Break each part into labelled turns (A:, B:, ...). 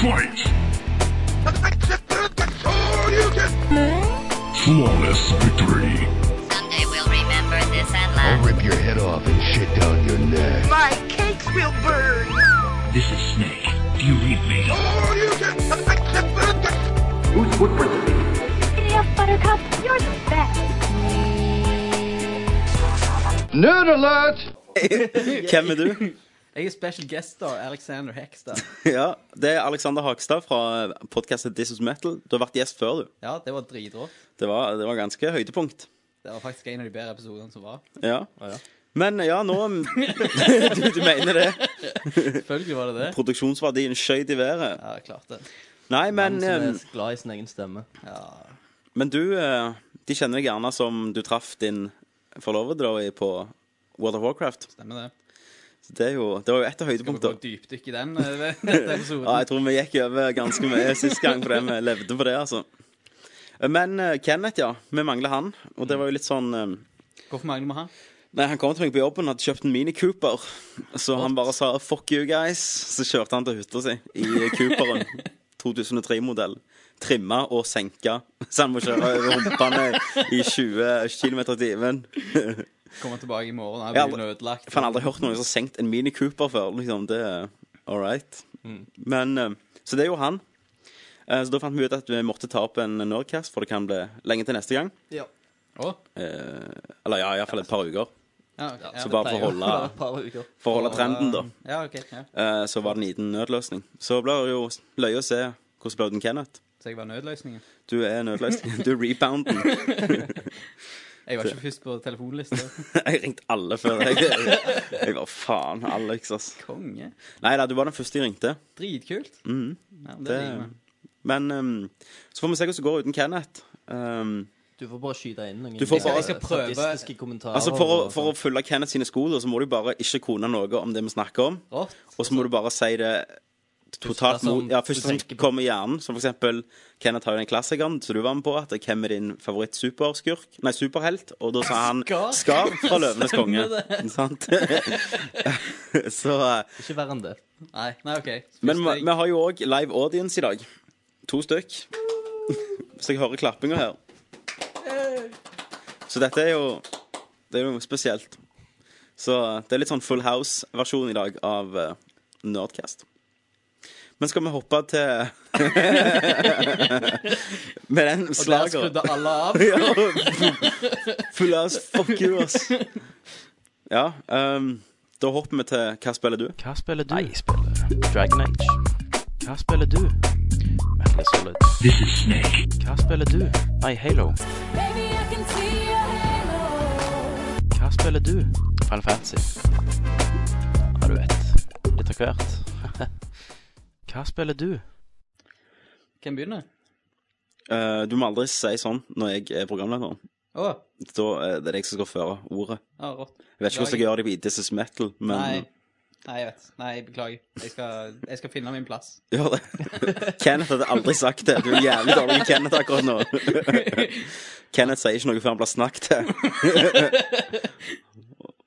A: Fight! Flawless victory.
B: Someday we'll remember this and laugh.
C: I'll rip your head off and shit down your neck.
D: My cakes will burn.
A: This is Snake. Do you read me?
E: Who's footprints are these?
F: Giddy up, Buttercup. You're the best.
C: Nerd alert!
G: Hvem er du?
H: Jeg er special guest, da. Alexander Hekstad.
G: Ja, Det er Alexander Hagstad fra podkastet This Is Metal. Du har vært gjest før, du.
H: Ja, det var dritrått.
G: Det var, det var ganske høydepunkt.
H: Det var faktisk en av de bedre episodene som var.
G: Ja. Men ja, nå du, du mener det.
H: Selvfølgelig var det det.
G: Produksjonsverdien skøyt i været.
H: Ja, jeg klarte det.
G: Nei, men,
I: Han som
G: eh,
I: er glad i sin egen stemme.
G: men du eh, De kjenner deg gjerne som du traff din forlovede da i- på World of Warcraft.
H: Stemmer det.
G: Det, er jo, det var jo et av
H: Skal vi gå
G: høydepunktene.
H: dypdykk i den eh, dette episoden?
G: Ja, jeg tror vi gikk over ganske mye sist gang på det. Vi levde på det, altså. Men eh, Kenneth, ja. Vi mangler han. Og det var jo litt sånn eh,
H: Hvorfor mangler vi han?
G: Nei, Han kom til meg på jobben og hadde kjøpt en Mini Cooper. Så han bare sa 'fuck you, guys'. Så kjørte han til hytta si i Cooperen. 2003-modell. Trimma og senka. Så han må kjøre over humpene i 20 km i timen.
H: Kommer tilbake i morgen.
G: Ja,
H: Jeg blir ødelagt.
G: For han har aldri hørt noen som har senkt en Mini Cooper før. Liksom, det er all right. Men, eh, så det er jo han. Eh, Så da fant vi ut at vi måtte ta opp en Nerdcast, for det kan bli lenge til neste gang.
H: Å?
G: Eh, Eller ja, iallfall et par uker.
H: Ja, ok. ja,
G: Så bare for å holde,
I: Bare et par uker.
G: for å holde trenden, da.
H: ja, ok. Ja.
G: Eh, så var det en liten nødløsning. Så blir det jo løye å se hvordan ble den Kenneth.
H: Så jeg var nødløsningen.
G: Du er nødløsningen. Du er rebounden.
H: Jeg var ikke først på telefonlista.
G: Jeg ringte alle før deg. Jeg var faen Alex, ass.
H: Konge.
G: Nei da, du var den første jeg ringte.
H: Dritkult. Ja, men det
G: Mm. Det-
H: liker vi.
G: Men ehm, så får vi se hvordan det går uten Kenneth. Ehm,
I: Du får bare skyte inn noen
G: Du får bare-
I: eh,
G: Jeg skal
H: prøve-
I: statistiske kommentarer.
G: altså for å,
I: og-
G: for å følge Kenneth sine sko, da, så må du bare ikke kone noe om det vi snakker om.
H: Rått.
G: Og så må du bare si det totalt
I: som
G: mot Ja, først
I: du
G: som
I: tenker på.
G: kommer i hjernen. Som for eksempel Kenneth har jo den klassikeren som du var med på, at hvem er din favoritt-superskurk? Nei, superhelt. Og da sa han
H: Skar.
G: Skar fra Løvenes konge. Sant? Så eh,
I: Ikke verre enn det.
H: Nei, nei, OK. Så
G: Men vi
H: først jeg-
G: vi har jo òg live audience i dag. To stykk. Hvis jeg hører klappinga her. Så dette er jo Det er jo spesielt. Så det er litt sånn Full House-versjon i dag av eh, Nerdcast. Men skal vi hoppe til Med den
H: Og der
G: slageren
H: skrudde alle av.
G: Full House, fuck you, ass. Ja, ehm, da hopper vi til Hva spiller du?
J: Hva spiller du? Nei, jeg spiller Dragon Age. Hva spiller du? Metal Gear Solid.
A: This is Snake.
J: Hva spiller du? Nei, Halo. Hva spiller du? Final Fantasy. Ja, du vet. Litt av hvert. Hva spiller du?
H: Hvem begynner?
G: Eh, du må aldri si sånn når jeg er programleder.
H: Å,
G: Da er det jeg som skal føre ordet.
H: ja, rått.
G: Jeg vet ikke hvordan jeg gjør det på This is Metal, men
H: Nei. Nei, jeg vet. Nei, beklager. Jeg skal, jeg skal finne min plass.
G: gjør det. Kenneth hadde aldri sagt det. Du er jævlig dårlig med Kenneth akkurat nå. Kenneth sier ikke noe før han blir snakket til.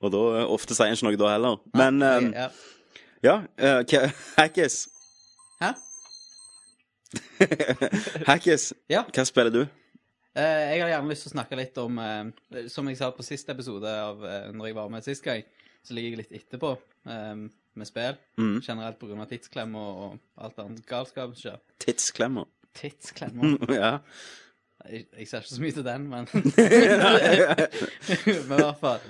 G: Og da eh, ofte sier han ikke noe da heller. Men eh,
H: Ja.
G: ja, eh, Ke- Hackis.
H: Hæ?
G: Hackis,
H: Ja.
G: hva spiller du?
H: Eh, jeg har gjerne lyst til å snakke litt om eh, Som jeg sa på siste episode av eh, når jeg var med sist gang, så ligger jeg litt etterpå eh, med spill.
G: Mhm.
H: Generelt pga. tidsklem og, og alt annet galskap. som skjer.
G: Tidsklemmer.
H: Tidsklemmer.
G: Ja.
H: Jeg, jeg ser ikke så mye til den, men Men i hvert fall.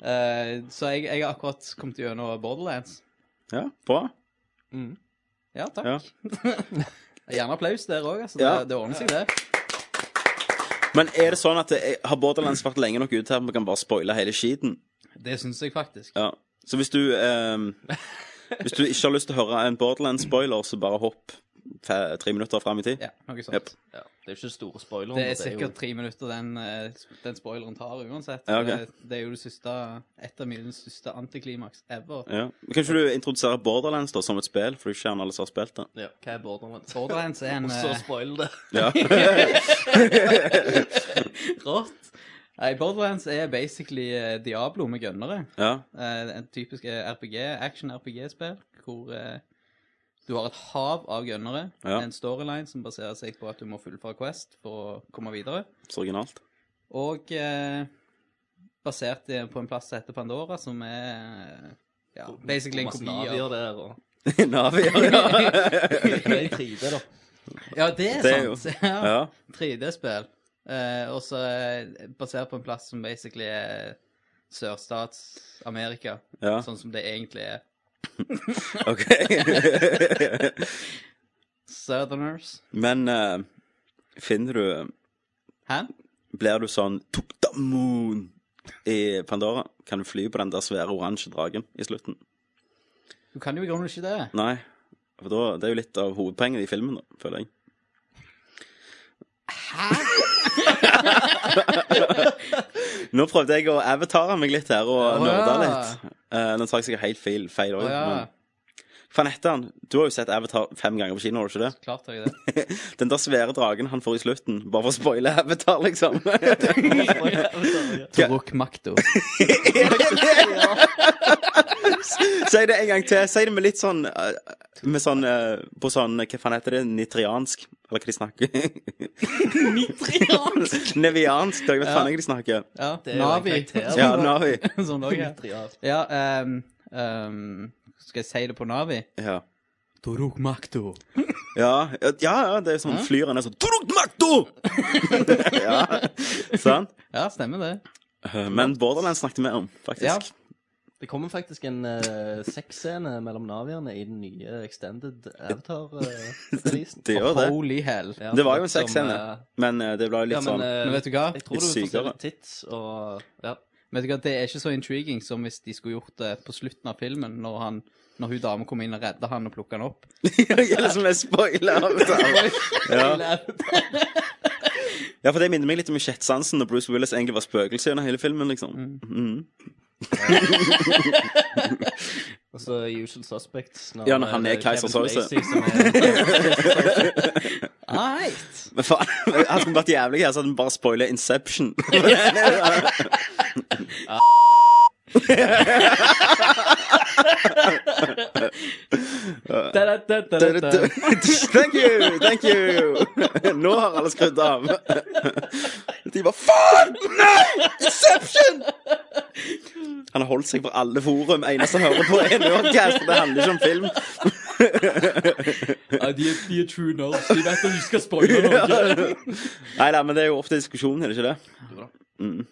H: Eh, så jeg, jeg har akkurat kommet gjennom Borderlands.
G: ja, bra.
H: Ja, takk.
G: Ja.
H: Gjerne applaus der òg, altså.
G: Ja.
H: Det, det ordner seg, det.
G: Men er det sånn at det, har Borderlands vært lenge nok ute til at vi kan bare spoile hele skiten?
H: Det syns jeg faktisk.
G: Ja. Så hvis du ehm, Hvis du ikke har lyst til å høre en Borderlands-spoiler, så bare hopp fe- tre minutter fram i tid.
H: Ja, noe sånt.
G: Jep.
I: Ja, det er jo ikke store spoilere.
H: Det er
I: men
H: sikkert tre minutter den, eh, den spoileren tar uansett. Eh,
G: Ja, ok.
H: det, det er jo det siste, et av mine største antiklimaks ever.
G: Ja. Men Kan ikke du introdusere Borderlands da som et spill, for du ikke gjerne alle som har spilt det?
I: Jo, ja, hva er Borderlands?
H: Borderlands er en
I: Og så
H: eh,
I: spoil det.
G: Ja.
H: rått. Nei, Borderlands er basically eh, Diablo med gønnere.
G: ja.
H: Eh, en typisk eh, RPG, action-RPG-spill, hvor eh, Du har et hav av gunnere.
G: Ja.
H: En storyline som baserer seg på at du må fullføre Quest for å komme videre.
G: Så originalt.
H: Og eh, basert i- på en plass som heter Pandora, som er ja, basically en
I: Masse
H: kopi
I: navier
H: av
I: der, og
G: Navi, ja.
I: Det er i 3D, da.
H: Ja, det er
G: Det er jo-
H: sant! Ja.
G: ja.
H: 3D-spill. Eh, og så eh, basert på en plass som basically er Sørstats-Amerika.
G: Ja.
H: Sånn som det egentlig er.
G: OK.
H: Southerners.
G: Men eh, finner du
H: Hæ?
G: Blir du sånn Took the moon i Pandora? Kan du fly på den der svære oransje dragen i slutten?
H: Du kan jo i grunnen ikke det.
G: Nei. For da, det er jo litt av hovedpoenget i filmen, da, føler jeg. Hæ? Nå prøvde jeg å avatare meg litt her og
H: Å, ja.
G: nerde litt. Eh, nå tar jeg sikkert helt feil. feil
H: Å
G: også,
H: ja,
G: men- Faen heter han? Du har jo sett Avatar fem ganger på kino, har du ikke det?
H: klart har jeg det.
G: Den der svære dragen han får i slutten, bare for å spoile Avatar, liksom.
H: Toruk Makto.
G: si det en gang til. Si det med litt sånn eh, med sånn, eh, På sånn Hva faen heter det? Nitriansk? Eller hva de snakker? Nitriansk? Neviansk? da, Jeg vet faen ikke hva de snakker.
H: Ja,
I: Det er jo en
H: Navi.
I: karakter.
G: Ja, Navi.
H: Som det også er.
I: Triad.
H: Ja, ehm, ehm, skal jeg si det på Navi?
G: Ja.
H: Toruk Makto.
G: Ja, ja, ja, det er sånn flyr han er sånn «Torogmakto!» ja, sant?
H: Ja, stemmer det.
G: Eh, Men Borderlands snakket vi om,
H: Ja.
G: faktisk.
I: Det kommer faktisk en uh, sexscene mellom navierne i den nye Extended eh, Avatar-releasen.
G: Det gjør det.
H: Holy hell. Ja.
G: Det var jo en
I: som,
G: sexscene,
I: eh,
G: men eh, det ble litt
I: ja, men,
G: sånn
I: eh,
H: Men vet du hva?
I: Jeg tror
G: Litt
I: du får se
G: sykere.
I: litt tits og Ja.
H: Vet du hva, Det er ikke så intriguing som hvis de skulle gjort det på slutten av filmen, når, han, når hun dame kom inn og redda han og plukka han opp.
G: Eller som er spoiler. altså. ja. ja, for det minner meg litt om i Sjettsansen, når Bruce Willis egentlig var spøkelse gjennom hele filmen, liksom. Mhm.
I: Og så Usual Suspects.
G: Ja, når han er
I: det
G: Kaiser
I: Kevin
G: Soze.
I: Spacey som er-
H: Right.
G: Men faen, hadde den vært jævlig her, så hadde den bare spoilet Inception. thank you, thank you. Nå har alle skrudd av. De bare Faen! Nei! Inception! Han har holdt seg på alle forum. Eneste han hører på, er Nerdcast. og Det handler ikke om film.
H: de, er, true nerds. De vet at du skal spoile noe.
G: Nei da, men det er jo ofte diskusjonen, er det ikke det?
H: Jo da.
G: Mm.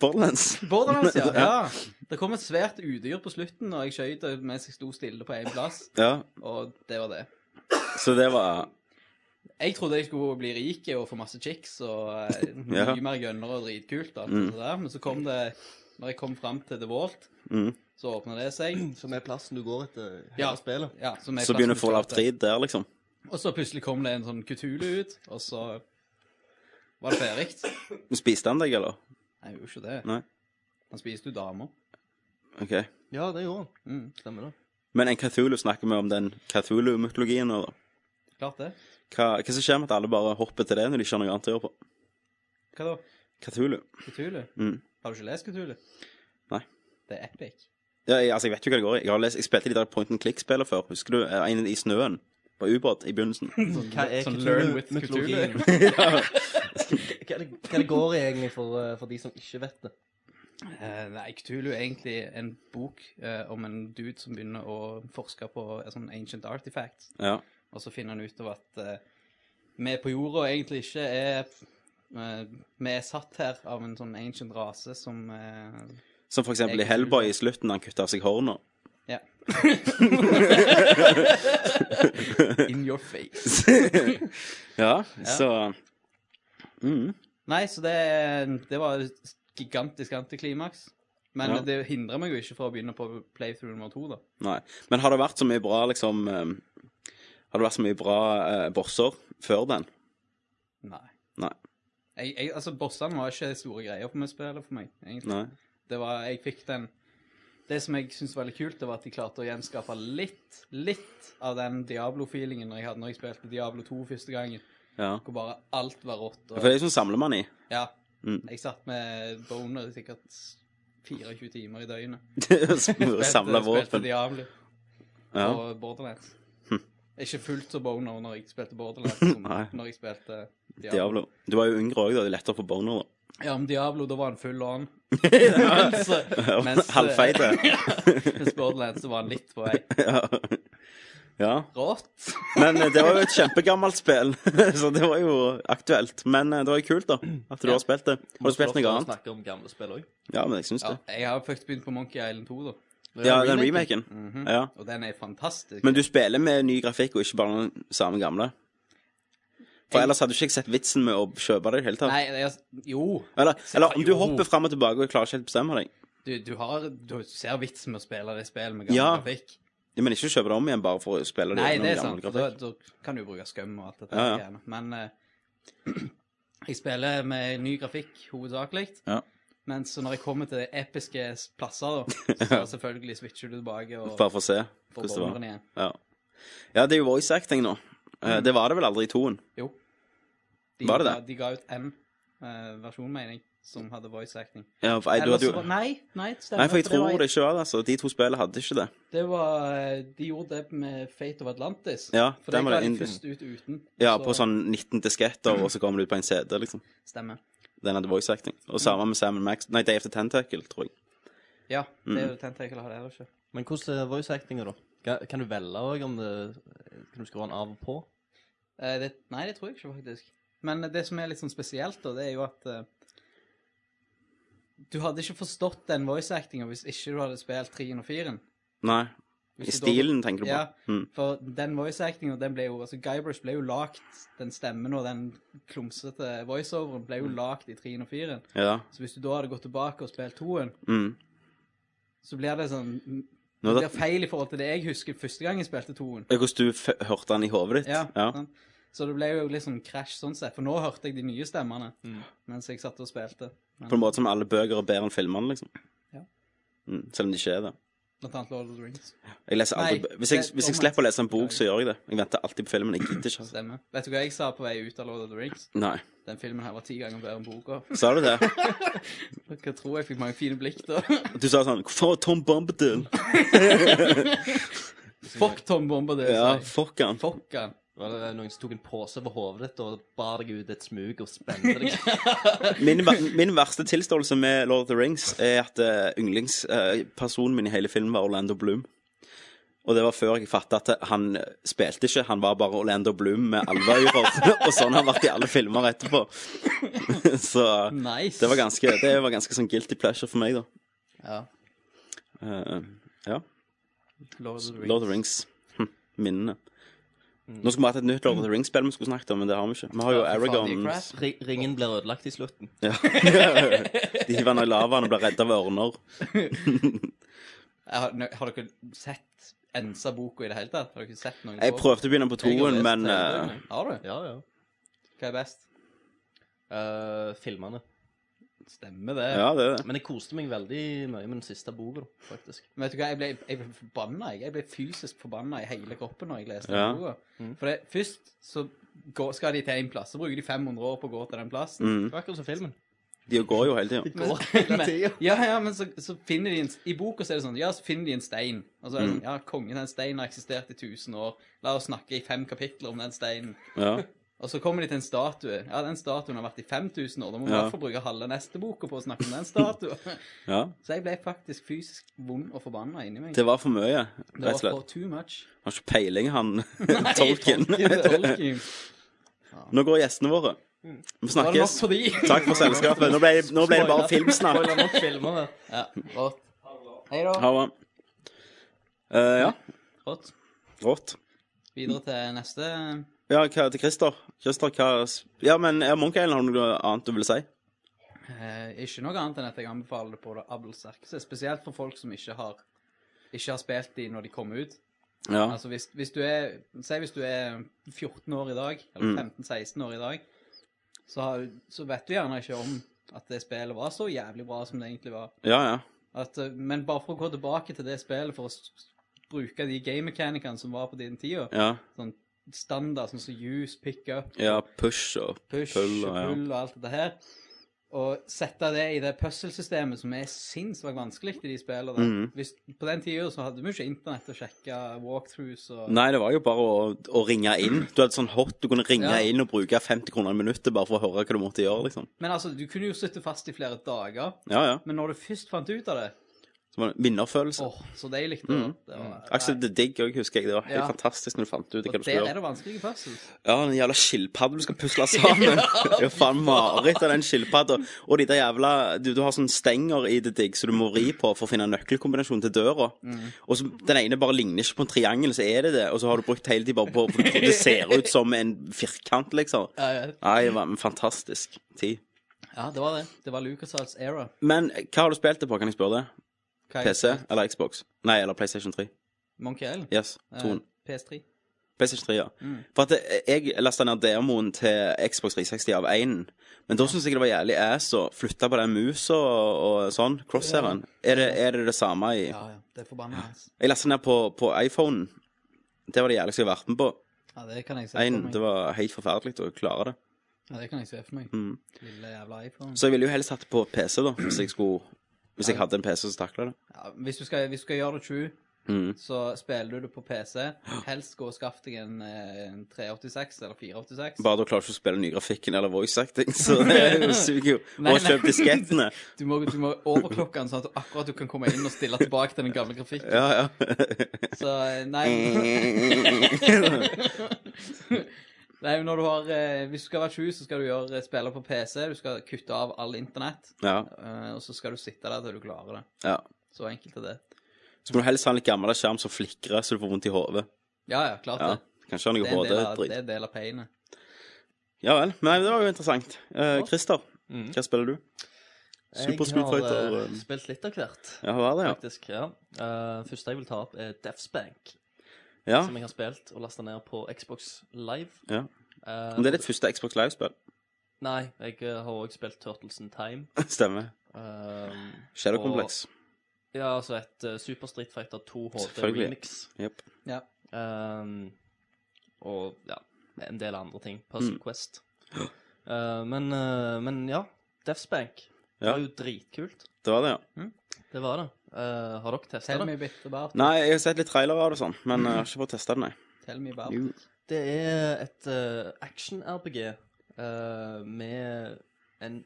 G: Borderlands.
H: Borderlands, ja. ja. Det kom et svært udyr på slutten, og jeg skjøt det mens jeg sto stille på én plass,
G: Ja,
H: og det var det.
G: så det var
H: Jeg trodde jeg skulle bli rik og få masse chicks og eh, mye
G: Ja.
H: mer gønnere og dritkult. og alt
G: Mm.
H: det der. Men så kom det Når jeg kom fram til The Vault,
G: Mm.
H: så åpna det seg.
I: Som er plassen du går etter hele
H: Ja.
I: spillet.
H: Ja, som er
G: Så begynner
H: plassen
G: Fallout
H: du
G: 3
H: starter.
G: der, liksom.
H: Og så plutselig kom det en sånn kutule ut, og så var det ferdig.
G: Spiste han deg, eller?
H: Nei, jeg gjorde ikke det.
G: Nei.
H: Han spiste jo damer.
G: Ok.
I: Ja, det gjorde han.
H: Mm,
I: Stemmer det.
G: Men en Cthulhu snakker vi om den Cthulhu-mytologien nå, da.
H: klart det.
G: Hva, hva som skjer med at alle bare hopper til det når de ikke har noe annet å gjøre på?
H: Hva da?
G: Cthulhu.
H: Kutule?
G: Mm.
H: Har du ikke lest Kutule?
G: Nei.
H: Det er epic.
G: Ja, jeg, altså, jeg vet jo hva det går i. Jeg, har lest, jeg spilte de der Point and Click-spillene før. Husker du? Eh, En i snøen. På ubåt i begynnelsen.
I: Hva er
H: Sånn learn with
I: Cthulhu-mytologien? Hva det- hva det går i egentlig for, eh, for de som ikke vet det?
H: Eh, nei, Kutule er egentlig en bok eh, om en dude som begynner å forske på en sånn ancient artifacts,
G: Ja.
H: og så finner han ut av at eh, vi på jorda egentlig ikke er eh, Vi er satt her av en sånn ancient rase som eh,
G: Som for eksempel i
H: Jeg-
G: Hellboy i slutten, han kutta av seg hårene.
H: Ja. In your face.
G: Ja, så mm.
H: Nei, så det, det var et gigantisk antiklimaks. Men
G: Ja.
H: det hindrer meg jo ikke fra å begynne på playthrough nummer to, da.
G: Nei. Men har det vært så mye bra, liksom eh, Har det vært så mye bra eh, bosser før den?
H: Nei.
G: Nei.
H: Jeg, jeg, altså, Bossene var ikke store greier for meg spillet for meg, egentlig.
G: Nei.
H: Det var, jeg fikk den Det som jeg syntes var veldig kult, det var at de klarte å gjenskape litt, litt av den Diablo-feelingen når jeg hadde når jeg spilte Diablo 2 første gangen,
G: Ja.
H: hvor bare alt var rått. og-
G: For det er jo sånn samler man i.
H: Ja.
G: Mm.
H: Jeg satt med boner i sikkert 24 timer i døgnet.
G: Samle
H: Spilte
G: våpen.
H: Diablo
G: Ja. Hm.
H: og Borderlands. Ikke fullt så boner når jeg spilte Borderlands som
G: Nei.
H: når jeg spilte Diablo.
G: Diablo. Du var jo yngre òg, da. Det er lettere å få boner, da.
H: Ja, men Diablo, da var han full on. Mens-
G: Halvfeite.
H: Mens Borderlands så var han litt på vei.
G: ja. ja.
H: Rått.
G: Men eh, det var jo et kjempegammelt spill, så det var jo aktuelt. Men eh, det var jo kult, da, at du har spilt det. Har du spilt noe annet?
I: Snakke om gamle spill òg.
G: Ja, men jeg syns
H: Ja,
G: det.
H: jeg har faktisk begynt på Monkey Island 2, da.
G: Ja, den remaken. Ja.
H: Og den er fantastisk.
G: Men du spiller med ny grafikk, og ikke bare den samme gamle? For ellers hadde du ikke sett vitsen med å kjøpe det i det hele tatt.
H: Nei, jeg, jo.
G: Eller, eller om du
H: Jo.
G: hopper fram og tilbake og klarer ikke helt å bestemme deg.
H: Du, du, har, du ser vitsen med å spille det spillet med gammel
G: Ja.
H: grafikk.
G: Ja, Men ikke kjøpe det om igjen bare for å spille det
H: Nei, det
G: gjennom gammel
H: er sant. for Da,
G: grafikk.
H: da kan du bruke skum og alt dette.
G: Ja, ja.
H: greiene. Men eh, jeg spiller med ny grafikk hovedsakelig.
G: Ja.
H: Men så når jeg kommer til episke s- plasser, da, så selvfølgelig switcher du tilbake og
G: Bare for å se
H: får
G: hvordan det var.
H: bommeren igjen.
G: Ja. ja, det er jo voice acting nå. Eh,
H: Mm.
G: Det var det vel aldri i toen.
H: Jo. De,
G: Var det
H: ga-
G: det?
H: De ga ut en eh, versjon, mener jeg, som hadde voice acting.
G: Ja, for, nei, du
H: Eller
G: hadde
H: så
G: jo...
H: var- Nei, nei, det stemmer.
G: Nei, for jeg
H: var
G: tror
H: i-
G: det ikke var det. altså. De to spillene hadde ikke det.
H: Det var, eh, de gjorde det med Fate of Atlantis.
G: Ja,
H: for
G: den
H: det
G: var
H: var
G: det
H: de
G: inn-
H: først ut uten.
G: Ja,
H: så-
G: på sånn 19 disketter, og så kommer det ut på en CD, liksom.
H: Stemmer.
G: Den hadde voice acting.
H: Mm.
G: Og samme med Sam Max Nei, Day of the Tentacle, tror jeg.
H: Ja, det
G: Mm.
H: er jo Tentacle har det heller ikke.
I: Men hvordan er voice actinga, da? Kan- Kan du velge òg om det eh, Kan du skru den av og på?
H: Eh, det, nei, det tror jeg ikke, faktisk. Men eh, det som er litt sånn spesielt, da, det er jo at eh, Du hadde ikke forstått den voice-actinga hvis ikke du hadde spilt 3 og 4.
G: Nei. I stilen, tenker du på?
H: Ja,
G: Mm.
H: for den voice-actinga, den ble jo Altså, Guybrush ble jo lagt Den stemmen og den klumsete voiceoveren ble jo
G: Mm.
H: lagt i 3 og 4.
G: Ja.
H: Så hvis du da hadde gått tilbake og spilt 2-en,
G: Mm.
H: så blir det sånn
G: Nå
H: Det
G: da-
H: blir feil i forhold til det jeg husker første gang jeg spilte 2-en.
G: Ja, Hvordan du f hørte den i hodet ditt?
H: Ja, sant? Så det ble jo litt sånn krasj sånn sett. For nå hørte jeg de nye stemmene
I: Mm.
H: mens jeg satt og spilte. Men,
G: På en måte som alle bøker er bedre enn filmene, liksom.
H: Ja.
G: Mm. Selv om det ikke er det.
H: Blant annet Lord of the Rings.
G: Jeg leser aldri
H: Nei,
G: bø- hvis, jeg,
H: det-
G: hvis jeg slipper å lese en bok, så gjør jeg det. Jeg venter alltid på filmen. Jeg gidder ikke. altså.
H: Stemmer. Vet du hva jeg sa på vei ut av Lord of the Rings?
G: Nei.
H: Den filmen her var ti ganger bedre enn boka.
G: Sa du det?
H: Dere tror jeg fikk mange fine blikk da.
G: Du sa sånn Hvorfor var Tom Bombadil?
H: Fuck Tom Bombadil.
G: Ja,
H: sa jeg.
G: fuck han.
H: Fuck han.
I: Var det noen som tok en pose over hodet ditt og bar deg ut et smug og spente deg?
G: min, ver- min verste tilståelse med Lord of the Rings er at eh, yndlingspersonen min i hele filmen var Orlando Bloom. Og det var før jeg fatta at han spilte ikke, han var bare Orlando Bloom med alveører. og sånn har han vært i alle filmer etterpå. Så
H: Nice.
G: det var ganske, det var ganske sånn guilty pleasure for meg, da.
H: Ja.
G: Eh, ja.
H: Lord of the Rings.
G: Lord of the Rings. Hm, Minnene. Nå skulle vi hatt et nytt Lord of the Rings-spill vi skulle snakket om, men det har vi ikke. Vi har jo
H: Ja, for faen, det er
G: Aragon.
H: crap.
I: Ri- Ringen blir ødelagt i slutten.
G: De hiver han i lavaen og blir redda av ørner.
H: Jeg Har, nå- har dere sett ensa boka i det hele tatt? Har dere sett noen
G: Jeg prøvde å begynne på
I: Jeg har
G: toen,
I: lest
G: men
I: hele
G: eh,
I: bøkene.
H: Har du?
I: Ja, ja.
H: Hva er best?
I: Eh, filmene.
H: Stemmer det.
G: Ja, det er det.
I: Men jeg koste meg veldig mye med den siste boka, da, faktisk.
H: Men vet du hva, jeg ble, jeg ble forbanna. Jeg. jeg ble fysisk forbanna i hele kroppen når jeg leste
G: Ja.
H: den boka. For det, først så går, skal de til én plass, så bruker de 500 år på å gå til den plassen.
G: Mm.
I: Det var akkurat som filmen.
G: De går jo hele tida.
I: Går
H: Men,
I: hele tiden.
H: ja, ja, men så, så finner de en I boka så er det sånn Ja, så finner de en stein. Og så er det
G: Mm.
H: sånn Ja, kongen, den steinen har eksistert i 1000 år. La oss snakke i fem kapitler om den steinen.
G: Ja.
H: Og så kommer de til en statue. Ja, den statuen har vært i 5000 år. Da må vi i
G: Ja.
H: hvert fall bruke halve neste boka på å snakke om den statuen.
G: ja.
H: så jeg ble faktisk fysisk vond og forbanna inni meg.
G: Det var for mye, rett og
H: Det var for
G: slett.
H: too much.
G: Har ikke peiling, han
H: Nei,
G: tolken.
H: Tolkien.
G: Nå går gjestene våre. Vi
H: Var Mm. det
G: snakkes.
H: nok for de?
G: Takk for selskapet. Nå ble, nå ble det bare filmsnakk.
I: Spoiler nok filmer her.
H: Ja, rått. Hei da.
G: Ha det. Eh, ja.
H: Rått.
G: Rått.
H: Videre til neste.
G: Ja, hva til Christer? Christer, hva Ja, men er Monkey Island har du noe annet du vil si?
H: Eh, ikke noe annet enn at jeg anbefaler det på det abelsterkeste. Spesielt for folk som ikke har, ikke har spilt de når de kommer ut.
G: Ja.
H: Altså hvis, hvis du er, Si hvis du er 14 år i dag,
G: Mm.
H: eller 15-16 år i dag, så, har, så vet du gjerne ikke om at det spillet var så jævlig bra som det egentlig var.
G: Ja, ja.
H: At, eh, men bare for å gå tilbake til det spillet, for å s- s- bruke de game mechanicene som var på din tida,
G: Ja,
H: sånn standard, sånn som use, pick up,
G: ja push og
H: push,
G: pull
H: pull,
G: og ja.
H: og alt dette her. Og sette det i det puslesystemet som er sinnssykt vanskelig i de spillene. der.
G: Mm.
H: Hvis, på den tida så hadde vi jo ikke internett å sjekke walkthroughs og
G: Nei, det var jo bare å, å ringe inn. Du hadde sånn hot, du kunne ringe
H: Ja.
G: inn og bruke 50 kroner i minuttet bare for å høre hva du måtte gjøre, liksom.
H: Men altså, du kunne jo sitte fast i flere dager.
G: Ja, ja.
H: Men når du først fant ut av det
G: Så var det vinnerfølelse.
H: Åh, så deilig det var. Det var
G: Axel the Digg òg, husker jeg. Mm. Det var helt
H: Ja.
G: fantastisk når du fant ut hva
H: og
G: du skulle
H: der er
G: gjøre.
H: det vanskelige puzzles.
G: Ja, den jævla skilpadden du skal pusle sammen. Det er jo faen mareritt av den skilpadda. Og de der jævla du, du har sånne stenger i The Digg som du må ri på for å finne nøkkelkombinasjon til døra.
H: Mm.
G: Og så den ene bare ligner ikke på en triangel, så er det det. Og så har du brukt hele tiden bare på for Det ser ut som en firkant, liksom. Nei, det var en fantastisk tid.
H: Eh, Ja, det var det. Det var LucasArts era.
G: Men hva har du spilt det på, kan jeg spørre det?
H: Hva er-
G: PC eller Xbox? Nei, eller PlayStation 3.
H: Monkey Island.
G: Yes,
H: Eh,
G: toen.
H: PS3.
G: PlayStation 3, ja.
H: Mm.
G: For at eh, jeg lasta ned demoen til Xbox 360 av 1. Men da syns jeg det var jævlig ass å flytte på den musa og, og sånn. Crosshairen. Er, det- er det det samme i
H: Ja, ja. Det er forbanna hans.
G: Jeg lasta ned på, på iPhonen. Det var det jævligste jeg har vært med på.
H: Ja, det kan jeg se
G: En,
H: for meg.
G: det var helt forferdelig å klare det. Mm.
H: Ja, det kan jeg se for meg. Lille jævla iPhone.
G: Så jeg ville jo helst hatt det på PC, da, hvis jeg skulle Hvis jeg hadde en PC som takla det.
H: Ja, hvis, du skal, hvis du skal gjøre det true,
G: Mm.
H: så spiller du det på PC. Helst gå og skaff deg en, eh, en 386 eller 486.
G: Bare da klarer du ikke å spille ny grafikken eller voice acting, så det suger jo.
H: Nei,
G: Og kjøp
H: nei.
G: diskettene.
H: Du må, du må overklokke den sånn at du akkurat du kan komme inn og stille tilbake til den gamle grafikken.
G: Ja,
H: Så eh, nei
G: ja.
H: Nei, men når du har eh, Hvis du skal være sju, så skal du gjøre eh, spille på PC. Du skal kutte av all internett.
G: ja,
H: eh, og så skal du sitte der til du klarer det.
G: ja.
H: Så enkelt er det.
G: Så må du helst ha en litt gammel skjerm som flikrer så du får vondt i hodet.
H: Ja, ja, klart
G: Ja.
H: det.
G: Kanskje han
H: Det
G: er
H: er en del av, det
G: HD-dritt.
H: er en del av painet.
G: Ja vel. Men nei, det var jo interessant. Eh, Christer, hva spiller du? Super Street
I: Mm. Jeg
G: Fighter.
I: har eh,
G: eh,
I: spilt litt av hvert.
G: Ja, hva er det,
I: Faktisk, ja. Eh, første jeg vil ta opp, er Deathsbank.
G: ja?
I: Som
G: ja.
I: jeg har spilt og lasta ned på Xbox Live.
G: Ja.
I: Eh,
G: Men det er ditt første Xbox Live-spill.
I: Nei, jeg eh, har òg spilt Turtles in Time.
G: Stemmer.
I: Eh,
G: Shadow
I: Og-
G: Complex.
I: ja, altså et eh, Super Street Fighter 2 HD
G: Selvfølgelig.
I: Remix.
G: Jep.
H: Ja.
I: Ehm, og ja, en del andre ting.
G: Mm.
I: Puzzle Quest. Eh, men, eh, men ja, Deathsbank. Det
G: Ja.
I: var jo dritkult.
G: Det var det, ja.
I: Det var det. Eh, har dere testa
H: Tell
I: det?
H: me a bit about
G: Nei, jeg har sett litt trailere av det og sånn, men jeg har ikke fått testa det, nei.
H: Tell me about
G: Jo.
I: Det er et eh, action-RPG eh, med en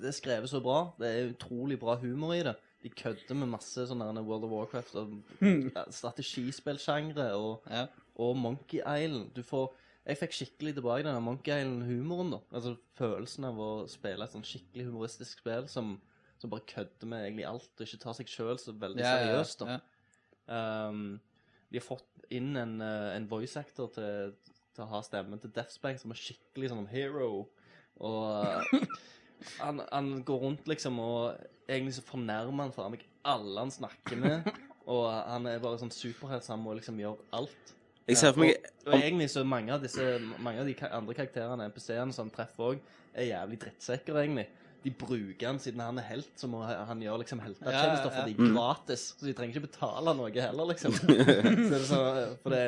I: Det er skrevet så bra. Det er utrolig bra humor i det. De kødder med masse sånn der World of Warcraft og ja, strategispillsjangre og,
H: Ja.
I: og Monkey Island. Du får Jeg fikk skikkelig tilbake den der Monkey Island-humoren, da. Altså følelsen av å spille et sånn skikkelig humoristisk spill som, som bare kødder med egentlig alt og ikke tar seg sjøl så veldig seriøst, da.
H: Ja.
I: Ehm, de har fått inn en, eh, en voice actor til, til å ha stemmen til Deathsbank, som er skikkelig sånn hero. Og eh, han, han går rundt liksom og egentlig så fornærmer han faen meg alle han snakker med. Og han er bare sånn superhelt, så han må liksom gjøre alt.
G: Jeg ser for meg
I: og, og egentlig så mange av disse Mange av de ka- andre karakterene, NPC-ene som han treffer òg, er jævlig drittsekker, egentlig. De bruker han siden han er helt, så må han han gjør liksom heltetjenester for de er gratis. Så de trenger ikke betale noe heller, liksom. så det er sånn, for det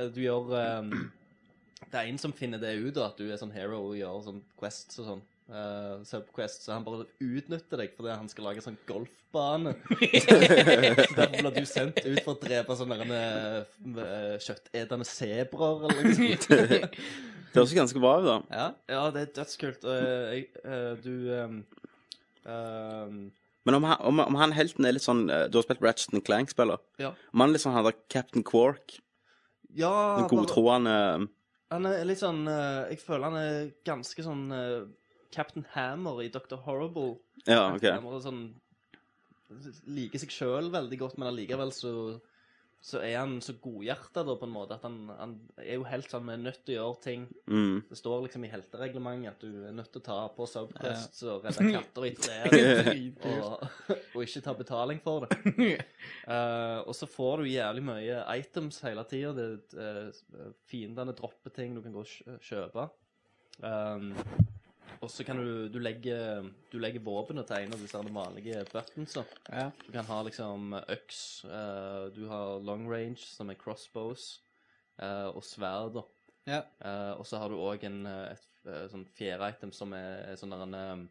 I: er Du gjør ehm, det er en som finner det ut, da, at du er sånn hero og gjør sånn quests og sånn. eh, subquests, så han bare utnytter deg fordi han skal lage sånn golfbane. så derfor blir du sendt ut for å drepe sånne der, eh, kjøttetende sebraer eller noe sånt.
G: Det høres jo ganske bra ut, da.
I: ja, ja, det er dødskult. Og eh, jeg- eh, du ehm, ehm,
G: Men om han, om, om han helten er litt sånn eh, Du har spilt Ratchet Clank-spiller.
I: Ja.
G: Om han er litt sånn han der Captain Quark,
I: ja
G: den
I: bare-
G: godtroende
I: Han er litt sånn eh, Jeg føler han er ganske sånn eh, Captain Hammer i Dr. Horrible.
G: Ja, OK.
I: Han bare sånn, liker seg sjøl veldig godt, men allikevel så, så er han så godhjerta, da, på en måte. At han, han er jo helt sånn Vi er nødt til å gjøre ting.
G: Mm.
I: Det står liksom i heltereglementet at du er nødt til å ta på subquests og redde katter i trær og, og ikke ta betaling for det. Eh, og så får du jævlig mye items hele tida. Uh, fiendene dropper ting du kan gå og kjø- kjøpe. Um, og så kan du Du legger, du legger våpenet til en av disse her vanlige buttonsa.
H: Ja.
I: Du kan ha liksom øks, eh, du har long range, som er crossbows, eh, og sverd. da.
H: Ja.
I: Eh, og så har du òg en eh, et, eh, sånn fjerde item som er, er sånn der en eh,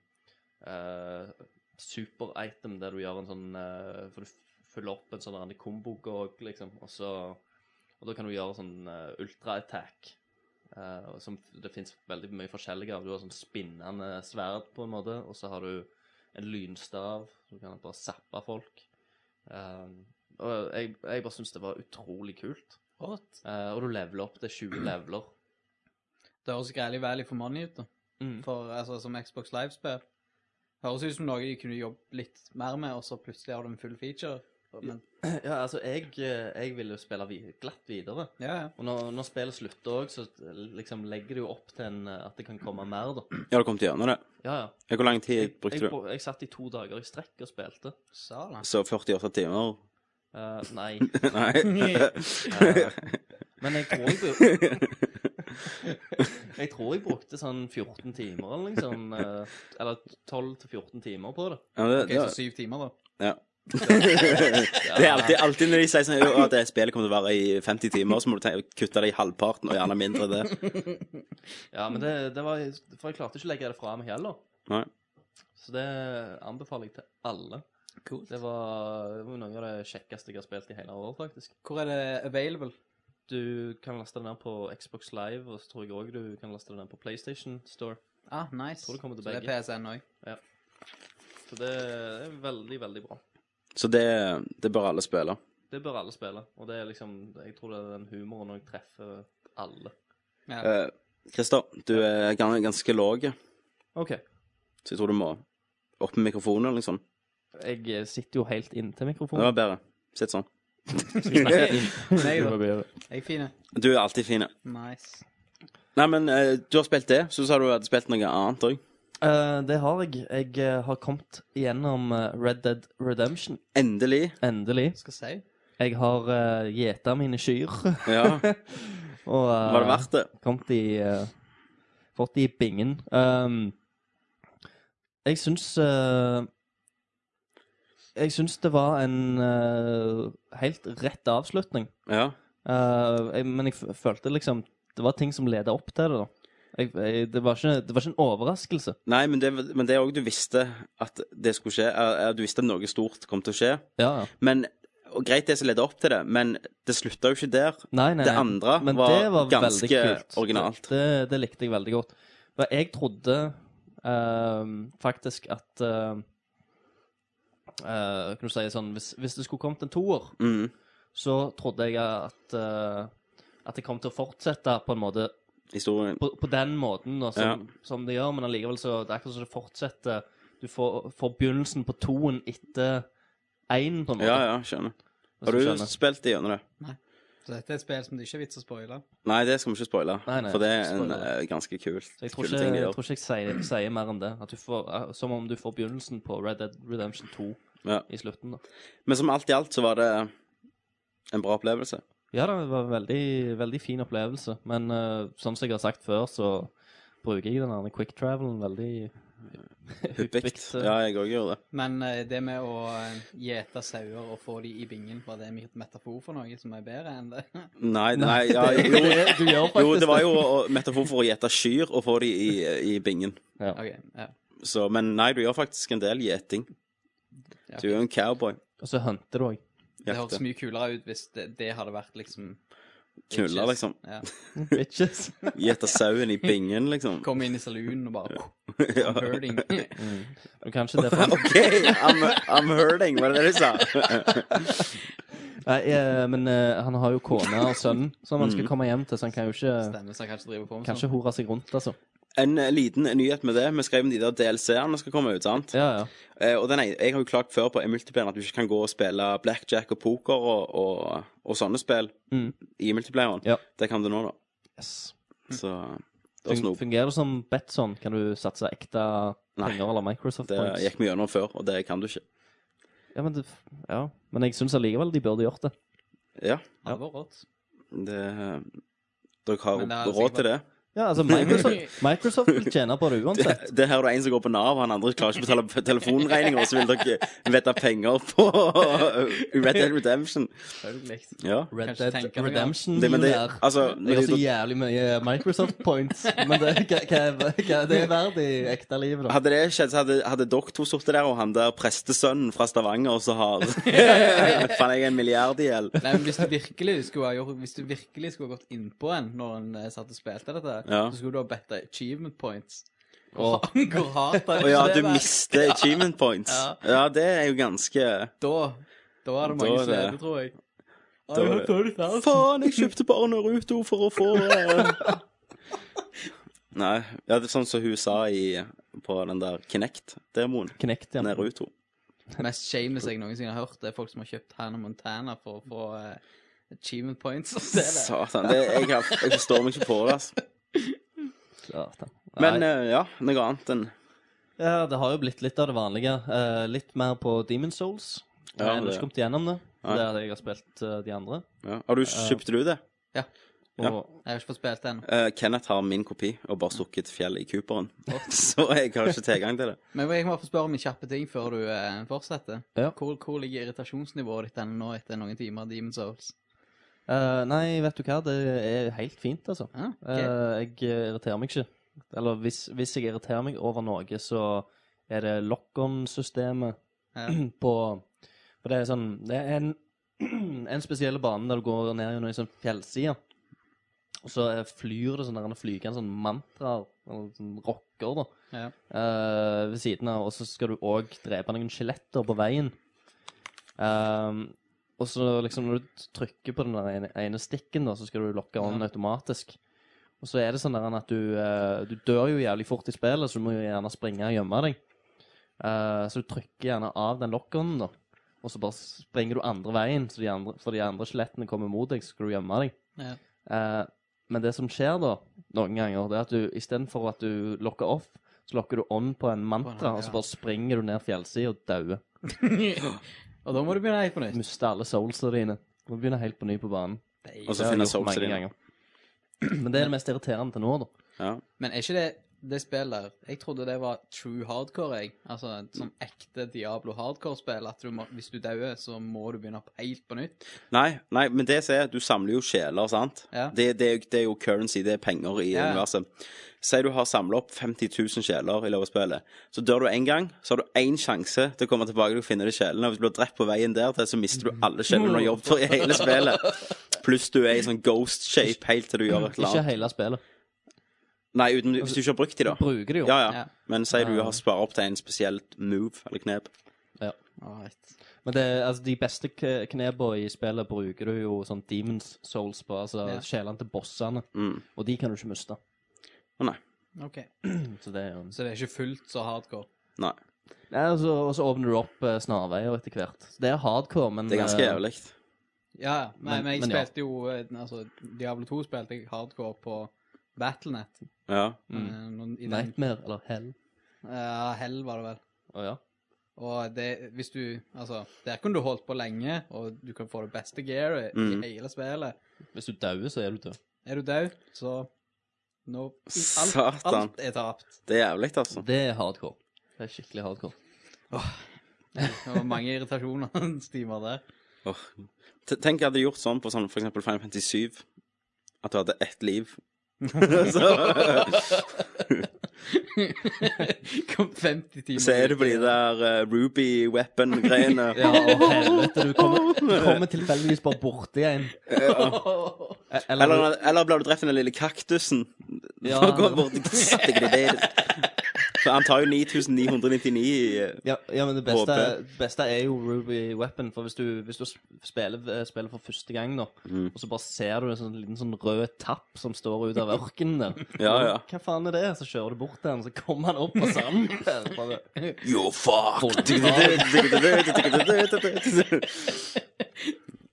I: eh, super-item der du gjør en sånn eh, For du f- fyller opp en sånn der en kombo-gog, liksom, og så Og da kan du gjøre sånn eh, ultra-attack. eh, og som f- det fins veldig mye forskjellige av. Du har sånn spinnende sverd, på en måte, og så har du en lynstav. Så du kan bare zappe folk. Eh, og jeg, jeg bare syns det var utrolig kult.
H: Hot.
I: Eh, og du leveler opp til 20 leveler.
H: Det høres greielig value for money ut, da.
I: Mm.
H: For, altså, som Xbox Live-spill. Høres ut som noe de kunne jobbet litt mer med, og så plutselig har de en full feature. Men,
I: Ja, altså, jeg, eh, jeg vil jo spille vi glatt videre.
H: ja, ja.
I: Og når, når spillet slutter òg, så liksom legger det jo opp til en, eh, at det kan komme mer, da.
G: Ja, du kom til gjennom det.
I: Ja, ja.
G: Ja, Hvor lang tid
I: Jeg, jeg,
G: brukte du?
I: bru- jeg satt i to dager i strekk og spilte.
H: Sala.
G: Så 48 timer?
I: Eh, nei.
G: Nei.
I: Eh, men jeg tror jeg, bru- jeg tror jeg brukte sånn 14 timer, eller liksom. eh, eller 12-14 timer på det.
G: Ja, det,
H: Ok,
G: det,
H: så syv timer, da.
G: ja. det er alltid, alltid når de sier sånn at det spillet kommer til å vare i 50 timer, så må du tenke, kutte det i halvparten, og gjerne mindre det.
I: Ja, men det, det var For jeg klarte ikke å legge det fra meg heller.
G: Nei.
I: Så det anbefaler jeg til alle.
H: Kult.
I: Det var, det var noe av det kjekkeste jeg har spilt i hele år, faktisk.
H: Hvor er det available?
I: Du kan laste det ned på Xbox Live, og så tror jeg òg du kan laste det ned på PlayStation Store.
H: Ah, nice.
I: Tror det kommer til
H: så det er
I: begge.
H: PSN òg.
I: Så det er veldig, veldig bra.
G: Så det, det bør alle spille.
I: Det bør alle spille, og det er liksom Jeg tror det er den humoren jeg treffer alle.
H: Ja.
G: Eh, Christer, du er gan- ganske lav,
I: OK.
G: så jeg tror du må opp med mikrofonen eller noe sånt.
I: Jeg sitter jo helt inntil
G: Det
I: mikrofonen.
G: var bedre. Sitt sånn.
H: Nei da. Jeg er fin. jeg.
G: Du er alltid fin. ja.
H: Nice.
G: Nei, men eh, du har spilt det, så sa du hadde spilt noe annet òg.
I: Eh, det har jeg. Jeg eh, har kommet igjennom eh, Red Dead Redemption.
G: Endelig.
I: Endelig.
H: Skal si.
I: Jeg har uh, gjeta mine kyr.
G: Ja,
I: Og, eh,
G: Var det verdt det?
I: Kommet i eh, Fått de i bingen. Um, jeg syns eh, Jeg syns det var en eh, helt rett avslutning.
G: Ja.
I: Eh, jeg, men jeg f- følte liksom Det var ting som leda opp til det, da. Jeg, jeg, det, var ikke, det var ikke en overraskelse.
G: Nei, men det, men det er òg du visste at det skulle skje. eh, eh, Du visste at noe stort kom til å skje.
I: Ja, ja.
G: Men og Greit det som leder opp til det, men det slutta jo ikke der.
I: Nei, nei,
G: Det
I: nei.
G: andre
I: Men
G: var
I: det var
G: ganske
I: veldig kult.
G: originalt.
I: Det, det, det likte jeg veldig godt. For jeg trodde ehm, faktisk at ehm, eh, Kan du si sånn Hvis, hvis det skulle kommet en toer,
G: Mm,
I: så trodde jeg at eh, At det kom til å fortsette på en måte
G: historien.
I: På, på den måten da, som,
G: Ja.
I: som det gjør, men allikevel så Det er akkurat som det fortsetter. Du får, får begynnelsen på toen etter én, på en måte.
G: Ja, ja, skjønner.
I: hvis
G: Har du
I: skjønner.
G: spilt gjennom det?
H: Så dette er et spill som det ikke er vits å spoile.
G: Nei, det skal vi ikke spoile.
I: Nei, nei,
G: For det er
I: ikke
G: en
I: spoile.
G: eh, ganske kul
I: Så jeg tror
G: kul
I: ikke
G: ting de
I: jeg,
G: gjør.
I: tror ikke jeg sier, sier mer enn det. At du får, eh, som om du får begynnelsen på Red Dead Redemption 2
G: Ja.
I: i slutten. da.
G: Men som alt i alt så var det en bra opplevelse.
I: Ja, da, det var en veldig, veldig fin opplevelse. Men eh, som jeg har sagt før, så bruker jeg den derne quick travelen veldig
G: Hyppig.
I: hyppigt, eh.
G: Ja, jeg òg gjorde det.
H: Men eh, det med å eh, gjete sauer og få de i bingen, var det en metafor for noe som er bedre enn det?
G: Nei, nei, ja, jo,
I: Det- Du gjør faktisk
G: jo, det var jo å- metafor for å gjete kyr og få de i, i bingen.
I: Ja.
H: OK. Ja.
G: Så, men nei, du gjør faktisk en del gjeting. Du er jo en cowboy.
I: Og så hunter du òg.
H: Det høres
G: Jakte.
H: mye kulere ut hvis det, det hadde vært liksom
G: Knulla,
H: bitches.
G: liksom.
H: Ja.
I: Bitches.
G: Gjete sauen i bingen, liksom.
H: Komme inn i saloonen og bare
G: Ja.
H: herding.
I: Men kanskje det er for...
G: OK, I'm, I'm hurting, var det det du sa?
I: Nei, eh, men eh, han har jo kone og sønn som han skal
G: Mm.
I: komme hjem til, så han kan jo ikke
H: Stemmer, så jeg kanskje driver på med
I: Kanskje
H: sånn.
I: hore seg rundt, altså.
G: En eh, liten nyhet med det. Vi skrev om de der DLC-ene som skal komme ut, sant?
I: Ja, ja.
G: Eh, og den, er- jeg har jo klagt før på i multiplayer at du ikke kan gå og spille blackjack og poker og, og, og sånne spill
I: Mm.
G: i multiplayeren.
I: Ja. Mm.
G: Det kan du nå, da.
I: Yes.
G: Så det var
I: Fun-
G: snop.
I: Fungerer det som Betson? Kan du satse ekte
G: Nei.
I: penger eller Microsoft
G: Det
I: points?
G: gikk vi gjennom før, og det kan du ikke.
I: Ja, men, det, ja. men jeg syns allikevel de burde gjort det.
G: Ja,
H: Ja, det var rått.
G: det eh, Dere har
H: Men det er
I: eh,
G: råd til det.
I: Ja, altså Microsoft, Microsoft vil tjene på det
G: Det,
I: uansett.
G: det her er det en som går på Nav, han andre klarer ikke å betale p- telefonregninger, og så vil dere vette penger på Red Dead Redemption.
H: Selvfølgelig.
G: Ja.
I: Red
H: Kanskje
I: Dead
H: tenker meg om.
I: Redemption
G: Det, men det,
I: der.
G: altså,
I: Jeg
G: når
I: har så
G: de,
I: jævlig mye Microsoft points, men det, hva, hva, hva, det er verdt i ekte livet, da.
G: hadde det skjedd, så hadde, hadde dere to sittet der, og han der prestesønnen fra Stavanger som har Fant jeg en milliard i gjeld.
H: Nei, men hvis du virkelig skulle ha gjort, hvis du virkelig skulle ha gått innpå en når en eh, satt og spilte dette,
G: Ja.
H: så skulle du ha bedt deg achievement points. Faen, Hvor hardt er
G: Å ja,
H: det
G: du
H: der?
G: mister achievement points. Ja, det er jo ganske
H: Da, da er
G: Da
H: det mange
G: er
H: som
G: det-
H: er det, tror jeg.
G: Da er det- Faen, jeg kjøpte bare Naruto for å få eh. Nei. Ja, det er sånn som hun sa i, på den der Kinect-demoen.
I: Knekt, ja.
G: Naruto.
H: Mest shameless jeg noensinne har hørt, det er folk som har kjøpt Hannah Montana for å få eh, achievement points. Det er det.
G: Satan. Det, jeg, har- jeg forstår meg ikke på det, altså.
I: Satan. Nei.
G: Men eh, ja, noe annet enn
I: Ja, det har jo blitt litt av det vanlige. Eh, litt mer på Demon Souls. Jeg
G: Ja,
I: har ennå
G: det-
I: ikke kommet gjennom det.
G: Nei.
I: Det er det jeg har spilt eh, de andre.
G: ja. Har du kjøpte du det?
I: Og
G: Ja.
H: Jeg har ikke fått spilt det ennå.
G: Eh, Kenneth har min kopi og bare stukket fjell i Cooperen. Så jeg har ikke tilgang til det.
H: Men jeg må få spørre om en kjappe ting før du eh, fortsetter.
I: Ja.
H: Hvor, hvor ligger irritasjonsnivået ditt ennå nå etter noen timer av Demon's Souls?
I: eh, nei, vet du hva, det er helt fint, altså.
H: Ah, ok.
I: Eh, jeg irriterer meg ikke. Eller hvis, hvis jeg irriterer meg over noe, så er det lock-on-systemet
H: Ja.
I: på For det er sånn Det er en, en spesiell bane der du går ned gjennom ei sånn fjellside. Og så eh, flyr det sånn der, flygende sånn mantraer, eller sånn rocker, da.
H: Ja.
I: eh, ved siden av, og så skal du òg drepe noen skjeletter på veien. Ehm, og så liksom når du trykker på den der ene, ene stikken, da, så skal du lokke ånden automatisk. Og så er det sånn der at du, eh, du dør jo jævlig fort i spillet, så du må jo gjerne springe og gjemme deg. Eh, så du trykker gjerne av den lokkeren, da. Og så bare springer du andre veien, så de andre, for de andre skjelettene kommer mot deg, så skal du gjemme deg.
H: Ja.
I: Eh, men det som skjer da, noen ganger, det er at du istedenfor at du lokker off, så lokker du on på en mantra,
H: På en-
I: og så
H: ja.
I: bare springer du ned fjellsida og dauer.
H: Og da må du begynne helt på nytt.
I: Mister alle soulsa dine. Du må begynne helt på ny på banen.
G: Og så
I: Det har
G: finner
I: jeg gjort mange
G: Soulsa dine.
I: ganger. Men det er det mest irriterende til nå, da.
G: Ja.
H: Men er ikke det det spillet der Jeg trodde det var true hardcore, jeg. Altså et sånn ekte Diablo hardcore-spill. At du må, hvis du dauer, så må du begynne på helt på nytt.
G: Nei, nei, men det som er, du samler jo sjeler, sant?
H: Ja.
G: Det, det, er jo- det er jo currency, det er penger i
H: Ja.
G: universet. Si du har samla opp 50 000 sjeler i løpet av spillet. Så dør du én gang, så har du én sjanse til å komme tilbake til å finne de sjelene. Og hvis du blir drept på veien der til, så mister du alle sjelene du har jobbet for i hele spillet. Pluss du er i sånn ghost shape helt til du gjør et eller
I: Ikke
G: annet.
I: hele spillet.
G: Nei, uten, hvis du ikke har brukt de, da.
I: Bruker det jo.
G: Ja, ja.
H: Ja.
G: Men si du har spara opp til en spesielt move eller knep.
H: Alright.
I: Men det, er- altså, de beste k- knepa i spillet bruker du jo sånn Demons Souls på. Altså
H: Ja.
I: sjelene til bossene.
G: Mm,
I: Og de kan du ikke miste.
G: Å nei.
H: Ok.
I: Så det er jo
H: Så det er ikke fullt så hardcore.
G: Nei.
I: Nei, og så, og så åpner du opp eh, snarveier etter hvert. Så det er hardcore, men
G: Det er ganske
I: eh,
G: jævlig.
H: Ja, ja. Men,
I: Men-
H: men jeg
I: men ja.
H: spilte jo eh, altså, Diablo 2 spilte jeg hardcore på Battlenet.
G: Ja.
H: Eh, noen- I den,
I: Nightmare eller Hell.
H: ja, Hell var det vel.
I: Å ja.
H: Og det, hvis du Altså, der kunne du holdt på lenge, og du kan få det beste gearet
G: Mm.
H: i hele spillet.
I: Hvis du dauer, så er du død.
H: Er du død, så nå alt,
G: Satan.
H: alt er tapt.
G: Det er jævlig, altså.
I: Det er hardcore. Det er skikkelig hardcore.
H: Det var mange irritasjoner stimer der.
G: Åh. T- Tenk jeg hadde gjort sånn på sånn, for eksempel Final Fantasy 7. At du hadde ett liv. så,
H: Kom 50 timer.
G: så er du på de der eh, Ruby Weapon-greiene.
I: Ja, og helvete, du kommer, du kommer tilfeldigvis bare borti en. Eh,
G: Eller, eller ble du drept av den lille kaktusen?
I: Ja.
G: Da går bort For han tar jo 9999 i eh,
I: ja, ja, men det beste,
G: HP.
I: beste er jo Ruby Weapon. For hvis du, hvis du spiller, eh, spiller for første gang, da,
G: Mm.
I: og så bare ser du en sånn liten sånn rød tapp som står ut av ørkenen der
G: Ja, ja.
I: Hva faen er det? Så kjører du bort til den, så kommer han opp på sanden. der, bare-
G: You're fucked!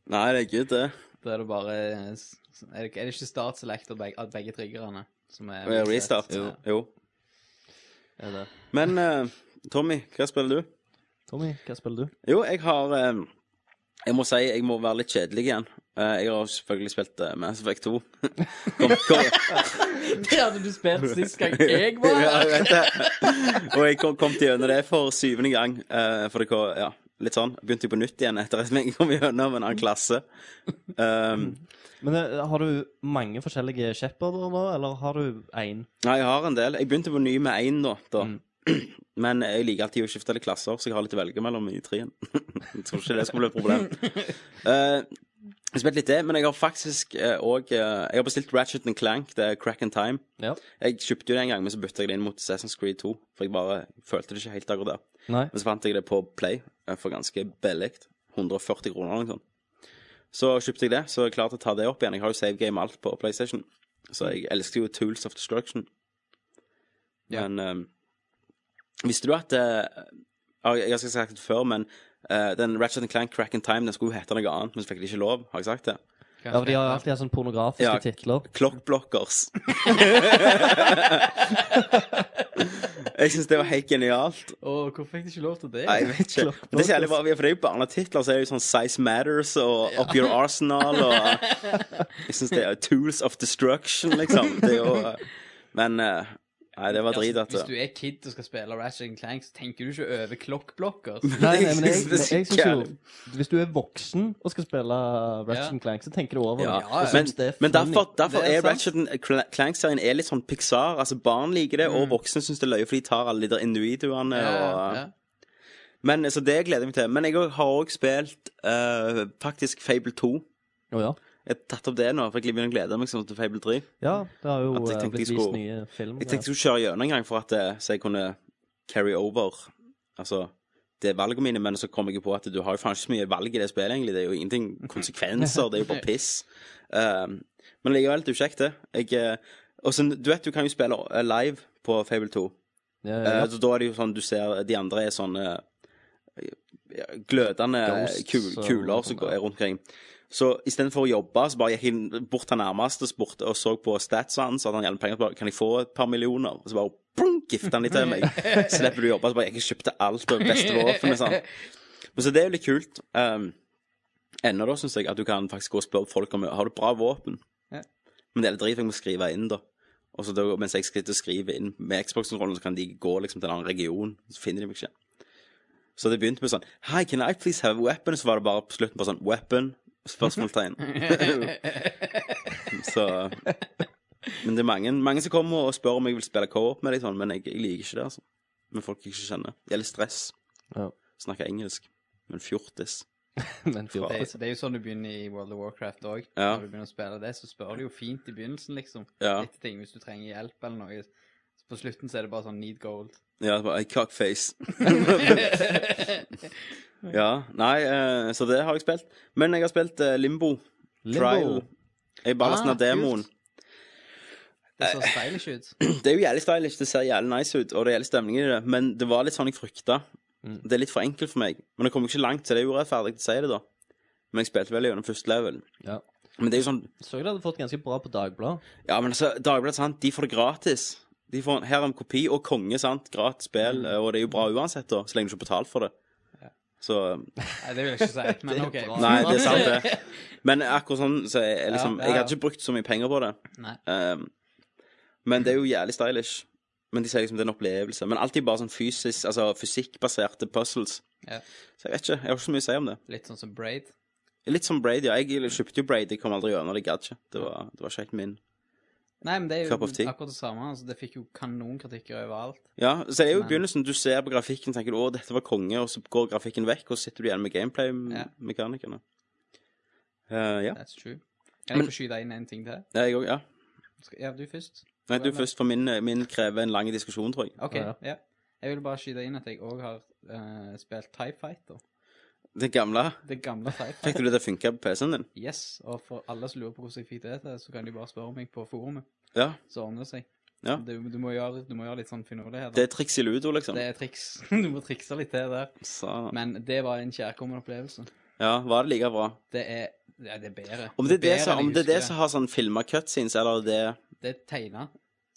G: Nei, det er good, det.
H: Da er det bare Er det, ikke- er det ikke startselect og begge, at begge triggerne som er
G: Eh, Restart.
H: Ja.
G: Jo.
I: Er det.
G: Men eh, Tommy, hva spiller du?
I: Tommy, hva spiller du?
G: ehm, Jo, jeg har eh, Jeg må si jeg må være litt kjedelig igjen. Eh, jeg har jo selvfølgelig spilt uh, Mass Effect 2. kom, kom,
I: Det hadde du spilt sist gang jeg var
G: ja,
I: her!
G: jeg vet det. Og jeg kom, kom til gjennom det for syvende gang. eh, for det kom, ja, litt sånn. Begynte jo på nytt igjen etter at jeg kom gjennom en annen klasse. Um,
I: Men eh, har du mange forskjellige shepherder nå, eller har du én?
G: Nei, jeg har en del. Jeg begynte på ny med én, da. da. Men jeg liker alltid å skifte litt klasser, så jeg har litt å velge mellom i treen. jeg tror ikke det skal bli et problem. Eh, jeg spilte litt det, men jeg har faktisk òg Jeg har bestilt Ratchet and Clank, det er Crack and Time.
I: Ja.
G: Jeg kjøpte jo det en gang, men så bytta jeg det inn mot Assassin's Creed 2. For jeg bare følte det ikke helt akkurat der.
I: Nei.
G: Men så fant jeg det på Play eh, for ganske billig. 140 kroner eller noe sånt. Så kjøpte jeg det, så jeg er klar til å ta det opp igjen. Jeg har jo save game alt på PlayStation. Så jeg elsker jo Tools of Destruction.
H: Ja.
G: Men eh, visste du at eh, ja, Jeg har sikkert sagt det før, men eh, den Ratchet and Clank Crack in Time den skulle jo hete noe annet, men så fikk de ikke lov. Har jeg sagt det?
I: Ja, for de har jo alltid hatt sånne pornografiske
G: Ja.
I: titler.
G: Clockblockers. jeg syns det var helt genialt.
H: Og hvorfor fikk de ikke lov til det?
G: Nei, jeg vet ikke. Men det er så jævlig bra, for det er jo barnetitler, så er det jo sånn Size Matters og Up Your Arsenal og Jeg syns det er Tools of Destruction, liksom. Det er jo eh, Men eh, Nei, det var drit,
H: Altså,
G: dette.
H: Hvis du er kid og skal spille Ratchet and Clank, så tenker du ikke over klokkblokker.
I: Nei,
G: Jeg
I: nei, men jeg,
G: synes det er
I: men jeg
G: så
I: synes jo
G: jævlig.
I: Hvis du er voksen og skal spille Ratchet
H: Ja.
I: and Clank, så tenker du over det.
G: Ja,
I: og
G: men,
I: synes det er
G: men
I: funny.
G: derfor, derfor
H: Det er
G: er,
H: sant.
G: Ratchet and Cl- Clank-serien er litt sånn Pixar. Altså Barn liker det, og voksne syns det er løye, for de tar alle de der individuene. og,
H: Mm. ja.
G: Men, så det gleder jeg meg til. Men jeg har òg spilt eh, faktisk Fable 2.
I: Å, ja.
G: Jeg har tatt opp det nå, for jeg begynner å glede meg sånn til Fable 3.
I: ja, det har jo
G: At jeg
I: eh,
G: tenkte
I: blitt
G: jeg
I: vist
G: skulle-
I: nye film.
G: Jeg tenkte jeg skulle kjøre gjennom en gang for at eh, så jeg kunne carry over Altså det er valgene mine, men så kom jeg jo på at du har jo faen ikke så mye valg i det spillet, egentlig. Det er jo ingenting konsekvenser, det er jo bare piss. Um, men likevel, det er jo kjekt, det. Jeg, eh, og så, du vet, du kan jo spille eh, live på Fable 2.
I: Ja, ja,
G: Eh,
I: ja.
G: Så da er det jo sånn du ser De andre er sånne eh, ja, glødende
I: Ghosts
G: kul,
I: og- sånn,
G: kuler som går- er rundt omkring. Så istedenfor å jobbe, så bare gikk jeg inn bort til nærmeste spurte, og så på statsene hans. Så hadde han gjerne penger. Så bare, kan jeg få et par millioner? Og så bare boom, gifta han litt til meg. Slipper du å jobbe. Så bare jeg kjøpte alt og beste våpenet. Sånn. Men så det er jo litt kult. Um, Ennå da, syns jeg, at du kan faktisk gå og spørre folk om har du bra våpen.
H: Ja.
G: Men det er litt drit, for jeg må skrive inn, da. Og så da, mens jeg skriver, skriver inn med Xbox-kontrollen, så kan de gå liksom til en annen region. Så finner de meg ikke. Så det begynte med sånn Hi, can I please have a weapon? Og så var det bare på slutten bare sånn Weapon? Spørsmålstegn. så Men det er mange, mange som kommer og spør om jeg vil spille co-op med deg, sånn, men jeg, jeg liker ikke det, altså. Med folk jeg ikke kjenner. Det gjelder stress.
I: Ja.
G: Snakker engelsk. Men fjortis.
I: Men
H: Det,
I: fjortis.
H: er- det er jo sånn du begynner i World of Warcraft òg.
G: Ja.
H: Når du begynner å spille det, så spør du jo fint i begynnelsen, liksom.
G: Ja.
H: Etter ting, hvis du trenger hjelp eller noe. Så på slutten så er det bare sånn need gold.
G: Ja, det var I cockface. ja. Nei, eh, så det har jeg spilt. Men jeg har spilt eh, Limbo.
I: Limbo.
G: Trial. Jeg bare sånn lastet
H: Ah,
G: ned demoen.
H: kult. Det ser stylish ut.
G: Det er jo jævlig stylish, det ser jævlig nice ut, og det er jævlig stemning i det, men det var litt sånn jeg frykta. Det er litt for enkelt for meg. Men jeg kom jo ikke langt, så det er urettferdig å si det, da. Men jeg spilte vel gjennom første level.
I: Ja.
G: Men det er jo sånn
I: Så jeg det hadde fått ganske bra på Dagbladet.
G: Ja, men altså, Dagbladet, sant, de får det gratis. De får, her er en kopi og konge, sant. Gratis spill, eh, og det er jo bra uansett, da, så lenge du ikke betaler for det. Så eh,
H: Nei, det vil jeg ikke si, men OK.
G: Nei, det er sant, det. Men akkurat sånn så er jeg, liksom,
H: Ja, ja,
G: jeg
H: ja.
G: hadde ikke brukt så mye penger på det.
H: Nei.
G: Ehm, men det er jo jævlig stylish. Men de sier liksom det er en opplevelse. Men alltid bare sånn fysisk, altså fysikkbaserte puzzles.
H: Ja.
G: Så jeg vet ikke. Jeg har ikke så mye å si om det.
H: Litt sånn som Braid.
G: Litt som Brady. Ja. Jeg kjøpte jo Brady, kom aldri gjennom det. Jeg gadd ikke. Det var, det var ikke helt min.
H: Nei, men det er jo
G: Cup of tea.
H: akkurat det samme. Altså, det fikk jo kanonkritikker overalt.
G: Ja, så det er jo i
H: Men-
G: begynnelsen. Du ser på grafikken tenker du, å, dette var konge, og så går grafikken vekk, og så sitter du igjen med gameplay-mekanikerne. Eh, ja.
H: That's true. Kan jeg få skyte inn en ting til?
G: Jeg òg, ja.
H: Skal- Ja, du først.
G: Nei, du først, for min, min krever en lang diskusjon, tror jeg.
H: OK.
I: Ja,
H: Ja.
I: ja.
H: Jeg ville bare skyte inn at jeg òg har eh, spilt Type Fighter.
G: Den gamle
H: Det gamle Type Fighter.
G: Fikk du det til å funke på PC-en din?
H: Yes. Og for alle som lurer på hvordan jeg fikk det til, så kan de bare spørre meg på forumet.
G: Ja.
H: Så ordner det seg.
G: Ja.
H: Du, du, må gjøre, du må gjøre litt sånn finurlighet.
G: Det
H: Det,
G: er triks i ludo, liksom.
H: det er triks. Du må trikse litt til der.
G: Så,
H: Men det var en kjærkommen opplevelse.
G: ja, var det like bra?
H: Det er ja, det er bedre.
G: Om det er det,
H: bedre
G: som-
H: enn
G: om
H: jeg
G: det, er det
H: husker
G: som har sånn filma cutscenes, eller det
H: Det er tegna.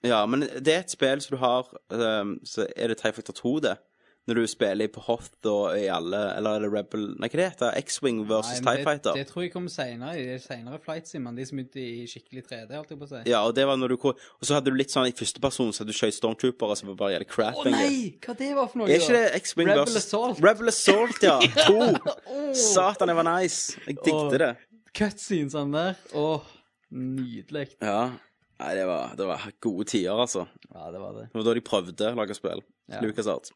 G: Ja, men det er et spill som du har ehm, Så er det Tyfactor 2, det. Når du spiller på Hoth og i alle Eller er det Rebel Nei, hva det heter X-Wing versus
H: Nei, men
G: TIE Fighter.
H: Det, det tror jeg kommer senere, i de senere flight simene. De som begynte i skikkelig 3D, holdt jeg på å si.
G: Ja, og det var når du ko- Og så hadde du litt sånn i første person, så hadde du skjøt stormtrooper, og så var det bare jævlig crap.
H: Å
G: egentlig.
H: nei! Hva det var for noe?
G: Er ikke
H: da?
G: det X-Wing
H: Rebel
G: versus-
H: Assault.
G: Rebel Assault, ja. To. Satan, det var nice. Jeg
H: Åh.
G: digte det.
H: Cutscenes han sånn der. Åh, nydelig.
G: Ja. Nei, det var, det var gode tider, altså.
H: Ja, det var det.
G: Det var da de prøvde å lage spill.
H: Ja.
G: LucasArts.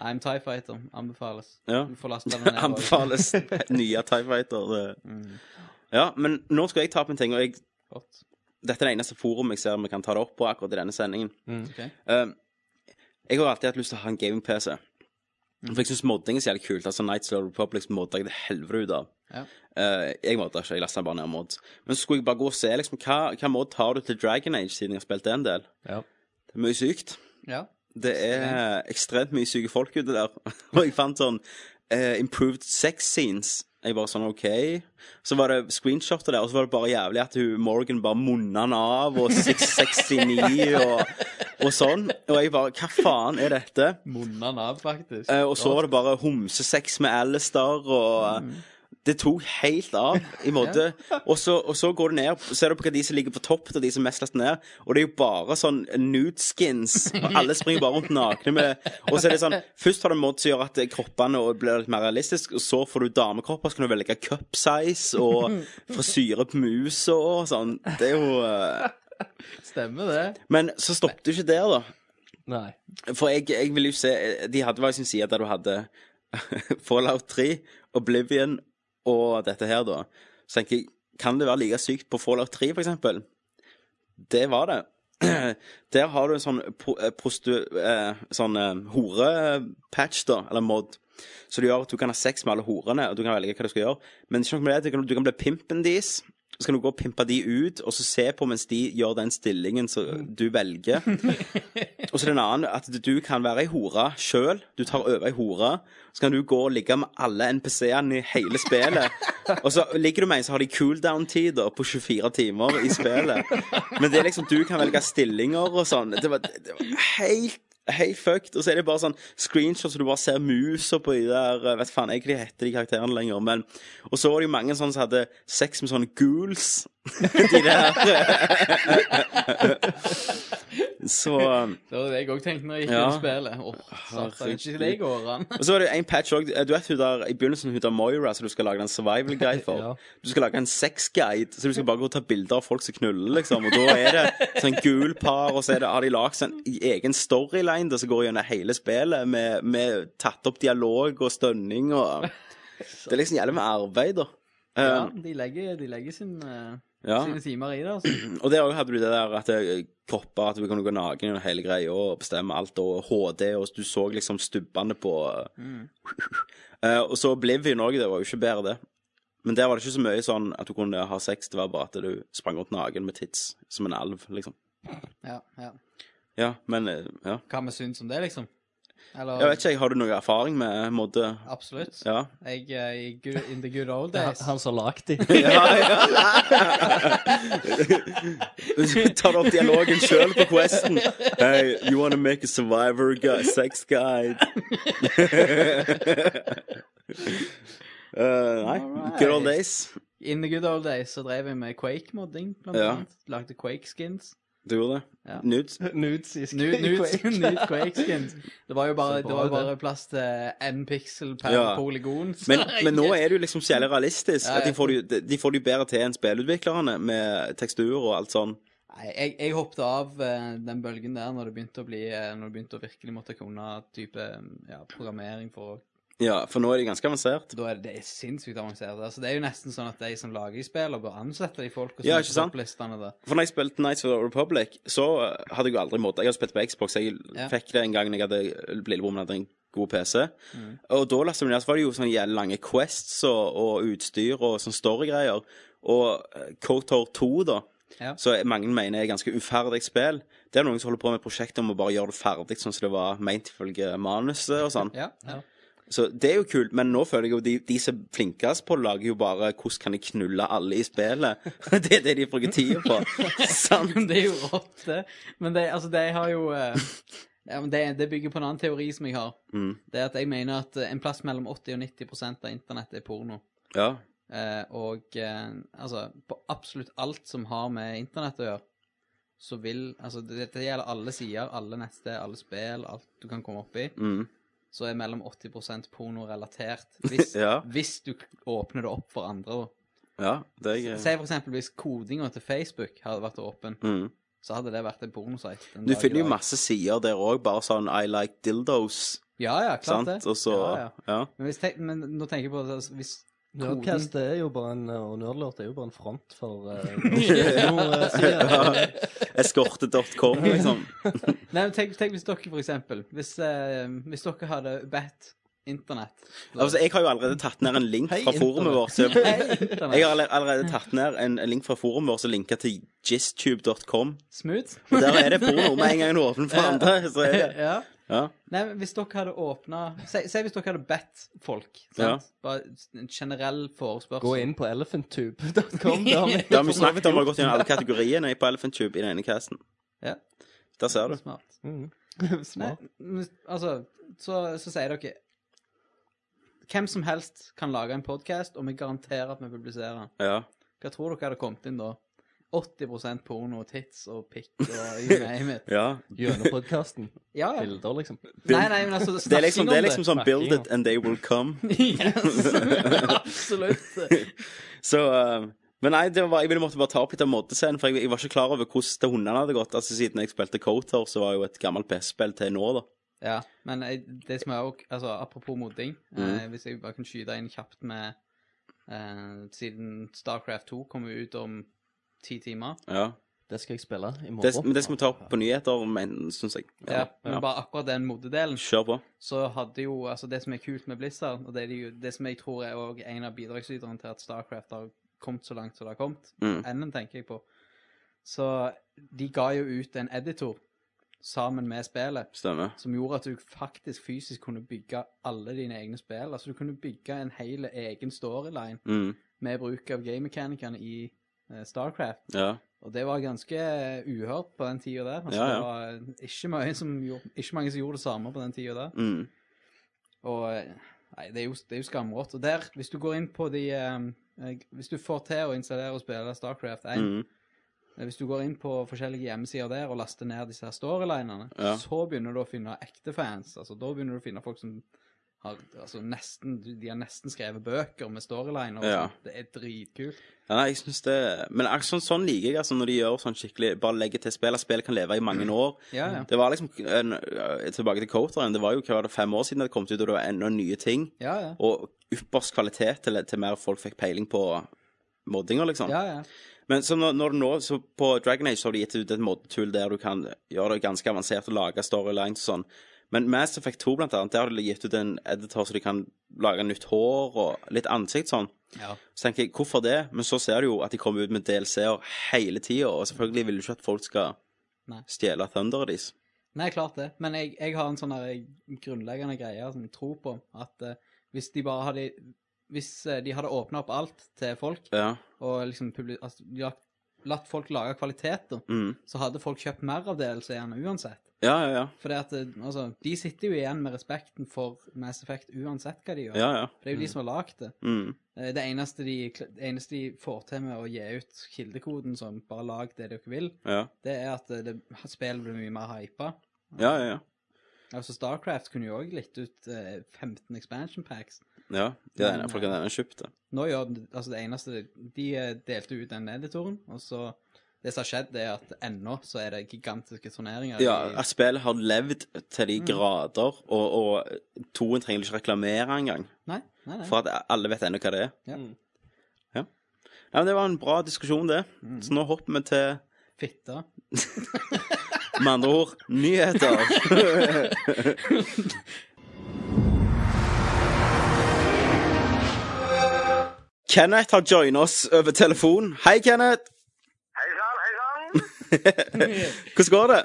H: I'm TIE Fighter. Anbefales.
G: Ja.
H: Du får laste den ned. også.
G: Anbefales nye Tie Fighter. Det. Ja, men nå skal jeg ta opp en ting, og jeg,
H: Godt.
G: dette er det eneste forum jeg ser vi kan ta det opp på akkurat i denne sendingen.
H: Ok.
G: Um, jeg har alltid hatt lyst til å ha en gaming-PC. For jeg syns modding er så jævlig kult. Altså Nights of the Republic modda jeg det helvete ut av.
H: Ja.
G: Eh, jeg måtte ikke, jeg lasta bare ned mods. Men så skulle jeg bare gå og se liksom, hva, hva mod har du til Dragon Age, siden jeg har spilt det en del.
I: Ja.
G: Det er mye sykt.
H: Ja.
G: Det er ekstremt mye syke folk ute der. Og jeg fant sånn eh, improved sex scenes. Jeg bare sånn OK. Så var det screenshotet der, og så var det bare jævlig at hun, Morgan bare munna han av, og 669 og, og sånn. Og jeg bare Hva faen er dette?
H: Munna nav, faktisk.
G: Eh, og så var det bare homsesex med Alistair, og det tok helt av, i en måte. og, så, og så går du ned, ser du på hva de som ligger på topp, og de som er mest lest ned, og det er jo bare sånn nude skins, og alle springer bare rundt nakne med Og så er det sånn Først har du en måte som gjør at kroppene og blir litt mer realistiske, og så får du damekropper, så kan du velge cup size og frisyre på musa og sånn. Det er jo eh,
H: Stemmer det.
G: Men så stoppet du ikke der, da.
I: Nei.
G: For jeg, jeg ville jo se De hadde hver sin side der du hadde Fallout 3, Oblivion og dette her, da. Så tenker jeg, kan det være like sykt på Fallout 3, for eksempel? Det var det. Der har du en sånn pro- eh, prostu... eh, Sånn eh, horepatch, da, eller mod, som gjør at du kan ha sex med alle horene, og du kan velge hva du skal gjøre. Men ikke nok med det, du kan, du kan bli pimpen deres. Så kan du gå og pimpe de ut, og så se på mens de gjør den stillingen som du velger. Og så er det en annen at du kan være ei hore sjøl. Du tar over ei hore. Så kan du gå og ligge med alle NPC-ene i hele spillet. Og så ligger du med en som har de cooldown-tider på 24 timer i spillet. Men det er liksom du kan velge stillinger og sånn. Det var, det var helt Helt fucked. Og så er det bare sånn screenshots hvor du bare ser musa på de der eh, Vet faen jeg ikke hva de heter, de karakterene lenger. Men Og så var det jo mange sånne som hadde sex med sånne ghouls. de der. så um,
H: Det var det jeg òg tenkte når jeg gikk
G: Ja.
H: inn i spillet. Åh, satan, ikke til deg årene.
G: Og så var det en patch òg. Du vet hun der i begynnelsen hun der Moira som du skal lage en survival guide for?
I: Ja.
G: Du skal lage en sexguide, så du skal bare gå og ta bilder av folk som knuller, liksom. Og da er det sånn gul par, og så er det, har de lagd en egen storyline der som går gjennom hele spillet, med, med tatt opp dialog og stønning og Det er liksom jævlig med arbeid, da.
H: Ja,
G: Um,
H: de legger, de legger sin, eh,
G: ja.
H: sine timer i det, altså.
G: Og der også hadde du det der at det- kropper At du kunne gå naken og hele greia og bestemme alt, og HD, og du så liksom stubbene på Eh, Og så Oblivion òg, det var jo ikke bedre, det. Men der var det ikke så mye sånn at du kunne ha sex, det var bare at du sprang rundt naken med tits som en alv, liksom.
H: Ja, ja.
G: Ja, men eh, ja.
H: Hva vi syns om det, liksom? Eller
G: Jeg vet ikke, jeg, har du noe erfaring med modde?
H: Absolutt.
G: Ja.
H: Jeg eh, i good, In the good old
I: Det er
H: days.
I: han- han som har lagd de.
G: ja, ja. Tar opp dialogen sjøl på questen. Hey, you wanna make a survivor guy, sex guide? Eh, nei. Good old days.
H: In the good old days så drev jeg med Quake-modding, blant
G: Ja.
H: annet. Lagde Quake-skins.
G: Du gjorde det?
H: Ja.
G: Nudes?
I: Nudes i
H: Nude
I: Quake.
H: nude Quake-skins. Det var jo bare,
I: Så
H: det
I: bra,
H: var jo
I: det.
H: bare plass til én pixel per
G: Ja.
H: polygon. så
G: Men,
H: jeg-
G: men nå er det jo liksom så jævlig realistisk.
H: Ja,
G: At de
H: jeg-
G: får det jo- de- de får det jo bedre til enn spillutviklerne, med tekstur og alt sånn.
H: Nei, jeg, jeg hoppet av eh, den bølgen der når det begynte å bli eh, Når det begynte å virkelig måtte kunne type ja, programmering for å-
G: Ja, for nå er de ganske avansert.
H: Da er det, det er sinnssykt avansert. Altså, det er jo nesten sånn at de som lager de spillene, bør ansette de folka som
G: Ja,
H: er
G: ikke
H: på
G: sant?
H: topplistene der.
G: For når jeg spilte Nights of the Republic, så eh, hadde jeg jo aldri måttet Jeg hadde spilt på Xbox, jeg
H: Ja.
G: fikk det en gang når jeg hadde lillebroren hadde en god PC.
H: Mm.
G: Og da lastet vi ned, så var det jo sånne jævlig lange quests og, og utstyr og sånne storygreier. Og eh, KOTOR 2, da,
H: Ja.
G: så er- mange mener er ganske uferdig spill. Det er noen som holder på med prosjektet om å bare gjøre det ferdig sånn som det var meint ifølge manuset og sånn.
H: Ja, ja.
G: Så det er jo kult, men nå føler jeg jo de, de som er flinkest på, lager jo bare 'Hvordan kan jeg knulle alle i spillet?' det er det de bruker tida på. Sånn. Sant?
H: Men det er jo rått, det. Men det, altså, de har jo eh, Ja, men det, det bygger på en annen teori som jeg har.
G: Mm.
H: Det er at jeg mener at eh, en plass mellom 80 og 90 av internett er porno.
G: Ja.
H: Eh, og eh, altså, på absolutt alt som har med internett å gjøre, så vil Altså, det, det gjelder alle sider, alle nettsted, alle spill, alt du kan komme opp i,
G: Mm.
H: så er mellom 80 pornorelatert. Hvis,
G: Ja.
H: hvis du k- åpner det opp for andre. da.
G: ja. Det er
H: Si for eksempel hvis kodinga til Facebook hadde vært åpen,
G: mm.
H: så hadde det vært en pornosite. den
G: Du
H: dag i
G: finner jo
H: dag.
G: masse sider der òg, bare sånn I like dildos,
H: Ja, ja,
G: sant?
H: klart det.
G: Og så
H: Ja, ja.
G: Ja.
H: Men, hvis tenk, men nå tenker jeg på det, altså, hvis
I: Nerdcast
H: koden
I: er jo bare en, og Nerdlort er jo bare en front for uh,
G: Eskorte.com, liksom.
H: Nei, men tenk, tenk hvis dere, for eksempel Hvis, eh, hvis dere hadde bedt internett
G: Altså, jeg har jo allerede tatt ned en link
I: Hei,
G: fra forumet
I: internett.
G: vårt. Så jeg
H: Internett.
G: har alle- allerede tatt ned en en link fra forumet vårt som linker til jistube.com.
H: Smooth.
G: Og Der er det porno med en gang du åpner for andre. Så er det
H: ja.
G: Ja.
H: Nei, men hvis dere hadde åpna si, si hvis dere hadde bedt folk, sant? Bare en generell forespørsel
I: Gå inn på elephantube.com. Det har vi
G: Det har vi snakket om, og gått gjennom alle kategoriene på Elephant Tube i den ene casten.
H: Ja.
G: Der ser du.
H: Smart. Nei,
I: Mm. Smart.
H: men altså, så, så sier dere Hvem som helst kan lage en podkast, og vi garanterer at vi publiserer den.
G: Ja.
H: Hva tror dere hadde kommet inn da? 80 porno, tits og pikk og you name it.
G: ja.
I: Gjennom podkasten.
H: Ja, ja.
I: Bilder, liksom.
H: Nei, nei, men altså,
G: Det er liksom, det er liksom sånn
I: Snakking om
G: 'build it and they will come'.
H: Yes, absolutt.
G: Så eh, Men nei, det var, jeg ville måtte bare ta opp litt av moddescenen, for jeg, jeg var ikke klar over hvordan det hundene hadde gått. Altså Siden jeg spilte Coater, så var jo et gammelt PS-spill til nå, da.
H: Ja, men jeg, det som er også, altså apropos modding, eh, hvis jeg bare kan skyte inn kjapt med eh, Siden Starcraft 2 kommer ut om ti timer.
G: Ja.
I: Det skal jeg spille i
G: Det,
I: morgen.
G: men det skal vi ta opp på nyheter, men- syns jeg.
H: Ja, men
G: ja.
H: bare akkurat den moddedelen,
G: Kjør på.
H: så hadde jo altså det som er kult med Blizzard, og det, er jo, det som jeg tror er også en av bidragsyterne til at Starcraft har kommet så langt som det har kommet,
G: Mm.
H: enden tenker jeg på, så de ga jo ut en editor sammen med spillet.
G: Stemmer.
H: som gjorde at du faktisk fysisk kunne bygge alle dine egne spill. Altså du kunne bygge en hel egen storyline
G: Mm.
H: med bruk av game-mekanikerne i eh, Starcraft.
G: Ja.
H: Og det var ganske eh, uhørt på den tida der. Altså,
G: Ja, ja.
H: Det var ikke, mye som gjorde, ikke mange som gjorde det samme på den tida der.
G: Mm.
H: Og eh, nei, det er jo, det er jo skamrått. Og der, hvis du går inn på de eh, eh, Hvis du får til å installere og spille Starcraft 1
G: Mm.
H: eh, Hvis du går inn på forskjellige hjemmesider der og laster ned disse her storylinene,
G: Ja.
H: så begynner du å finne ekte fans. Altså, da begynner du å finne folk som har altså, nesten De har nesten skrevet bøker med storyliner. og
G: Ja.
H: sånt. Det er dritkult.
G: Ja, nei, jeg synes det Men akkurat sånn, sånn liker jeg altså, når de gjør sånn skikkelig Bare legger til spill at spill kan leve i mange år.
H: Ja, ja.
G: Det var liksom en, øh, Tilbake til Coteren. Det var jo hva var det, fem år siden det hadde kommet ut, og det var enda nye ting.
H: Ja, ja.
G: Og ypperst kvalitet til, til mer folk fikk peiling på moddinger, liksom.
H: Ja, ja.
G: Men så når, når du nå så På Dragon Age så har de gitt ut et moddetull der du kan gjøre det ganske avansert og lage storylines og sånn. Men Mass Effect 2, blant annet, der har de gitt ut en editor så de kan lage nytt hår og litt ansikt sånn.
H: Ja.
G: Så tenker jeg, hvorfor det? Men så ser du jo at de kommer ut med DLC-er hele tida, og selvfølgelig vil du ikke at folk skal
H: Nei.
G: stjele thunderet deres.
H: Nei, klart det. Men jeg, jeg har en sånn her grunnleggende greie som jeg tror på, at eh, hvis de bare hadde Hvis eh, de hadde åpna opp alt til folk,
G: Ja.
H: og liksom publi- altså, de har latt folk lage kvalitet, da,
G: Mm.
H: så hadde folk kjøpt mer av DLC-ene uansett.
G: Ja, ja, ja.
H: For at, eh, altså, de sitter jo igjen med respekten for Mass Effect uansett hva de gjør.
G: Ja, ja.
H: For det er jo de som har lagd det.
G: Mm.
H: Eh, Det eneste, de, kl- det eneste de får til med å gi ut kildekoden som bare lag det dere vil,
G: Ja,
H: det er at eh, det, spillet blir mye mer hypa.
G: ja, ja. ja.
H: Altså Starcraft kunne jo òg litt ut eh, 15 expansion packs.
G: ja. Det er den, folk har denne kjøpt det.
H: Nå gjør den- altså det eneste De eh, delte ut den editoren, og så Det som har skjedd, det er at ennå så er det gigantiske turneringer.
G: Ja, altså,
H: i-
G: at spillet har levd til de grader, og, og toen trenger ikke reklamere engang.
H: Nei, nei, nei.
G: For Mm. at alle vet ennå hva det er.
H: Ja.
G: Ja. Nei, men Det var en bra diskusjon, det. Så nå hopper vi til,
H: Fitte.
G: med andre ord, nyheter. Kenneth har joina oss over telefon. Hei, Kenneth.
D: Hei sann, hei sann.
G: Hvordan går det?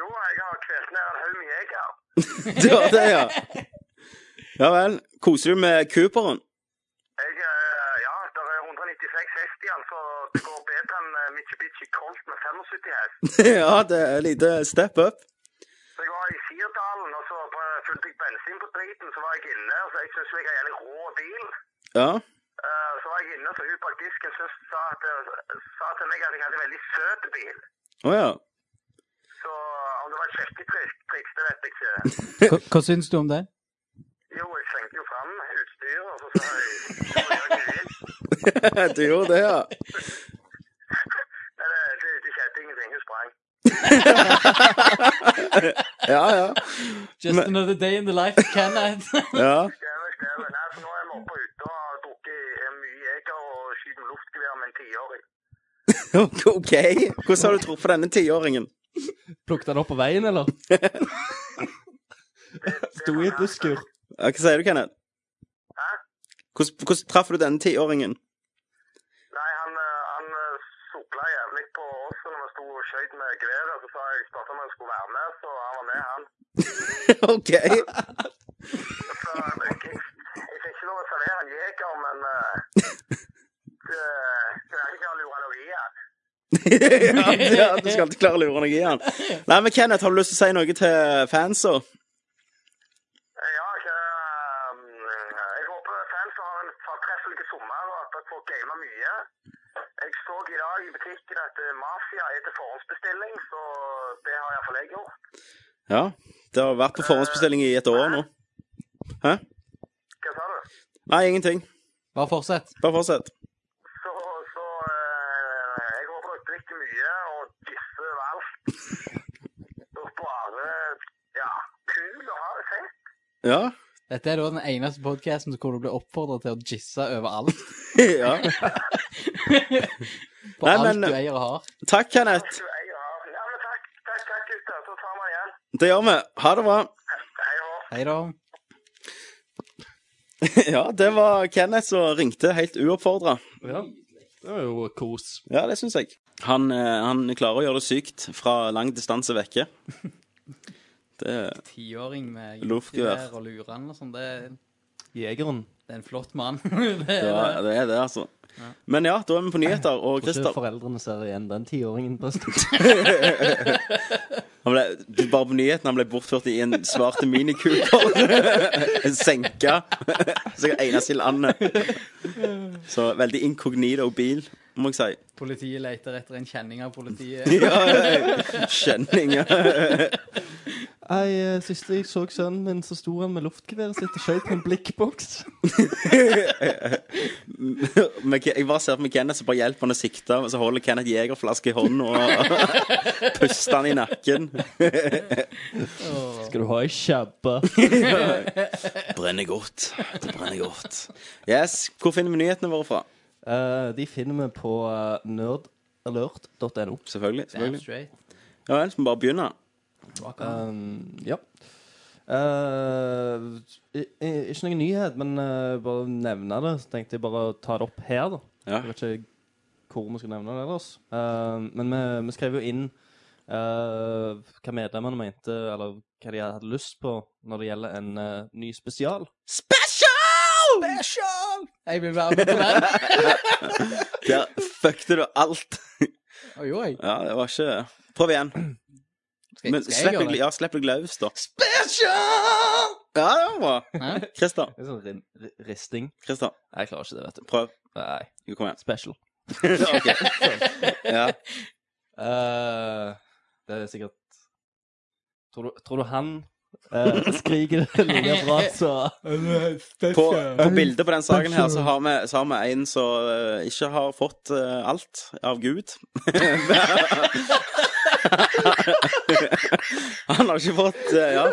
D: Jo, jeg har kvelt ned en haug med jeger.
G: Du har det, ja. Ja vel. Koser du med Cooperen?
D: Jeg, eh, ja, det er 196 hest igjen, så det går bedre enn eh, Mitsubishi Colt med 75 hest.
G: Ja, det er et lite step up.
D: Så jeg har Myrdalen, og så på- fylte jeg bensin på driten, så var jeg inne. Så jeg syntes jeg har en jævlig rå bil.
G: Ja.
D: Eh, Så var jeg inne, så hun bak disken syntes sa, at, eh, sa til meg at jeg hadde en veldig søt bil.
G: Å ja.
D: Så om det var et sjekketriks, det vet jeg ikke.
H: Hva, hva syns du om det?
D: Jo, jeg slengte jo fram utstyret, og så sa jeg «Hva gjør du vil?»
G: Du gjorde det, ja.
D: Men det, det, det skjedde ingenting. Hun sprang.
G: Ja, ja.
H: Just
G: Men-
H: another day in the life, can I?
G: ja.
D: Skrevet, skrevet. Nei, for nå er vi oppe og ute og har drukket eh, mye jeger og skyter med luftgevær med en tiåring.
G: OK. Hvordan har du truffet denne tiåringen?
I: Plukket han opp på veien, eller? Sto
D: sånn
I: i et busskur.
G: Ja, hva sier du, Kenneth?
D: Hæ?
G: Hvordan, hvordan traff du denne tiåringen?
D: Nei, han, eh, han eh, sopla jævlig på oss og når vi sto og skjøt med geværet. Så sa jeg spurte om han skulle være med, så han var med, han.
G: OK.
D: Så jeg, jeg, jeg fikk ikke lov å servere en jeger, men eh, det, det er ikke lure noe i han.
G: ja, ja, du skal alltid klare å lure noe i han. Nei, men Kenneth, har du lyst til å si noe til fansa?
D: Eh, Ja, jeg, eh, jeg håper fans har en fortreffelig sommer og at dere får game mye. Jeg så i dag i butikken at eh, Mafia er til forhåndsbestilling, så det har iallfall jeg gjort.
G: Ja. Det har vært på forhåndsbestilling i et år nå. Hæ?
D: Hva sa du?
G: Nei, ingenting.
H: Bare fortsett.
G: Bare fortsett.
D: Så, så eh, jeg har brukt drikke mye og disse valgt. Og bare ja, kul å ha det fett.
G: Ja.
H: Dette er da den eneste podkasten hvor du blir oppfordret til å jisse overalt.
G: ja.
H: På
G: Nei,
H: alt
G: men- eh,
H: du eier og har.
G: Takk, Kenneth.
D: Du eier å ha det. Ja, men takk, takk, takk gutter. Så tar vi igjen.
G: Det gjør vi. Ha det bra.
D: Hei og hå.
H: Hei da.
G: Ja, det var Kenneth som ringte helt uoppfordra.
I: Ja. Det var jo kos.
G: Ja, det syns jeg. Han, eh, han klarer å gjøre det sykt fra lang distanse vekke. Det
H: Tiåring med
G: Luftgevær.
H: luftgevær og lurene og sånn, det, er-
I: Jegeren.
H: det er en flott mann. det er det.
G: Ja, det er det, altså. Men ja, da er vi på nyheter, og
I: Tror ikke
G: Christer
I: foreldrene ser igjen den tiåringen. forresten.
G: han ble, du, Bare på nyheten, han ble bortført i en svart minikuper. Senka. Sikkert eneste i landet. Så veldig inkognito bil, må jeg si.
H: Politiet leter etter en kjenning av politiet.
G: Ja, Skjønning.
I: Nei, eh, Siste jeg så sønnen min, så sto han med luftgeværet sitt og skjøt med en blikkboks.
G: Men Ke- Jeg bare ser for meg Kenneth som bare hjelper han å sikte, og så holder Kenneth jegerflaske i hånden og puster han i nakken.
I: Skal du ha ei kjabbe?
G: Brenner godt. Det brenner godt. Yes. Hvor finner vi nyhetene våre fra?
I: Eh, de finner vi på eh, nerdalert.no.
G: Selvfølgelig.
H: Damn
G: selvfølgelig.
H: straight.
G: Ja vel, skal vi bare begynne?
H: Rock on.
I: Um, ja. Eh, i- i- ikke noen nyhet, men eh, bare nevne det. Så tenkte jeg bare å ta det opp her, da.
G: Ja.
I: Jeg vet ikke hvor vi skal nevne det ellers. Eh, men vi, vi skrev jo inn eh, hva medlemmene mente, eller hva de hadde lyst på når det gjelder en eh, ny spesial.
G: Special!
H: Jeg vil være med på den.
G: Der fucket du alt.
H: Oi, oi.
G: Ja, det var ikke Prøv igjen.
H: Skal,
G: Men
H: skal
G: slipp
H: jeg
G: deg,
H: gjøre det?
G: ja, slipp deg løs, da. Special! Ja, det var bra.
H: Hæ?
G: Christer.
I: Det er sånn rim- ri- risting.
G: Christer,
I: Nei, Jeg klarer ikke det, vet du.
G: prøv.
I: Nei,
G: Jo, kom igjen.
I: special.
G: Ok. Ja.
I: Eh, det er sikkert Tror du, tror du han eh, skriker det like bra, så
G: På, på bildet på den saken her så har vi, så har vi en som eh, ikke har fått eh, alt av Gud. han har ikke fått eh, Ja.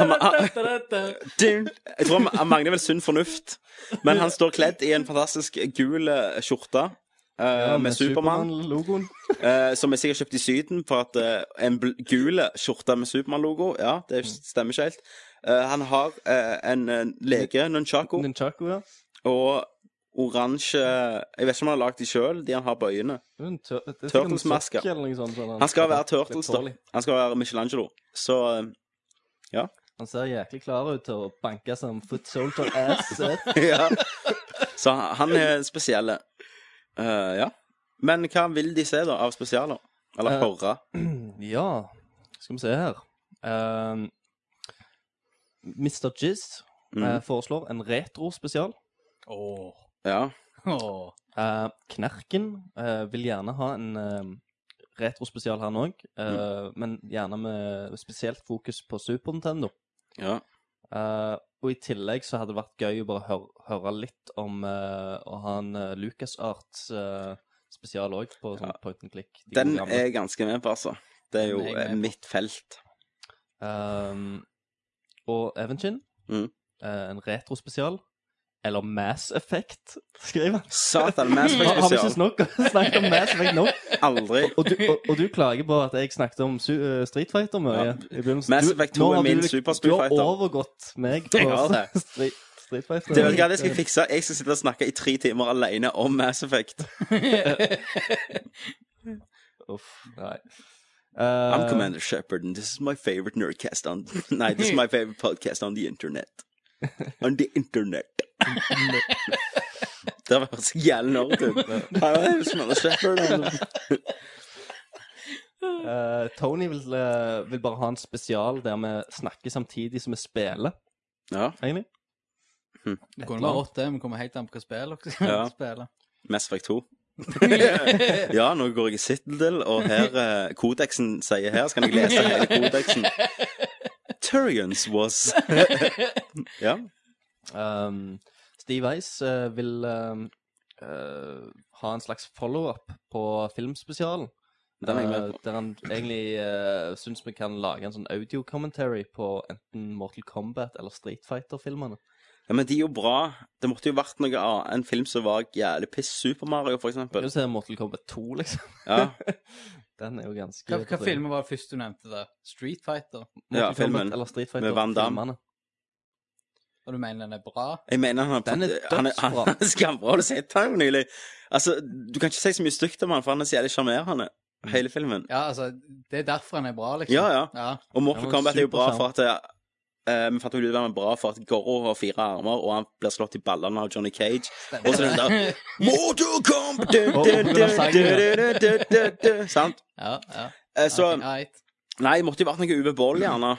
G: Han, han, Dun. Jeg tror han, han mangler vel sunn fornuft. Men han står kledd i en fantastisk gul eh, skjorte eh, med Supermann,
I: Supermann-logoen.
G: eh, som er sikkert kjøpt i Syden for at eh, en bl gul skjorte med Supermann-logo Ja, det stemmer ikke helt. Eh, han har eh, en eh, lege, Nunchaku,
I: Ninjago, ja.
G: og oransje Jeg vet ikke om han har lagd de sjøl, de han har på øynene.
I: Det er en tør- det er sikkert en
G: Turtles-maske.
I: sokk eller noe sånt, sånn
G: Han skal være
I: litt
G: Turtles, da.
I: tårlig.
G: Han skal være Michelangelo. Så eh,
I: Han ser jæklig klar ut til å banke som foot soldier ass. eh.
G: Ja. Så han- han er spesiell. Eh, ja. Men hva vil de se, da, av spesialer? Eller
I: Eh,
G: horre?
I: ja. Skal vi se her. Eh, Mr. Jizz eh,
G: Mhm.
I: foreslår en retrospesial.
H: Åh.
G: Ja.
H: Åh.
I: Eh, Knerken eh, vil gjerne ha en eh, retrospesial her nå òg,
G: Mm.
I: men gjerne med spesielt fokus på Super Nintendo.
G: ja.
I: Eh, og i tillegg så hadde det vært gøy å bare hør høre litt om eh, å ha en uh, LucasArts eh, spesial òg, på sånn
G: Ja.
I: point and click. de
G: Den
I: gode gamle.
G: er jeg ganske med på, altså. Det er jo
H: Den er jeg med
G: eh,
H: på.
G: mitt felt.
I: Ehm, og Evenkin,
G: Mhm.
I: eh, en retrospesial, eller Mass Effect, skriver han.
G: Satan, Mass
I: Har, har vi ikke
G: Effect-spesial.
I: snakket, snakket om Mass Effect nå?
G: Aldri.
I: Og du, og, og du klager på at jeg snakket om su eh, Street Fighter mye
G: Ja.
I: i begynnelsen.
G: Mass
I: Du-
G: Effect
I: nå
G: 2 er
I: har
G: min
I: du-
G: Super Street
I: Du
G: Fighter.
I: har overgått meg på
G: Jeg har det.
I: Street, Street Fighter.
G: Det vet du hva, det skal jeg fikse. Jeg skal sitte og snakke i tre timer alene om Mass Effect.
I: Uff, nei.
G: I'm
I: Eh,
G: Commander Shepard, and this is my favorite nerdcast on Nei, this is my favorite podcast on the internet. On the internet. det høres jævlig nerd ut. Hva er det? Commander Shepard? altså.
I: eh, Tony vil, eh, vil bare ha en spesial der vi snakker samtidig som vi spiller,
G: Ja.
I: egentlig.
H: Det kunne vært åtte, men kommer helt an på hva spill dere skal
G: Ja.
H: spille.
G: Mass Effect 2. ja, nå går jeg i Citadel, og her eh, kodeksen sier her, så kan jeg lese hele kodeksen. Turians was Ja.
I: Um, Steve Weiss eh, vil um, eh, ha en slags follow-up på filmspesialen.
G: Den er jeg
I: Eh,
G: med på.
I: der han egentlig uh, syns vi kan lage en sånn audio-commentary på enten Mortal Kombat eller Street Fighter-filmene.
G: ja. Men de er jo bra. Det måtte jo vært noe annet. En film som var jævlig piss. Super Mario, for
I: Skal
G: eksempel.
I: vi se Mortal Kombat 2, liksom?
G: Ja,
I: Den er jo ganske
H: Hva, hva
I: bedre.
H: filmer var det første du nevnte der? Street Fighter?
I: Mortal
G: Ja, filmen.
I: Kombat eller Street Fighter
G: Med Van Damme.
I: filmene.
H: Og du mener den er bra?
G: jeg mener han har
I: Den er
G: han er, han
I: dødsbra.
G: er skambra. Har du sett han jo nylig? Altså, du kan ikke si så mye stygt om han, for han er så jævlig sjarmerende. Hele filmen.
H: Ja, altså, det er derfor den er bra, liksom.
G: Ja, ja. Og Mortal
I: Ja, men
G: Kombat er jo bra
I: superskjerm.
G: for at eh, Vi fant jo ut at han er bra for at Goro har fire armer, og han blir slått i ballene av Johnny Cage. Og så den der Mortal Kombat du,
I: Og- og
G: du,
I: den
G: du,
I: sangen,
G: du,
I: ja.
G: du, du, du, du, Sant?
H: Ja, ja.
G: Eh, Så
H: Ok, right.
G: Nei, det måtte jo vært noe Uwe Boll, gjerne.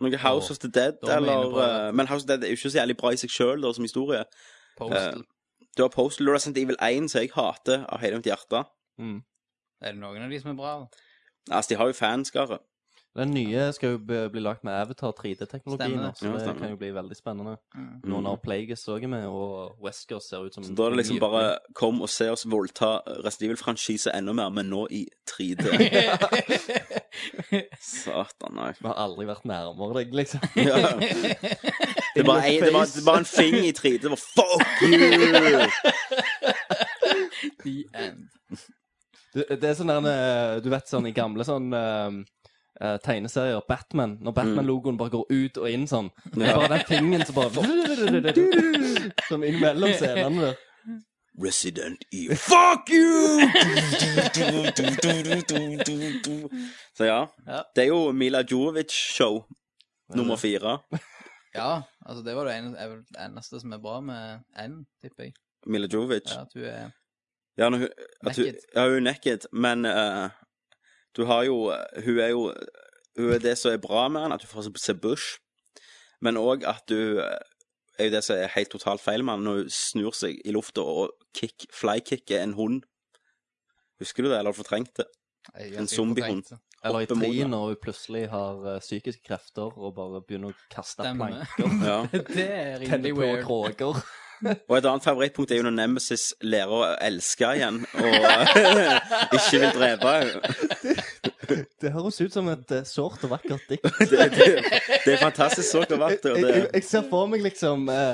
G: Noe House
H: Åh,
G: of the Dead,
H: da er vi
G: eller
H: inne på det.
G: eh, Men House of the Dead er jo ikke så jævlig bra i seg sjøl, som historie.
H: Postal.
G: Eh. Du har Postal og Resident Evil 1, som jeg hater av hele mitt hjerte.
I: Mm.
H: Er det noen av de som er bra? da?
G: Altså, de har jo fanskare.
I: Den nye skal jo bli bli lagt med Avatar 3D-teknologi
H: Stemmer
I: nå,
H: det.
I: så
G: Ja,
I: det
G: stemmer.
I: kan jo bli veldig spennende.
H: Mm.
I: Noen av Plagueis òg er med, og Wesker ser ut som
G: Så da er det liksom bare kom og se oss voldta Resident Evil-franchise enda mer, men nå i 3D. Satan, nei.
I: Vi har aldri vært nærmere deg, liksom.
G: Ja. Det, var en, det, var, det var en fing i 3D. Det var fuck you!
H: The end.
I: Du, det er sånn der eh, Du vet sånn i gamle sånn eh, eh, tegneserier, Batman, når Batman-logoen bare går ut og inn sånn. Det
G: Mm.
I: er
G: Ja.
I: bare den fingen som bare Som innimellom scenene der.
G: Resident Evil. Fuck you! Så ja.
H: Ja.
G: Det er jo Mila Jovovic-show nummer fire.
H: Ja, altså, det var det ene- er vel det eneste som er bra med N, tipper jeg.
G: Mila Jovovic.
H: Ja, at hun er
G: Ja, når hun, at hun,
H: Naked.
G: ja, hun er naked, men eh, du har jo eh, Hun er jo Hun er det som er bra med henne, at du får se Bush, men òg at du eh, er jo det som er helt totalt feil med henne, når hun snur seg i lufta og kick, flykicker en hund. Husker du det, eller har du fortrengt det?
H: jeg-
G: En
H: jeg-
G: zombiehund.
I: Eller i
G: Oppemot det.
I: trien når hun plutselig har eh, psykiske krefter og bare begynner å kaste
H: Stemmer.
I: planker.
G: Ja.
H: Det er
I: Tenne
H: rimelig
I: på
H: weird.
I: kråker.
G: Og et annet favorittpunkt er jo når Nemesis lærer å elske igjen, og ikke vil drepe henne.
I: Det høres ut som et eh, sårt og vakkert dikt.
G: Det, det, det er fantastisk sårt og vakkert. og
I: jeg, jeg,
G: det-
I: jeg ser for meg liksom eh,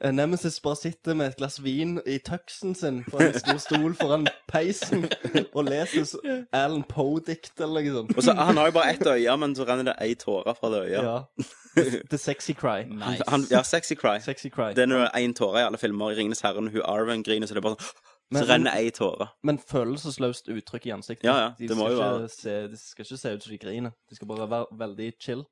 I: eh, Nemesis bare sitter med et glass vin i tøksen sin på en stor stol foran peisen og leser s- Alan Poe-dikt eller noe sånt.
G: Og så, Han har jo bare ett øye, men så renner det ei tåre fra det øyet.
I: Ja. The, the sexy cry.
H: Nice.
G: Han, ja, sexy cry.
I: Sexy cry.
G: Det er når det er én tåre i alle filmer. I 'Ringenes herre', når hun Arwen griner, så det er bare sånn
I: Men-
G: Så renner ei tåre.
I: Men følelsesløst uttrykk i ansiktet.
G: Ja, ja,
I: De
G: det må
I: skal
G: jo
I: ikke
G: være-
I: se, De skal ikke se ut som de griner. De skal bare være veldig chill
G: Og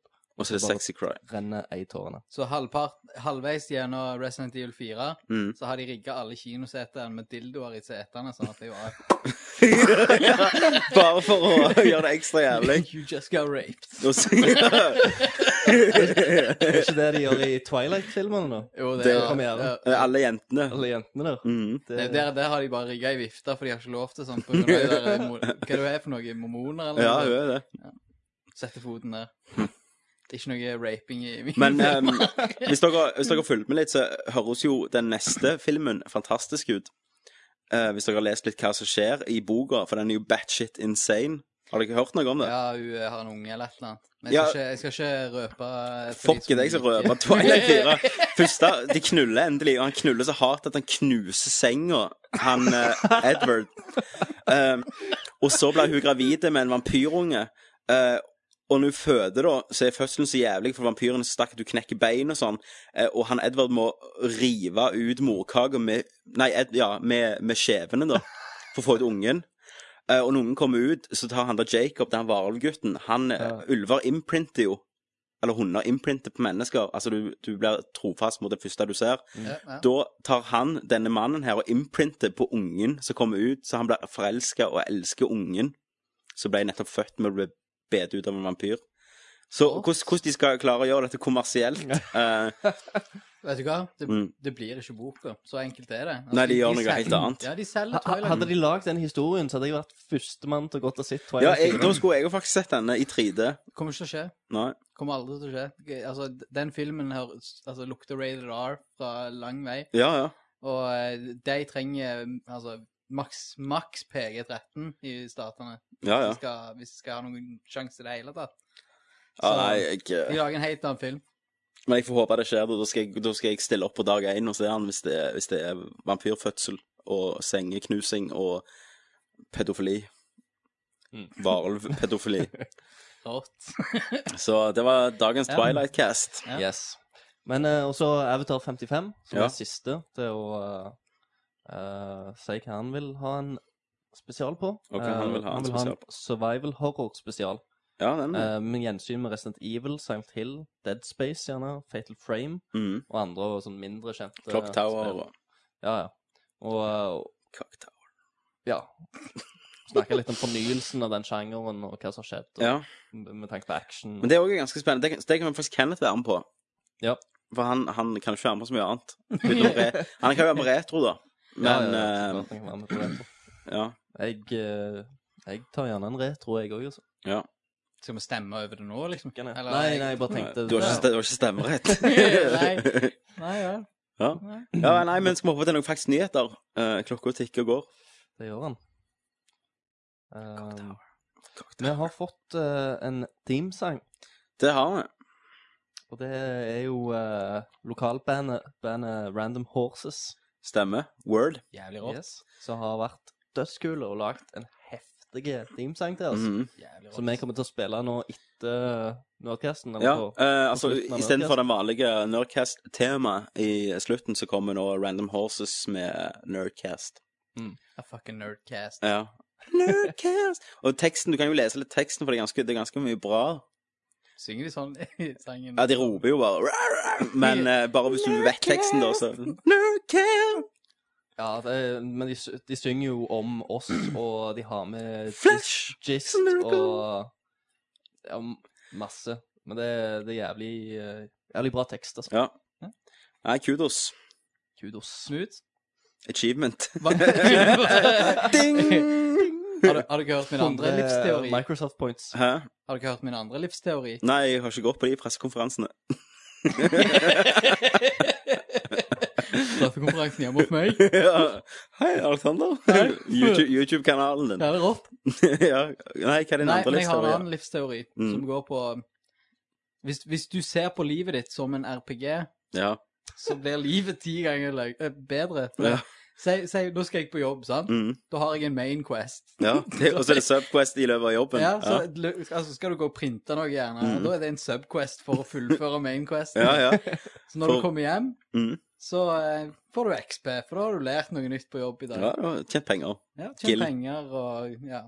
G: så er det
I: Bare-
G: Sexy Cry.
I: renner ei tårene.
H: Så halvpart, halvveis gjennom Resident Evil 4
G: Mm.
H: så har de rigga alle kinosetene med dildoer i setene, sånn at det var
G: Bare for å gjøre det ekstra jævlig.
H: You just got raped.
G: Og så-
I: Det er ikke det de gjør i Twilight-filmene nå?
H: Jo, det,
G: Det
H: er-
G: er
I: premiere.
G: Alle jentene.
I: Alle jentene der.
G: Mm.
I: Det,
H: Det, der, der har de bare rigga i vifta, for de har ikke lov til sånn. På grunn av de der, mo- hva er det er for noe? Mormoner, eller
G: Ja,
H: noe?
G: hun er det.
H: Setter foten der. Det er ikke noe raping i
G: Men ehm, hvis, dere, hvis dere har fulgt med litt, så høres jo den neste filmen fantastisk ut. Eh, hvis dere har lest litt hva som skjer i boka, for den er jo batshit insane. Har dere ikke hørt noe om det?
H: Ja, hun eh, har en unge eller et eller annet. Men
G: Ja.
H: jeg skal, ikke, jeg skal ikke røpe eh, for de
G: Fuck it, jeg skal
H: liker-
G: røpe Twilight
H: Eh,
G: 4. Første, de knuller endelig, og han knuller så hardt at han knuser senga, han eh, Edward. Ehm, og så blir hun gravid med en vampyrunge. Eh, og når hun føder, da, så er fødselen så jævlig, for vampyren er så sterk at du knekker bein og sånn. Eh, og han Edward må rive ut morkaka med Nei, Ed, ja, med, med skjevene, da, for å få ut ungen. Eh, og når ungen kommer ut, så tar han da Jacob, den varulvgutten Han eh, Ulver imprinter jo eller hunder imprinter på mennesker. Altså, du, du blir trofast mot det første du ser.
H: Ja, ja.
G: Da tar han denne mannen her og imprinter på ungen som kommer ut, så han blir forelska og elsker ungen som ble nettopp født med å bli bedt ut av en vampyr. Så hvordan hvordan de skal klare å gjøre dette kommersielt eh,
H: Vet du hva? Det,
G: Mm.
H: det blir ikke boka. Så enkelt er det. Altså,
G: Nei, de gjør noe helt
H: selger-
G: annet.
H: Ja, de selger
I: Ha-
H: Twilight.
I: Hadde de lagd den historien, så hadde jeg vært førstemann til å gått og sett
G: Ja,
I: Twilight.
G: jeg, da skulle jeg jo faktisk sett denne i 3D.
H: Kommer ikke til å skje.
G: Nei.
H: Kommer aldri til å skje. G- Altså, d- den filmen her, s- altså, lukter rated R fra lang vei,
G: Ja, ja.
H: og eh, de trenger mm, altså maks maks PG-13 i statene
G: Ja, ja.
H: hvis de skal, hvis de skal ha noen sjanse i det hele tatt.
G: ja nei, jeg,
H: De lager en helt annen film.
G: Men jeg får håpe det skjer, da. Da skal jeg, da skal jeg stille opp på dag én og se han hvis det, er- hvis det er vampyrfødsel og sengeknusing og pedofili. Mm. Varulvpedofili.
H: Rått.
G: Så det var dagens
I: Ja.
G: Twilight Cast.
H: Ja.
I: Yes. Men eh, også Avatar 55, som
G: Ja.
I: er siste til å eh, eh, si hva han vil ha en spesial på.
G: Og hva han
I: Eh,
G: vil ha en spesial på. Mm.
I: survival horror-spesial.
G: Ja, den.
I: Eh, med gjensyn med Resident Evil, Silent Hill, Dead Space gjerne, Fatal Frame
G: Mm.
I: og andre og sånn mindre kjente
G: Clock Tower
I: spill.
G: og
I: Ja, ja. Og eh,
G: Cock Tower.
I: ja Snakke litt om fornyelsen av den sjangeren og hva som har skjedd, og
G: Ja.
I: med med tanke på action.
G: Men det er òg ganske spennende. Det kan, det kan faktisk Kenneth være med på.
I: Ja.
G: For han, han kan jo ikke være med på så mye annet. Utenom re- Han kan jo være med på retro, da.
I: Ja,
G: Men eh,
I: ja,
G: ja,
I: ja, så kan jeg være med på retro.
G: ja.
I: Jeg, eh, jeg tar gjerne en retro, jeg òg. Altså.
H: Skal vi stemme over det nå, liksom? Eller-
I: Nei, nei, jeg bare tenkte
G: Du har ikke, du har ikke stemmerett.
H: Nei. Nei, ja.
G: ja. ja, nei, men skal vi hoppe til noen faktisk nyheter? Eh, klokka tikker og går.
I: Det gjør han. Eh, vi har fått eh, en themesang,
G: Det har vi.
I: og det er jo eh, lokalbandet bandet Random Horses,
G: Stemmer. Word.
H: Jævlig rått.
I: yes, som har vært dødskule og lagd en heftig themesang til oss.
G: Mhm.
H: Jævlig
I: Som vi kommer til å spille nå etter Nerdcasten. eller
G: Ja,
I: på-
G: eh, altså
I: slutten av
G: Istedenfor den vanlige Nerdcast-temaet i slutten, så kommer nå Random Horses med Nerdcast.
H: A fucking nerdcast.
G: Ja. Nerdcast! Og teksten, du kan jo lese litt teksten, for det er ganske, det er ganske mye bra.
H: Synger de sånn i sangen?
G: Ja, de roper jo bare "Rar, rar", Men eh, bare hvis du vet teksten, da, så Nerdcast!
I: Ja, det, men de, sy- de synger jo om oss, og de har med
G: Flash!
I: Gist
G: Miracle!
I: og ja, m- masse. Men det, det er jævlig, eh, jævlig bra tekst, altså.
G: Ja. Nei, kudos.
I: Kudos.
H: Smooth?
G: Achievement.
H: Hva- har,
G: Ding! Sånn, eh,
H: du, har du ikke hørt min andre
I: 100
H: livsteori?
I: eh, Microsoft points.
G: Hæ?
H: Har du ikke hørt min andre livsteori?
G: Nei, jeg har ikke gått på de pressekonferansene.
H: Straffekonferansen hjemme hos meg?
G: Ja. Hei, Alexander.
H: Hei.
G: YouTube- YouTube-kanalen din.
H: Det er rått.
G: ja. Nei, hva er din
H: Nei,
G: andre
H: men jeg
G: liste?
H: har en
G: Maria?
H: annen livsteori
G: Mm.
H: som går på hvis, hvis du ser på livet ditt som en RPG,
G: Ja.
H: så blir livet ti ganger løy, eh, bedre.
G: Ja.
H: Si, si, nå skal jeg på jobb, sant?
G: Mm.
H: Da har jeg en main quest.
G: ja. Det- Og så er det Subquest i løpet av jobben.
H: Ja, så
G: ja. Mm.
H: lø- altså, skal du gå og printe noe gjerne, da er det en subquest for å fullføre main questen.
G: ja, ja.
H: Så når
G: For-
H: du kommer hjem,
G: Mm.
H: så eh, får du XP, for da har du lært noe nytt på jobb i dag.
G: Ja, du har tjent penger.
H: Ja,
G: Guild.
H: Tjent penger og ja.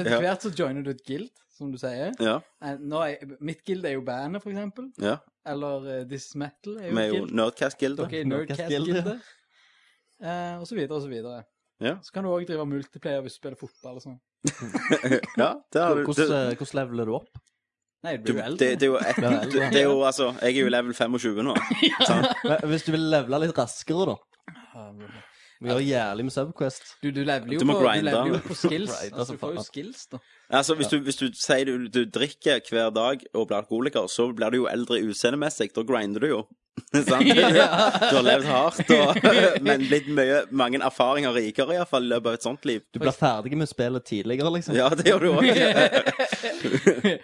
G: Ja.
H: Etter hvert så joiner du et guild, som du sier.
G: Ja,
H: Eh, Nå er, mitt guild er jo bandet, for eksempel.
G: ja.
H: Eller eh, This Is Metal
G: Vi
H: er jo
G: er
H: et
G: jo
H: guild.
G: Nerdcast-gildet.
H: Dere er
I: Nerdcast-gildet.
H: Nerdcast-gildet. Eh, og så videre og så videre.
G: Ja.
H: Så kan du òg drive multiplayer hvis du spiller fotball og sånn.
G: Ja, det har du.
I: Hvordan
G: det-
I: eh, hvordan leveler du opp?
H: Nei, du
G: Du,
H: blir jo
G: det,
H: eldre.
G: det er jo et,
I: Ja, eldre.
G: det, det er jo altså Jeg er jo level 25 nå. Sant?
I: Men Hvis du vil levele litt raskere, da. Vi gjør jævlig med Subquest.
H: Du, du leveler jo,
G: Du må
H: på-
G: grinde.
H: du leveler jo på skills.
I: Grinde,
H: altså,
I: for
H: du får jo
I: faen.
H: skills, da.
G: Altså, hvis, du, hvis du sier du, du drikker hver dag og blir alkoholiker, så blir du jo eldre utseendemessig. Da grinder du jo. Sant? Du har levd hardt, og, men blitt mye, mange erfaringer rikere, iallfall, i løpet av et sånt liv.
I: Du blir ferdig med spillet tidligere, liksom.
G: Ja, det gjør du òg.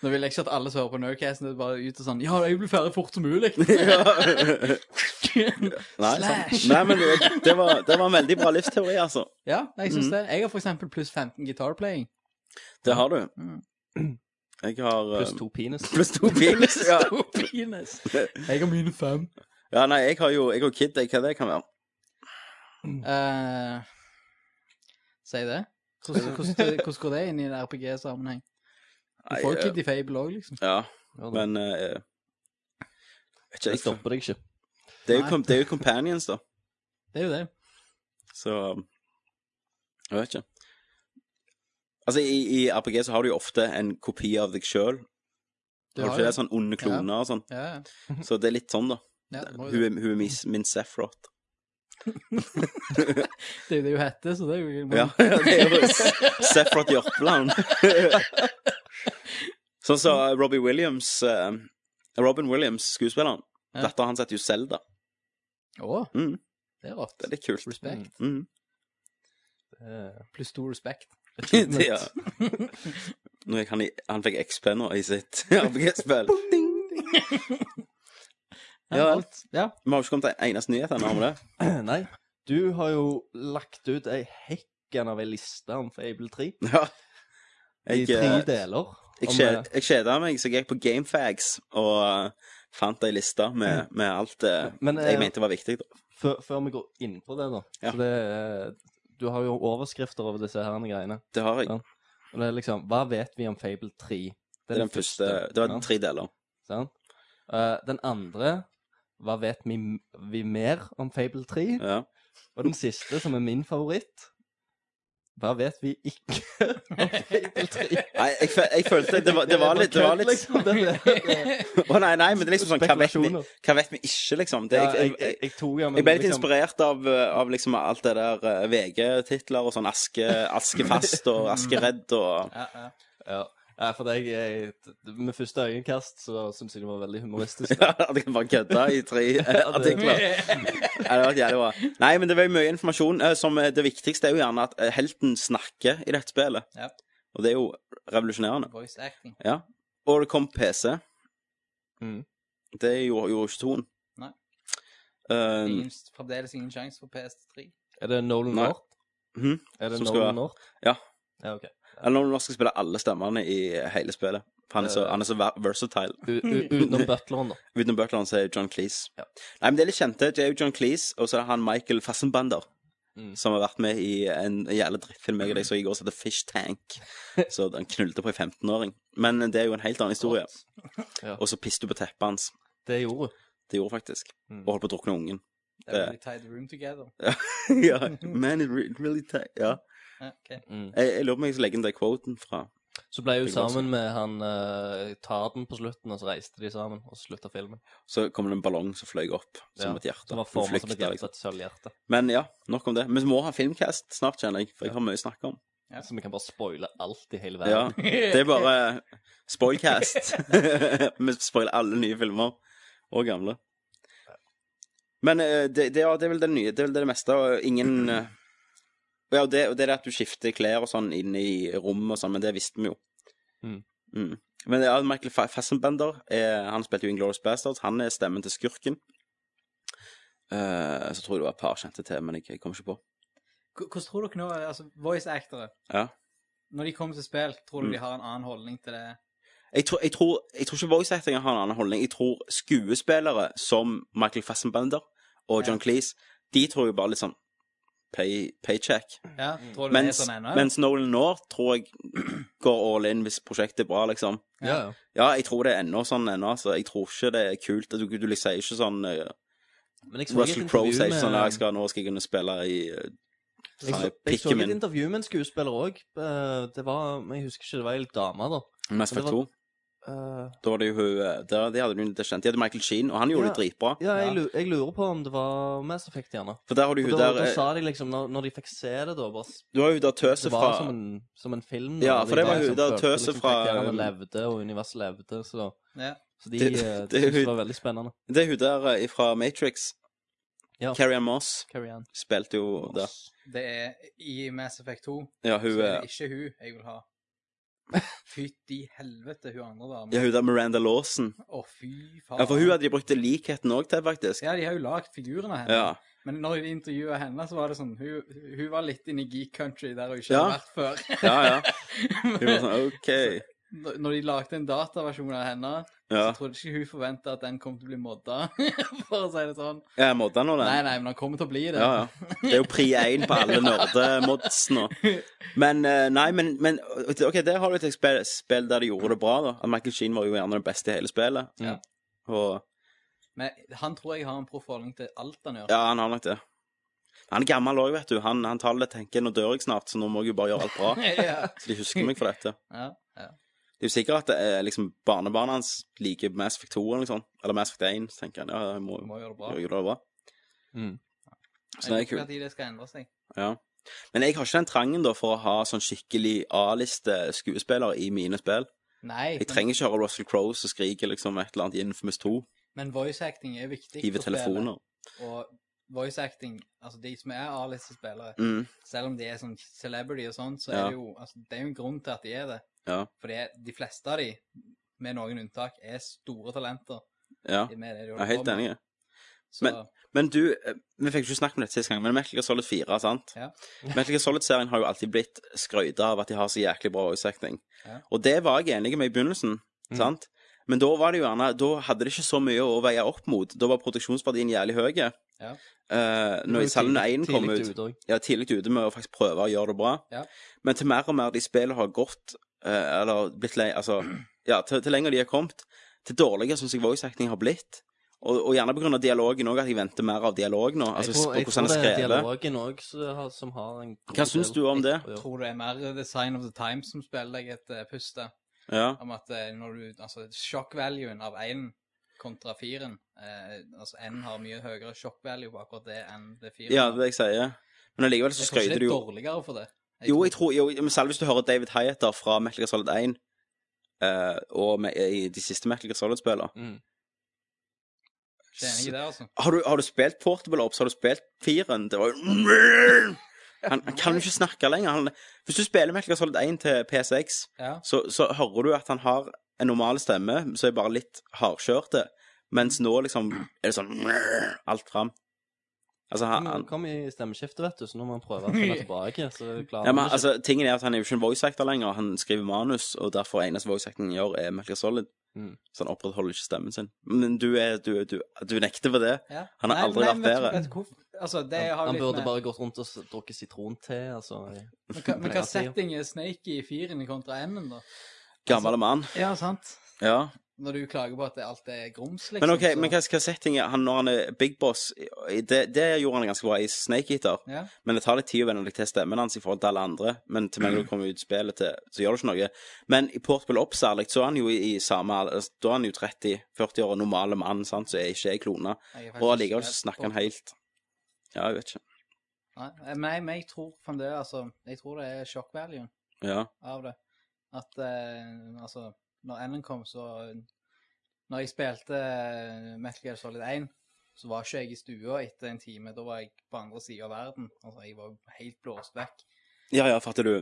H: Nå vil jeg ikke at alle som hører på Nerdcasten, det er bare ut og sånn Ja, jeg blir ferdig fort som mulig.
G: Nei, sant.
H: Slash.
G: Nei, men det, det, var, det var en veldig bra livsteori, altså.
H: ja, jeg syns det. Jeg har for eksempel pluss 15 gitarplaying.
G: Det har du. Jeg har eh,
I: Pluss to penis.
G: Pluss to penis. Ja.
H: Penis. Jeg har mine fem.
G: ja, nei, jeg har jo Jeg og Kid, jeg, hva det kan være.
H: Eh, si det. Hvordan, hvordan, hvordan går det inn i en RPG-sammenheng? Du
G: Nei,
H: får jo
G: eh,
H: Kid i Fable òg, liksom.
G: ja,
I: Ja, da.
G: men eh, vet ikke,
I: Det
G: jeg,
I: stopper deg ikke.
G: det, er jo, kom- det er jo companions, da.
H: Det er jo det.
G: Så um, Jeg vet ikke. Altså, i, i RPG så har du jo ofte en kopi av deg sjøl.
H: Du
G: Har du
H: har
G: ikke det?
H: jo-
G: Sånn onde kloner og sånn.
H: Ja, ja.
G: Så det er litt sånn, da.
H: Ja, det må
G: Hun
H: jo det.
G: er, hun er mis, min Sefrot.
H: Det er jo det hun heter, så det er jo
G: Mm. Ja, det er jo Sefrot Jørpeland. sånn som Robbie Williams eh, Robin Williams, skuespilleren.
H: Ja.
G: Datteren hans heter jo Selda.
H: Å,
G: Mm.
H: det er rått.
G: Det er litt kult.
H: Respekt.
G: Mm.
H: Pluss stor respekt.
G: Det, ja. Nå gikk han, i, han fikk XP nå i sitt RPG-spill. Ja, vel.
H: alt. Ja.
G: Vi har jo ikke kommet til en eneste nyhet ennå om det.
I: Nei. Du har jo lagt ut ei hekken av ei liste om Fable 3.
G: Ja.
I: I
G: Jeg,
I: tre
G: eh,
I: deler.
G: jeg,
I: Om, eh,
G: kjed, jeg kjeda meg, så jeg gikk på Gamefags og eh, fant ei liste med, med alt eh,
I: Men, eh,
G: jeg mente var viktig. Da.
I: eh, før, før vi går inn på det, da.
G: Ja.
I: Så det, eh, du har jo overskrifter over disse her greiene.
G: Det har jeg.
I: Ja. Og det er liksom Hva vet vi om Fable 3?
G: Det er den første Det var
I: ja,
G: tre deler.
I: sant? Eh, den andre Hva vet vi, vi mer om Fable 3?
G: Ja.
I: Og den siste, som er min favoritt Hva vet vi ikke om Fable 3?
G: Nei, jeg, fe- jeg følte det var, det var litt, det var litt
I: Liksom, det, det, det.
G: Å nei, nei, men det er liksom sånn Hva vet vi,
I: Spekulasjoner.
G: hva vet vi ikke, liksom? Det,
I: Ja,
G: jeg, jeg, jeg,
I: jeg tok ja, men
G: jeg ble litt
I: liksom-
G: inspirert av, eh, av liksom alt det der eh, VG-titler og sånn Aske, Askefast og Askeredd og
I: Ja. Nei, for jeg, jeg, med første øyekast så syns jeg det var veldig humoristisk.
G: Ja, det kan bare kødde i tre eh, artikler. Ja, det var jævlig bra. Nei, men det var jo mye informasjon. eh, Som eh, det viktigste er jo gjerne at eh, helten snakker i dette spillet.
H: Ja.
G: Og det er jo revolusjonerende.
H: Voice acting.
G: Ja. Og det kom PC.
I: Mm.
G: Det gjorde jo ikke toen.
H: Nei.
G: Eh,
H: Ingen, fremdeles ingen sjanse for PS3.
I: Er det Nolan
G: Nei.
I: North?
G: Mhm.
I: Er det
G: Som skal være-
I: Nolan North?
G: Ja.
I: ja ok.
G: eller når du skal spille alle stemmene i eh, hele spillet. For han er
H: Eh.
G: så, han er så ver- versatile.
I: U u utenom butleren, da.
G: Utenom Butland så er det John Cleese.
I: Ja.
G: Nei, men det er litt kjente. Det er jo John Cleese, og så er det han Michael Fassenbander.
I: Mm.
G: Som har vært med i en jævla drittfilm jeg og deg så i går, som heter Fish Tank. Så han knulte på en 15-åring. Men det er jo en helt annen historie.
I: Ja.
G: Og så pisset du på teppet hans.
I: Det gjorde hun.
G: Det gjorde hun faktisk.
I: Mm.
G: Og holdt på å drukne ungen.
H: Det er
G: Det-
H: really tied room together.
G: ja, man, it re- really ta- ja.
H: Ja, ok.
G: Jeg, jeg lurer på om jeg skal legge inn den quoten fra
I: Så ble hun
G: Det går
I: sammen med han uh, Tarden på slutten, og så reiste de sammen, og så slutta filmen.
G: Så kom det en ballong som fløy opp som
I: Ja,
G: et hjerte.
I: Som var
G: Hun
I: forma som
G: flyktet,
I: et hjerte,
G: liksom.
I: et sølvhjerte.
G: Men ja, nok om det. Vi må ha filmcast snart, kjenner jeg, for jeg har mye å snakke om.
I: Så vi kan bare spoile alt i hele
G: Ja,
I: verden.
G: det er bare spoilcast. Vi spoiler alle nye filmer, og gamle. Men eh, det, det, ja, det er vel det nye. Det er vel det meste, og ingen eh, Ja, og det, og det er det at du skifter klær og sånn inn i rommet og sånn, men det visste vi jo.
I: Mm.
G: Mm. Men ja, Michael Fa- Fassbender, eh, han spilte jo Inglourious Bastards, han er stemmen til skurken. Eh, så tror jeg det var et par kjente til, men jeg, jeg kom ikke på.
H: H- Hvordan tror dere nå, altså voice actere,
G: Ja. Mm.
H: når de kommer til spill, tror du de har en annen holdning til det?
G: Jeg tror, jeg tror, jeg tror ikke voice acting har en annen holdning. Jeg tror skuespillere som Michael Fassbender og John Cleese, de tror jo bare litt sånn pay, paycheck.
H: Ja, tror du det er
G: Mens,
H: sånn ennå?
G: mens Nolan nå tror jeg går all in hvis prosjektet er bra, liksom.
I: Ja, ja.
G: Ja, jeg tror det er ennå sånn ennå, altså. Jeg tror ikke det er kult. Du, du liksom sier ikke sånn eh,
I: Men jeg så et
G: Russell Crowe
I: intervju
G: sier ikke sånn
I: med-
G: ja, jeg skal, nå skal jeg kunne spille i eh,
I: Jeg så,
G: Nei,
I: jeg så
G: pikken
I: et
G: min.
I: intervju med en skuespiller òg. Det var men Jeg husker ikke, det var ei dame, da.
G: Mass
I: Men det
G: Effect 2.
I: var- Eh,
G: Da var det jo hun eh, der, De hadde hun det kjent. De hadde Michael Sheen, og han gjorde
I: Ja.
G: det dritbra.
I: ja, jeg, lu- jeg lurer på om det var Mass Effect, gjerne.
G: For der har du
I: Og
G: hun
I: da,
G: der
I: da
G: eh,
I: sa de liksom, når, når de fikk se det, da bare s-
G: Du har hun der
I: Det
G: tøset
I: var som
G: fra
I: en, som en film. da,
G: Ja,
I: og
G: for
I: de
G: det var
I: bare
G: hun
I: liksom
G: der
I: følte
G: tøset
I: liksom
G: fra-
I: karakterene levde, og universet levde, så
H: Ja.
I: Så de
G: Det-
I: det,
G: det er
I: syntes det
G: hun-
I: var veldig spennende.
G: Det er hun der eh, fra Matrix.
I: Ja.
G: Carrie Ann Moss
I: Carrie Ann.
G: spilte jo der.
H: Det er i Mass Effect 2,
G: Ja,
H: så
G: hun, eh,
H: er det ikke hun jeg vil ha. Fytti helvete, hun andre var med.
G: ja, hun der Miranda Lawson.
H: Å, fy faen.
G: Ja, for hun hadde de brukt likheten òg til, faktisk.
H: Ah. Ja, de har jo lagd figurene av henne.
G: Ja.
H: Men når de intervjua henne, så var det sånn Hun, hun var litt inne i geek country der hun ikke
G: Ja.
H: hadde vært før.
G: Ja, ja. Hun var sånn OK.
H: Når- Når de lagde en dataversjon av henne,
G: Ja.
H: så trodde ikke hun forventa at den kom til å bli modda, for å si det sånn.
G: Jeg modda nå
H: Nei,
G: den.
H: nei, men han kommer til å bli det.
G: Ja, ja. Det er jo pri én på alle nerdemods nå. Men eh, nei, men, men OK, der har du et spill, spill der de gjorde det bra, da. At Michael Sheen var jo gjerne den beste i hele spillet.
I: Ja.
G: Og
H: Men han tror jeg har en proff holdning til alt han gjør.
G: Ja, han har nok det. Han er gammel òg, vet du. Han, han tar det tenker nå dør jeg snart, så nå må jeg jo bare gjøre alt bra.
H: ja.
G: Så de
H: Mm.
G: husker meg for dette.
H: ja, ja.
G: Det er jo sikkert at det er liksom barnebarnet hans liker Mass Effect 2 eller noe sånt. Eller Mass Effect 1, så tenker han. Ja, jeg må
H: Du må gjøre det bra.
G: gjøre det bra.
I: Mm.
G: Så det er
H: Jeg vet ikke
G: kult.
H: når det skal endre seg.
G: Ja. Men jeg har ikke den trangen da for å ha sånn skikkelig A-liste skuespillere i mine spill.
H: Nei,
G: Jeg
H: men,
G: trenger ikke høre Russell Crowe som skriker liksom et eller annet i Infamous 2,
H: men voice acting er viktig.
G: hiver
H: for spillet.
G: telefoner.
H: Og voice acting, altså de som er A-listespillere,
G: Mm.
H: selv om de er sånn celebrity og sånn, så
G: Ja.
H: er det jo altså, det er jo en grunn til at de er det.
G: Ja.
H: For det er- de fleste av de, med noen unntak, er store talenter.
G: Ja.
H: Med det de
G: Jeg er helt enig.
H: Så,
G: Men- Men du, eh, vi fikk jo ikke snakket om dette sist gang, men Metal Gear Solid 4, sant?
H: Ja.
G: Metal Gear Solid-serien har jo alltid blitt skrøyta av at de har så jæklig bra voice acting.
H: Ja.
G: Og det var jeg enig med i begynnelsen,
I: Mm.
G: sant? Men da var det jo gjerne, da hadde det ikke så mye å veie opp mot. Da var produksjonsverdien jævlig høy.
H: Ja.
G: Eh,
I: var
G: når
I: jo
G: selv når
I: tidlig-
G: 1 kom
I: tidlig
G: ut,
I: ute også.
G: ja, tidlig ute med å faktisk prøve å gjøre det bra.
H: Ja.
G: Men til mer og mer de spillene har gått, eh, eller blitt lei, altså, ja, til, til lenger de har kommet, til dårligere synes jeg voice acting har blitt. Og, og gjerne på grunn av dialogen også, at jeg venter mer av dialog nå, altså
I: jeg tror,
G: på
I: jeg tror
G: hvordan
I: det
G: det
I: er
G: er skrevet.
I: dialogen òg som har en god
G: Hva synes
I: del-
G: du om det?
I: Ja.
H: tror du det er mer The Sign of the Times som spiller deg et eh, puste?
G: Ja,
H: Om at eh, når du Altså, sjokk-valuen av én kontra firen eh, Altså, én har mye høyere sjokk-value på akkurat det enn det firen
G: ja
H: har.
G: det er det jeg sier. Men allikevel så
H: Jeg tror ikke
G: skrøyter
H: det
G: du
H: er
G: jo.
H: dårligere for det.
G: Jo, jeg tror, jo, men selv hvis du hører David Hyatter fra Metal Gear Solid 1, eh, og med, i de siste Metal Gear Solid-spillene,
I: Mm.
H: Ikke enig i det, altså.
G: har du, har du spilt Portable Ops, har du spilt firen, det var jo... Han, han kan jo ikke snakke lenger. Han, hvis du spiller Metal Gear Solid 1 til PSX,
H: Ja.
G: så, så hører du at han har en normal stemme, så er bare litt hardkjørte, mens nå liksom er det sånn alt fram. Altså, han,
I: Men
G: han
I: hun kom i stemmeskiftet, vet du, så nå må han prøve å finne tilbake. Så klarer
G: ja, men,
I: han det
G: altså,
I: ikke.
G: tingen er at han er jo ikke en voice actor lenger, han skriver manus, og derfor eneste voice acting han gjør, er Metal Gear Solid.
I: Mm.
G: Så han opprettholder ikke stemmen sin. Men du, er, du, du, du nekter for det.
H: Ja.
G: Han har aldri vært
H: vet du-
G: bedre.
H: vet du hvorfor- Altså, det har
I: han
H: litt
I: burde
H: med-
I: bare gått rundt og s- drukket sitronte. Altså.
H: Men hva- Men hva
I: Ja,
H: setting er Snake i firen kontra N-en, da?
G: Gammel mann.
H: Ja, sant?
G: Ja.
H: Når du klager på at det- alt er grums, liksom.
G: Men ok, men hva,
H: så...
G: hva setting er han når han er big boss? i- i- Det, det gjorde han ganske bra i Snake Eater.
H: Ja.
G: Men det tar litt tid å venne deg til stemmen hans i forhold til alle andre. Men til meg når du kommer ut i spillet til, så gjør det ikke noe. Men i Portable Up særlig, så er han jo i, i samme alder- altså, Da er han jo 30-40 år og normale mann, sant, så er ikke jeg klona.
H: Jeg er faktisk
G: Og allikevel
H: ikke
G: så
H: helt
G: snakker han
H: på-
G: helt Ja, jeg vet ikke.
H: Nei, Nei, men jeg tror fremdeles, altså Jeg tror det er sjokkvaluen
G: Ja.
H: av det. At eh, altså Når N-en kom, så Når jeg spilte eh, Metal Gear Solid 1, så var ikke jeg i stua etter en time. Da var jeg på andre sida av verden. Altså, jeg var jo helt blåst vekk.
G: Ja, ja, fatter du.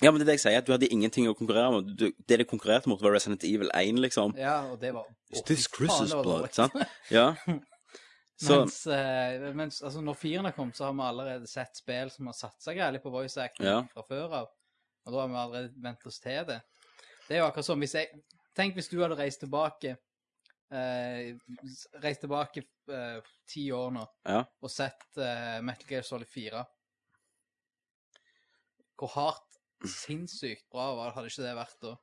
G: Ja, men det er det jeg sier, at du hadde ingenting å konkurrere mot. Du, det de konkurrerte mot, var Resident Evil 1, liksom.
H: Ja, og det var
G: Is
H: Å,
G: this
H: fy faen,
G: Chris's
H: det var
G: blood? Sånn?
H: dårlig.
G: Sant? Ja. Så
H: Mens, eh, mens altså, når firen har kommet, så har vi allerede sett spill som har satsa greilig på voice acting
G: Ja.
H: fra før av. Og da har vi allerede vent oss til det. Det er jo akkurat som hvis jeg Tenk hvis du hadde reist tilbake eh, s- Reist tilbake eh, ti år nå
G: Ja.
H: og sett eh, Metal Gear Solid 4. Hvor hardt sinnssykt bra var det, hadde ikke det vært da?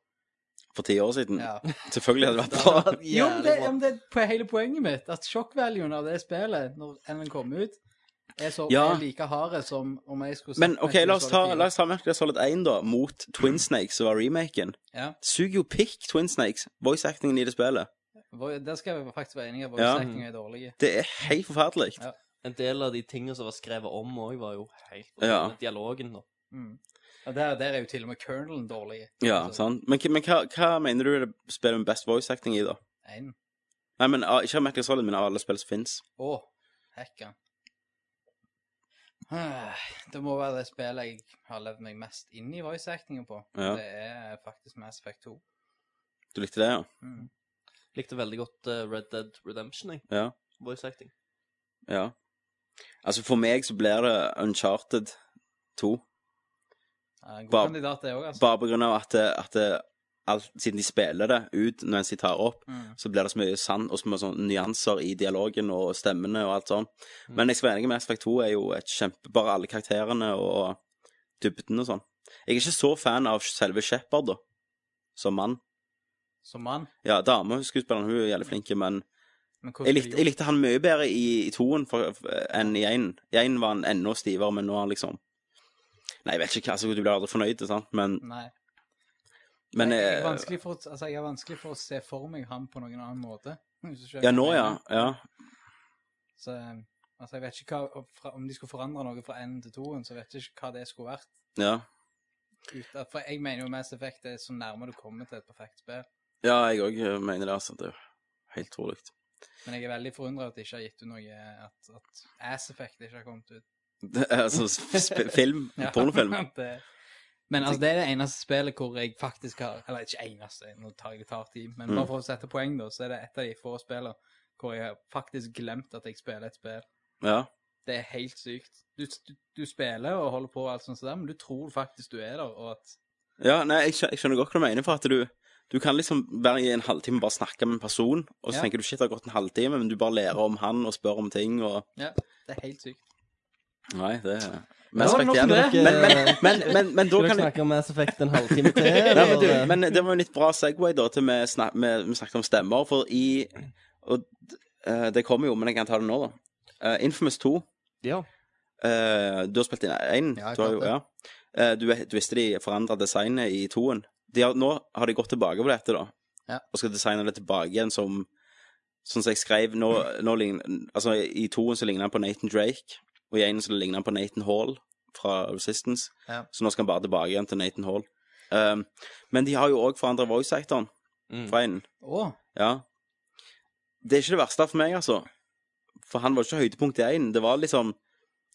G: For ti år siden.
H: Ja.
G: Selvfølgelig hadde det vært bra.
H: Jo, men det, men det er på hele poenget mitt, at sjokkvaluen av det spillet, når den kom ut, er, så,
G: Ja.
H: er like harde som om jeg skulle
G: Men
H: sett
G: OK,
H: Metal Gear
G: la oss ta,
H: Solid 4.
G: la oss ta Metal Gear Solid 1, da, mot Twin Snakes, som var remaken.
H: Ja.
G: Suger jo pikk Twin Snakes, voice-actingen i det spillet.
H: Voi- Der skal vi faktisk være enige, voice
G: Ja.
H: acting er dårlig.
G: Det er helt forferdelig.
H: Ja.
I: En del av de tingene som var skrevet om òg, var jo helt
G: Ja.
I: Dialogen, da.
H: Mm. Og der, der er jo til og med kernelen dårlig.
G: Ja,
H: Altså,
G: sant. Men, men hva, hva mener du er det spillet med best voice-acting i, da?
H: en-
G: Nei, men ah, Ikke av Metal Gear Solid, men av alle spill som fins.
H: Å, hekka. Ah, Det må være det spillet jeg har levd meg mest inn i voice actingen på.
G: Ja.
H: Det er faktisk Mass Effect 2.
G: Du likte det, ja?
H: Mm.
I: Likte veldig godt eh, Red Dead Redemption, jeg.
G: Ja.
I: Voice acting.
G: Ja. Altså, for meg så blir det Uncharted 2.
H: Ja, en god
G: Bare-
H: kandidat, det òg, altså.
G: Bare på grunn av at, det- at det- alt, siden de spiller det ut når en sier tar opp,
H: Mm.
G: så blir det så mye sand og så mye sånn nyanser i dialogen og stemmene og alt sånn.
H: Mm.
G: Men jeg skal være enig med Aspect 2 er jo et kjempe... Bare alle karakterene og dybden og sånn. Jeg er ikke så fan av selve Shepherd, da. Som mann.
H: Som mann.
G: Ja, dame, skuespilleren, hun er jævlig flink, men
H: Men
G: jeg
H: hvordan
G: likte, jeg likte han mye bedre i, i toen for, for, enn i én. I én var han enda stivere, men nå er han liksom Nei, jeg vet ikke hva, altså, du blir aldri fornøyd, sant, men,
H: Nei.
G: men
H: jeg, jeg,
G: eh,
H: er vanskelig for, å- altså, jeg er vanskelig for å se for meg han på noen annen måte. hvis du skjønner
G: Ja,
H: hva
G: nå,
H: jeg
G: ja.
H: mener.
G: ja.
H: Så, altså, jeg vet ikke hva, om fra- om de skulle forandre noe fra én til toen, så vet jeg ikke hva det skulle vært.
G: Ja,
H: Ut, av- for jeg mener jo Mass Effect er så nærme du kommer til et perfekt spill.
G: ja jeg òg mener det, altså. Det er helt trolig.
H: Men jeg er veldig forundra at de ikke har gitt ut noe At, at Ass Effect ikke har kommet ut.
G: Det er Altså, sp film.
H: Ja.
G: Pornofilm.
H: det, men altså, det er det eneste spillet hvor jeg faktisk har Eller ikke eneste, nå tar jeg det tar tid, men
G: Mm.
H: bare for å sette poeng, da, så er det et av de få spillene hvor jeg har faktisk glemt at jeg spiller et spill.
G: Ja.
H: Det er helt sykt. Du, du, du spiller og holder på og alt sånt, som det, men du tror faktisk du er der, og at
G: ja nei, jeg, skjø- jeg skjønner godt hva du mener, for at du du kan liksom være i en halvtime og bare snakke med en person, og så
H: Ja.
G: tenker du shit, det har gått en halvtime, men du bare lærer om han og spør om ting og
H: Ja, det er helt sykt.
G: Nei, det er
I: Men
G: Mass
I: da var
G: Effect
I: det nok
G: igjen.
I: om det.
G: Men, men, men, men, men da
I: Skal
G: kan
I: dere
G: jeg
I: snakke om Mass Effect en halvtime til?
G: Nei, men, du,
I: eller?
G: men det var jo en litt bra Segway da til vi, snak, vi, vi snakket om stemmer, for i og, eh, Det kommer jo, men jeg kan ta det nå, da. Eh, Infamous 2.
I: Ja.
G: eh, du har spilt inn én.
H: Ja, jeg
G: du, har jo-
H: klarte
G: ja. Eh, du, vet- du visste de forandra designet i toen. De har, nå har de gått tilbake på dette, da.
H: Ja.
G: Og skal designe det tilbake igjen som Sånn som jeg skrev nå, nå lign- altså, I toen så ligner han på Nathan Drake, og i én så ligner han på Nathan Hall fra Resistance.
H: Ja.
G: Så nå skal han bare tilbake igjen til Nathan Hall. Um, men de har jo òg forandra voice actoren
I: Mm.
G: fra innen.
H: Å,
G: Ja. Det er ikke det verste for meg, altså. For han var ikke høydepunkt i én. Det var liksom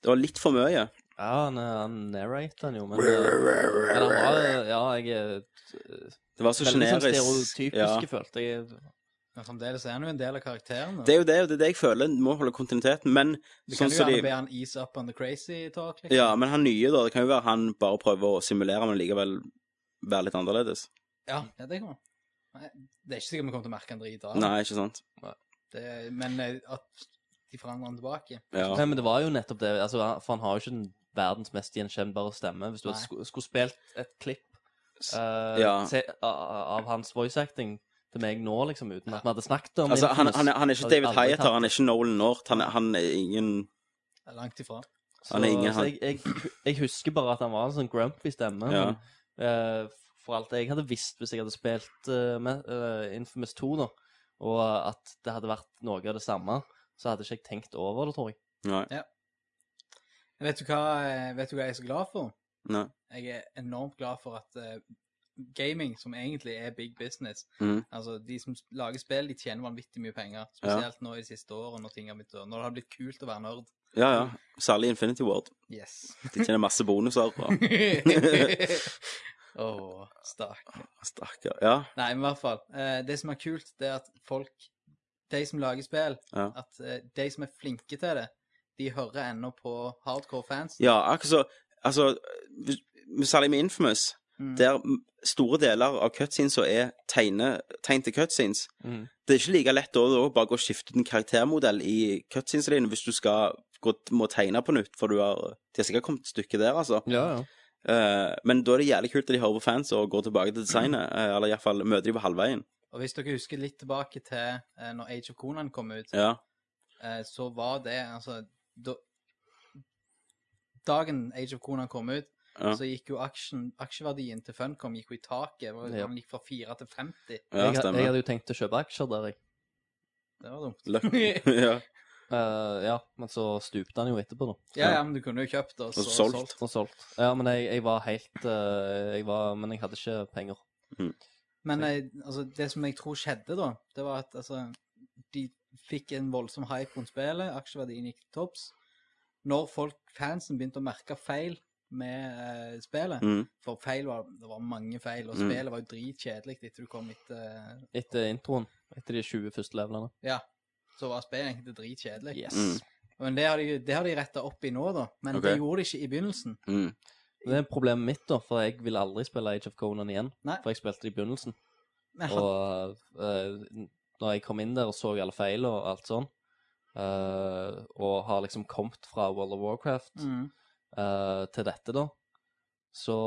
G: Det var litt for mye.
I: Ja, han, eh, han narrater han jo, men, eh, men han var eh, Ja, jeg er
G: Det var så
I: veldig sånn
G: generisk.
I: stereotypisk,
G: Ja.
I: følte jeg.
H: men fremdeles er han jo en del av karakterene.
G: Det er jo det, og det er det jeg føler. Du må holde kontinuiteten. Men
H: du
G: sånn
H: kan jo
G: som
H: gjerne
G: de
H: be han ease up on the crazy talk, liksom.
G: Ja, men han nye, da. Det kan jo være han bare prøver å simulere, men likevel være litt annerledes.
H: Ja, ja, det kommer. Nei, det er ikke sikkert vi kommer til å merke en drit av det.
G: Nei, ikke sant?
H: det. Men eh, at de forandrer den tilbake
G: Ja.
I: Nei, men det var jo nettopp det. Altså, han- for han har jo ikke den verdens mest gjenkjennbare stemme. Hvis du hadde
H: Nei.
I: sku- skulle spilt et klipp eh,
G: ja.
I: se, a- a- av hans voice acting til meg nå, liksom, uten at vi hadde snakket om
G: Altså, han,
I: Infamous,
G: han, er, han er ikke
I: hadde
G: David
I: aldri tatt
G: Hyatter, han
I: det.
G: er ikke Nolan North, han er, han er ingen
H: Det er langt ifra.
I: Så,
G: han er ingen,
I: så
G: han.
I: jeg, jeg, jeg husker bare at han var en sånn grumpy stemme.
G: Ja.
I: Men, eh, for alt jeg hadde visst hvis jeg hadde spilt eh, med, eh, Infamous 2 nå, og at det hadde vært noe av det samme, så hadde ikke jeg tenkt over det, tror jeg.
G: Nei.
H: Vet du hva, eh, vet du hva jeg er så glad for?
G: Nei.
H: Jeg er enormt glad for at eh, gaming, som egentlig er big business
G: Mhm.
H: Altså, de som s- lager spill, de tjener vanvittig mye penger. Spesielt nå i de siste årene, når ting har begynt å Når det har blitt kult å være nerd.
G: Ja, ja. Særlig Infinity Ward.
H: Yes.
G: De tjener masse bonuser. Og...
H: Åh, stakk.
G: Stakkar. Ja.
H: Nei, men i hvert fall. eh, det som er kult, det er at folk, de som lager spill,
G: Ja.
H: at eh, de som er flinke til det, de hører ennå på hardcore fans.
G: Ja, akkurat så Altså, hvis- særlig med Infamous,
H: Mm.
G: der store deler av cutscenes er tegne, tegn til cutscenes.
J: Mhm.
G: Det er ikke like lett da, da å bare gå og skifte ut en karaktermodell i cutscenes dine hvis du skal gå, må tegne på nytt, for du har, de har sikkert kommet et stykke der, altså.
I: Ja, ja.
G: Eh, men da er det jævlig kult at de hører på fans og går tilbake til designet, eh, eller iallfall møter de på halvveien.
H: Og hvis dere husker litt tilbake til eh, når Age of Conan kom ut,
G: Ja.
H: eh, så var det altså da, Dagen Age of Conan kom ut,
G: Ja.
H: så gikk jo aksjen, aksjeverdien til Funcom gikk jo i taket. Det var-
I: Ja.
H: Den gikk fra 4 til 50.
G: Ja,
I: jeg, jeg
G: stemmer.
I: hadde jo tenkt å kjøpe aksjer der, jeg.
H: Det var dumt.
G: Løk- ja.
I: Eh, ja, men så stupte han jo etterpå, da.
H: Ja, ja, men du kunne jo kjøpt og så
G: Og solgt.
I: Og solgt. Ja, men jeg, jeg var helt eh, jeg var, Men jeg hadde ikke penger.
H: Men eh, altså, det som jeg tror skjedde da, det var at altså, de fikk en voldsom hype rundt spillet, aksjeverdien gikk til topps. Når folk, fansen begynte å merke feil med eh, spillet,
G: Mm.
H: for feil var, det var mange feil, og
G: Mm.
H: spillet var jo dritkjedelig etter du kom etter,
I: Etter introen. Etter de 20 første levelene.
H: ja, så var spillet egentlig dritkjedelig.
I: Yes.
G: Mm.
H: Men det har de, det har de rettet opp i nå da, men
G: Ok.
H: det gjorde de ikke i begynnelsen.
G: Mm.
I: Det er problemet mitt, da, for jeg vil aldri spille Age of Conan igjen.
H: Nei.
I: For jeg spilte det i begynnelsen.
H: Men had-
I: Og uh, når jeg kom inn der og så alle feil og alt sånn, eh, og har liksom kommet fra World of Warcraft
H: Mm.
I: eh, til dette, da, så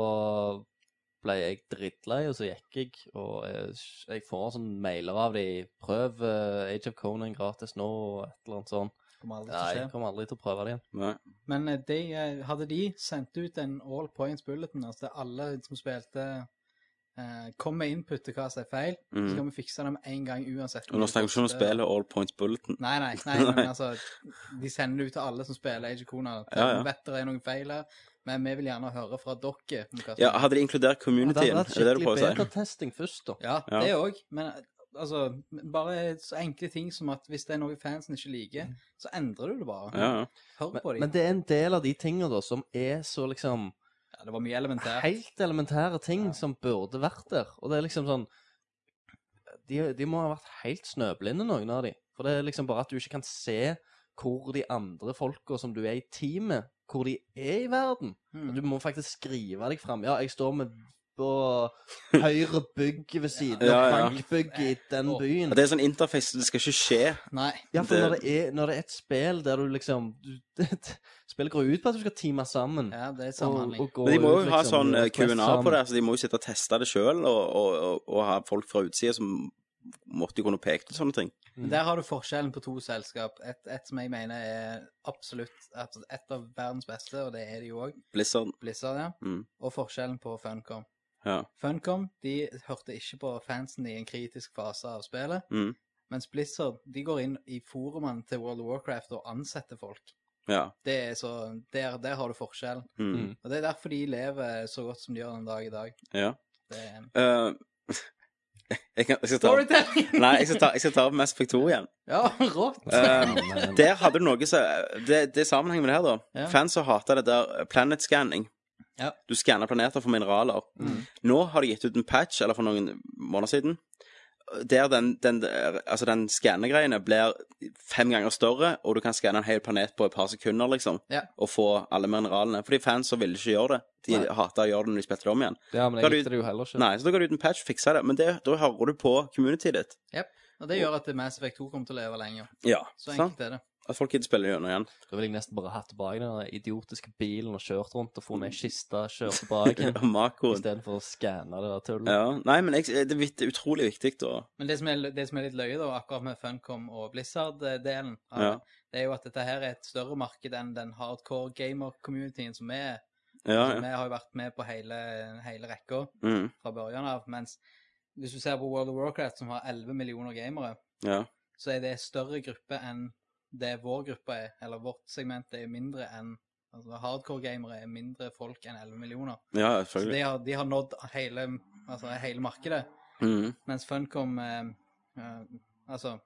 I: ble jeg drittlei, og så gikk jeg, og jeg, jeg får sånn mailer av de, prøv eh, Age of Conan gratis nå, og et eller annet sånn.
H: Kommer aldri til
I: Nei,
H: å skje.
I: jeg kommer aldri til å prøve det igjen.
G: Nei.
H: Men eh, de, eh, hadde de sendt ut en all points bulletin, altså det er alle som spilte eh, kom med input til hva som er feil,
G: Mhm.
H: så kan vi fikse det med en gang uansett.
G: Og nå snakker vi ikke om å spille All Points Bulletin.
H: Nei, nei, nei, men altså, de sender det ut til alle som spiller Age of Conan. at
G: Ja, ja.
H: Vi vet det er noen feil her, men vi vil gjerne høre fra dere. om hva som-
G: Ja, hadde de inkludert communityen? Er
I: hadde vært
G: det det du prøver å si?
I: betatesting først, da.
H: ja,
G: Ja.
H: det òg, men altså, bare så enkle ting som at hvis det er noe fansen ikke liker, så endrer du det bare.
G: Ja, ja.
H: Hør på
I: Men,
H: dem.
I: men det er en del av de tingene da, som er så liksom
H: ja, det var mye elementært.
I: helt elementære ting
H: Ja.
I: som burde vært der. Og det er liksom sånn De, de må ha vært helt snøblinde, noen av de. For det er liksom bare at du ikke kan se hvor de andre folka som du er i team med, hvor de er i verden.
H: Mhm.
I: Du må faktisk skrive deg fram. Ja, jeg står med på høyre bygg ved siden av
G: Ja, ja.
I: bankbygget i den
H: Åh.
I: byen.
G: Og Det er sånn interface, det skal ikke skje.
H: Nei.
I: Ja, for
G: Det-
I: når, det er, når det er et spill der du liksom du, Spillet går ut på at du skal teame sammen.
H: Ja, det er
I: og,
H: samhandling.
I: og gå
G: Men de må jo
I: ut,
G: ha
I: liksom,
G: sånn
I: gjøre
G: eh,
I: quest
G: Q&A
I: sammen.
G: på det, så de må jo sitte og teste det sjøl, og, og, og, og ha folk fra utsida som måtte kunne peke ut sånne ting.
H: Men Der har du forskjellen på to selskap. Et, et som jeg mener er absolutt absolutt et av verdens beste, og det er det jo òg,
G: Blizzard.
H: Blizzard, ja.
G: Mm.
H: Og forskjellen på Funcom.
G: Ja.
H: Funcom de hørte ikke på fansen i en kritisk fase av spillet,
G: Mm.
H: mens Blizzard de går inn i forumene til World of Warcraft og ansetter folk.
G: Ja.
H: Det er så, der, der har du forskjellen.
G: Mm.
I: Mm.
H: Og Det er derfor de lever så godt som de gjør den dag i dag.
G: ja.
H: Det er
G: Eh, jeg, kan, jeg skal ta
H: Storytelling!
G: Nei, jeg skal ta, jeg skal ta opp Mass Effect 2 igjen.
H: Ja, rått!
G: Eh,
I: Men-
G: der hadde du noe som Det, det er sammenheng med det her, da.
H: Ja.
G: Fans har hata det der eh, planet scanning.
H: Ja.
G: Du skanner planeter for mineraler.
H: Mm.
G: Nå har de gitt ut en patch, eller for noen måneder siden, der den, den, altså den skannegreiene blir fem ganger større, og du kan skanne en hel planet på et par sekunder, liksom,
H: Ja.
G: og få alle mineralene. Fordi fans så ville ikke gjøre det. De
I: Nei.
G: hata å gjøre det når de spilte det om igjen.
I: Ja, men
G: Kan
I: jeg
G: du-
I: likte det jo heller ikke.
G: Nei, så da går du ut en patch, fikser det. Men det, da hører du på communityet ditt.
H: Og det gjør at Mass Effect 2 kommer til å leve lenger.
G: Ja,
H: Så
G: sant?
H: enkelt er det.
G: At folk gidder spille gjennom igjen.
I: Da ville jeg nesten bare hatt tilbake den der idiotiske bilen og kjørt rundt og funnet ei kiste, kjørt tilbake igjen,
G: Makroen.
I: istedenfor å skanne det der
H: Mm.
I: tullet.
G: Ja. Nei, men jeg, det er vitt- utrolig viktig, da.
H: Men det som, er, det som er litt løye, da, akkurat med Funcom og Blizzard-delen, av
G: Ja.
H: det, det er jo at dette her er et større marked enn den hardcore gamer-communityen som vi er.
G: Ja,
H: Altså,
G: ja.
H: Vi har jo vært med på hele, hele rekka
G: Mm,
H: fra børjan av. Mens hvis du ser på World of Warcraft, som har 11 millioner gamere,
G: ja.
H: så er det en større gruppe enn det vår gruppe er. Eller vårt segment er jo mindre enn altså Hardcore-gamere er mindre folk enn 11 millioner.
G: Ja, ja,
H: Så de
G: selvfølgelig.
H: har, de har nådd hele, altså hele markedet.
G: Mm,
H: Mens Funcom eh, eh, Altså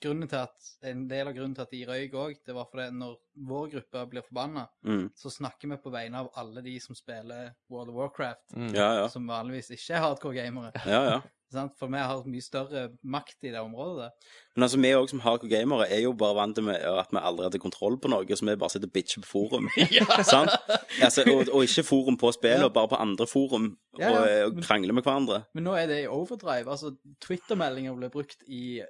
H: grunnen til at, En del av grunnen til at de røyk òg, det var fordi når vår gruppe blir forbanna,
G: mm.
H: så snakker vi på vegne av alle de som spiller World of Warcraft,
I: Mm.
G: Ja, ja.
H: som vanligvis ikke er hardcore-gamere.
G: ja, ja.
H: sant? For vi har mye større makt i det området. der.
G: Men altså, vi òg som hardcore gamere er jo bare vant til med at vi aldri hadde kontroll på noe, så vi bare sitter og bitcher på forum. Sant? Altså, og, og ikke forum på spillet,
H: Ja.
G: og bare på andre forum.
H: Ja, ja,
G: og, eh, og
H: men-
G: krangler med hverandre.
H: Men nå er det i overdrive. Altså, Twitter-meldinger ble brukt i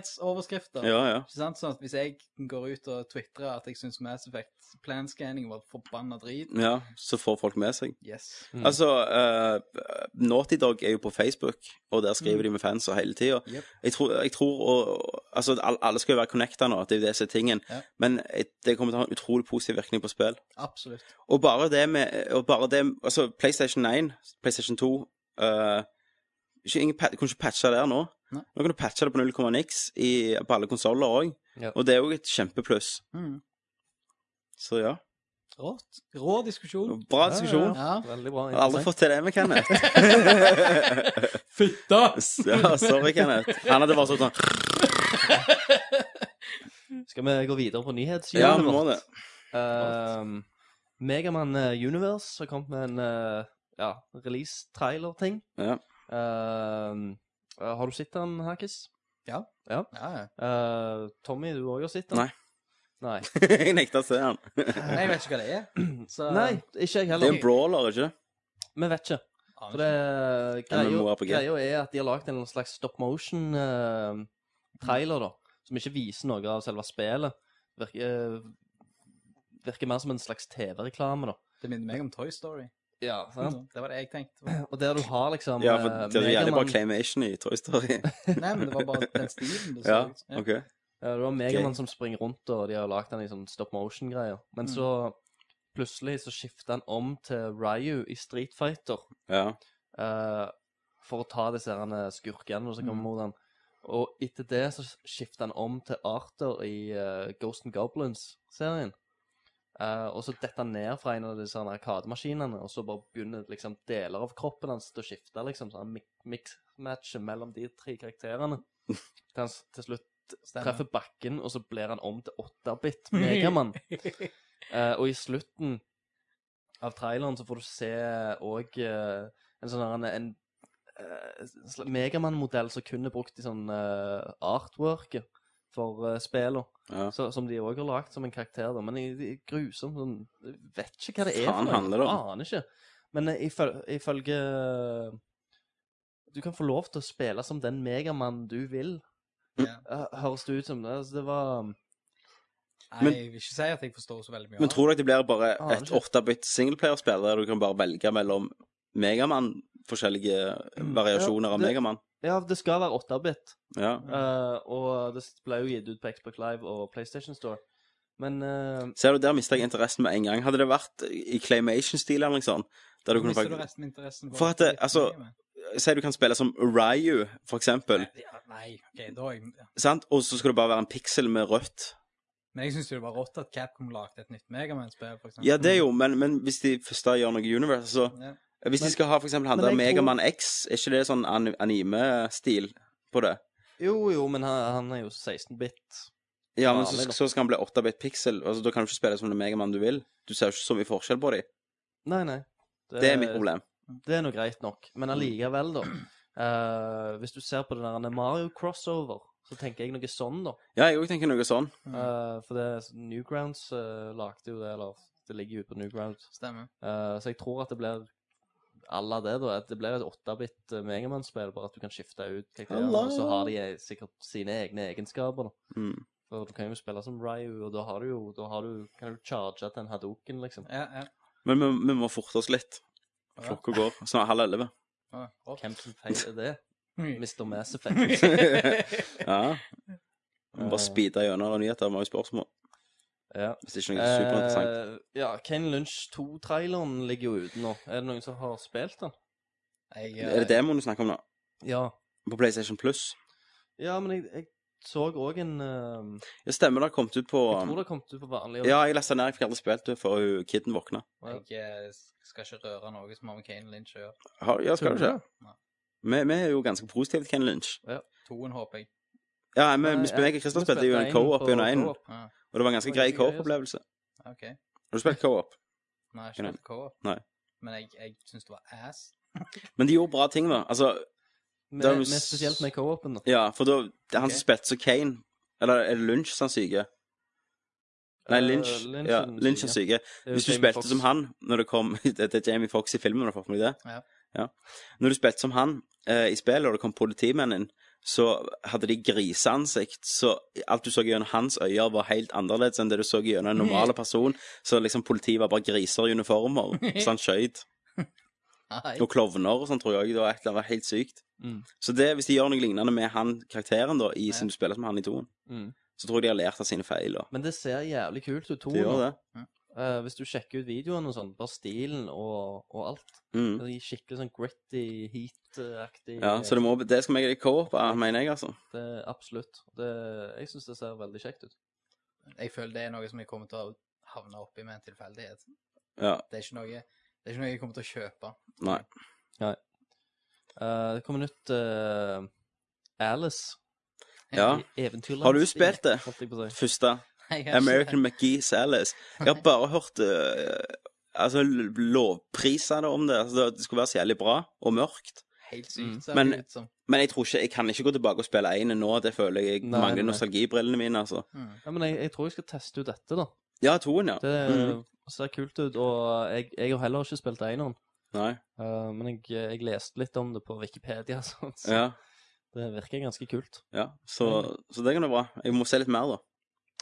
H: nyhetsoverskrifter.
G: Ja, ja.
H: Ikke sant? Sånn at hvis jeg går ut og twitrer at jeg syns Mass Effect planscanning var forbanna drit
G: ja så får folk med seg.
H: Yes.
G: Altså, eh, Naughty Dog er jo på Facebook, og der
H: Mm.
G: skriver de med fanser hele tida.
H: Jep.
G: Jeg tror, jeg tror og, altså, al- alle skal jo være connecta nå, det er jo det som er tingen.
H: Ja.
G: Men jeg- det kommer til å ha en utrolig positiv virkning på spill.
H: Absolutt.
G: Og bare det med og bare det, Altså, PlayStation 1, PlayStation 2 eh, ikke, ingen, pat- Kunne ikke patcha der nå.
H: Nei.
G: Nå kan du patche det på 0, niks i, på alle konsoller òg.
J: Ja.
G: Og det er jo et kjempepluss.
H: Mm.
G: Så ja.
H: Rått. Rå diskusjon.
G: Bra diskusjon.
H: Ja.
I: Veldig bra.
G: Jeg har aldri fått til det med Kenneth.
H: Fitta!
G: ja, sorry, Kenneth. Han hadde bare sånn sånn
I: Skal vi gå videre på nyhetshjulet
G: Ja, vi må det.
I: Ehm, Megaman eh, Universe har kommet med en eh, ja, release-trailer-ting.
G: Ja.
I: Ehm, eh, har du sett den, Hakis?
H: Ja, ja.
I: Eh, Tommy, du òg har sett den?
G: Nei.
I: Nei.
G: Jeg nekta å se han.
H: Nei, jeg vet ikke hva det er. Så
I: Nei, Eh, ikke jeg
G: Det er
I: heller.
G: en brawler, ikke
I: Vi vet ikke.
H: Aner
I: For det greia,
G: MMORPG.
I: greia er at de har lagd en slags stop motion-trailer, da. Som ikke viser noe av selve spillet. Virker, eh, virker mer som en slags TV-reklame, da.
H: ikke. det minner meg om Toy Story.
I: Ja, sant?
H: Det var det jeg tenkte.
I: Og der du har liksom
G: Ja, for
I: eh,
G: det er jo jævlig bra
I: Megaman-
G: claymation i Toy Story.
H: Nei, men det var bare den stilen det så
G: ja,
H: ut. Ja.
G: ok.
I: Ja, det var Megaman som springer rundt, og de har lagd den i sånn stop motion-greier. Men
H: Mm.
I: så plutselig så skifter han om til Ryu i Street Fighter
G: Ja.
I: eh, for å ta disse herne skurkene som
H: Mm.
I: kommer mot han. Og etter det så skifter han om til Arthur i eh, Ghost and Goblins-serien. Eh, og så detter han ned fra en av disse herne arkademaskinene, og så bare begynner liksom deler av kroppen hans til å skifte, liksom. Så han mix-matcher mellom de tre karakterene. Til han s- til slutt treffer bakken, og så blir han om til 8-bit Megamann. Eh, og i slutten av traileren så får du se òg en sånn her en, en eh, sl- Megamann-modell som kun er brukt i sånn eh, artworket for uh, spillene.
G: ja.
I: Så, som de òg har lagd som en karakter, da. Men jeg, jeg er grusom sånn jeg Vet ikke hva det er
G: Faen
I: for
G: handler det om?
I: Aner ikke. Men eh, iføl- ifølge eh, Du kan få lov til å spille som den megamann du vil.
H: Ja.
I: Eh, Høres det ut som det? Altså, det var
H: Nei, jeg vil ikke si at jeg forstår så veldig mye av
G: Men tror du at det blir bare
I: Aner
G: et
I: ikke.
G: 8-bit singleplayerspill der du kan bare velge mellom Megamann, forskjellige eh, variasjoner av
I: det-
G: Megamann?
I: Ja, det skal være 8-bit.
G: Ja.
I: eh, og det ble jo gitt ut på Xbox Live og PlayStation Store. Men eh,
G: Ser du, der mista jeg interessen med en gang. Hadde det vært i claymation-stil eller noe sånt der du kunne
H: Mister du
G: faktisk...
H: resten av interessen?
G: For at det- altså- Si du kan spille som Ryu, for eksempel,
H: Ja, Nei, ok, da er jeg...
G: sant? og så skal du bare være en piksel med rødt.
H: Men jeg syns det var rått at Capcom lagde et nytt Megaman-spill, for eksempel.
G: Ja,
I: Mm.
G: det er jo, men, men hvis de først da gjør noe universe, så eh,
H: Ja.
G: Hvis de
I: Men-
G: skal ha for eksempel han
I: men
G: der
I: jeg tror-
G: Megaman X, er ikke det sånn an anime-stil på det?
I: Jo, jo, men han, han er jo 16-bit.
G: Ja, men
I: Ja,
G: så,
I: men-
G: så skal han bli 8-bit pixel. Altså, da kan du ikke spille som den Megaman du vil. Du ser jo ikke så mye forskjell på dem.
I: Nei, nei.
G: Det er mitt problem.
I: Det er nå greit nok, men allikevel, da. eh, hvis du ser på den der Mario crossover, så tenker jeg noe sånn, da.
G: Ja, jeg òg tenker noe sånn.
I: Eh, for det Newgrounds uh, lagde jo det, eller det ligger jo ute på Newgrounds.
H: Stemmer.
I: Eh, så jeg tror at det blir à la det, da. At det blir et 8-bit eh, Megaman-spill, bare at du kan skifte ut karakterene,
G: Alla.
I: og så har de eh, sikkert sine egne egenskaper, da.
G: Mm.
I: For du kan jo spille som Ryu, og da har du jo da har du, kan du charge til en Hadoken, liksom.
H: Ja, ja.
G: Men vi, vi må forte oss litt. Klokka går snart halv elleve.
H: Ja, rått.
I: Hvem som feiler det?
H: Mm.
I: Mr. Mass Effect.
G: Ja. Vi må bare speede gjennom alle nyheter. Vi har jo spørsmål.
I: Ja.
G: Hvis det ikke er noe superinteressant.
I: Eh, ja, Kane Lunch 2-traileren ligger jo ute nå. Er det noen som har spilt den?
H: Jeg,
G: Er det demoen du snakker om nå?
I: Ja.
G: På PlayStation Plus?
I: Ja, men jeg, jeg så òg en eh,
G: Ja, stemmer. Det har kommet ut på
I: Jeg tror det kom ut på vanlig
G: um, Ja, jeg leste den ned. Jeg fikk aldri spilt det før hun- kidden våkna.
H: Jeg eh, skal ikke røre noe som har med Kane Lynch å gjøre.
G: Har- Ja, skal du ikke?
H: Nei.
G: Vi, vi er jo ganske positive til Ken Lynch.
H: Toen, håper jeg.
G: Ja, men
I: Nei,
G: vi spil- meg og Kristian
I: vi
G: spilte jo
I: spilte
G: en
I: en
G: co-op
I: på
G: gjennom en,
I: co-op.
H: Ja,
G: og det var en ganske
I: Det var
G: grei
I: ganske gøy,
G: co-op-opplevelse.
H: OK.
G: Har du spilt co-op?
H: Nei, ikke
G: Nei.
H: helt co-op.
G: Nei.
H: Men jeg, jeg syns det var ass.
G: Men de gjorde bra ting, da. Altså,
I: Med,
G: det er jo
I: med,
G: s-
I: spesielt med co-open, da.
G: ja, for da det er Han
H: Ok.
G: som spilte som Kane Eller er det Lynch som er syke? Nei,
I: Eh,
G: Lynch.
I: Lynch
G: ja,
I: er den
G: Lynch er
I: syke.
G: syke.
I: Det er jo
G: Hvis du
I: Jamie
G: spilte
I: Foxx.
G: som han når det kom Det er Jamie Fox i filmen, har du fått med deg det?
H: Ja.
G: Når du spilte som han eh, i spillet, og det kom politimenn inn, så hadde de griseansikt, så alt du så gjennom hans øyne, var helt annerledes enn det du så gjennom en normal person. Så liksom politiet var bare griser i uniformer, så han skjøt.
H: Nei.
G: Og klovner og sånn, tror jeg. Det var, et, det var helt sykt.
I: Mm.
G: Så det, hvis de gjør noe lignende med han karakteren, da, i,
H: Ja.
G: som du spiller som han i toen,
I: Mm.
G: så tror jeg de har lært av sine feil. Da.
I: Men det ser jævlig kult ut.
G: De gjør
I: Tonen.
G: det.
I: Eh, hvis du sjekker ut videoen og sånn, bare stilen og, og alt.
G: Mm.
I: Det er skikkelig sånn gritty, heat-aktig.
G: Ja, så det, må, det skal vi co-oppe, mener jeg, altså.
I: Det er absolutt. Det, jeg syns det ser veldig kjekt ut.
H: Jeg føler det er noe som jeg kommer til å havne oppi med en tilfeldighet.
G: Ja,
H: Det er ikke noe, det er ikke noe jeg kommer til å kjøpe.
G: nei.
I: Eh, det kommer nytt eh, Alice.
G: Ja.
I: Eventyrland.
G: Har du spilt det?
I: Holdt jeg på å si.
G: Første.
H: Nei, jeg har ikke-
G: American McGee Salas. Jeg har bare hørt eh, altså, l- lovpriser det om det. Altså, det skulle være så jævlig bra og mørkt.
H: Helt sykt, ser
G: Mm. Men-
H: det ut som.
G: Men jeg tror ikke, jeg kan ikke gå tilbake og spille én nå. Det føler jeg jeg
I: Nei,
G: mangler
I: nei.
G: nostalgibrillene mine. altså.
H: Mm.
I: Ja, men jeg, jeg tror jeg skal teste ut dette, da.
G: Ja, toen, ja.
I: Det
G: Mhm.
I: ser kult ut, og jeg, jeg har heller ikke spilt eineren.
G: Nei.
I: Eh, men jeg, jeg leste litt om det på Wikipedia, sånn, så
G: Ja,
I: det virker ganske kult.
G: ja. Så, så det kan være bra. Jeg må se litt mer, da.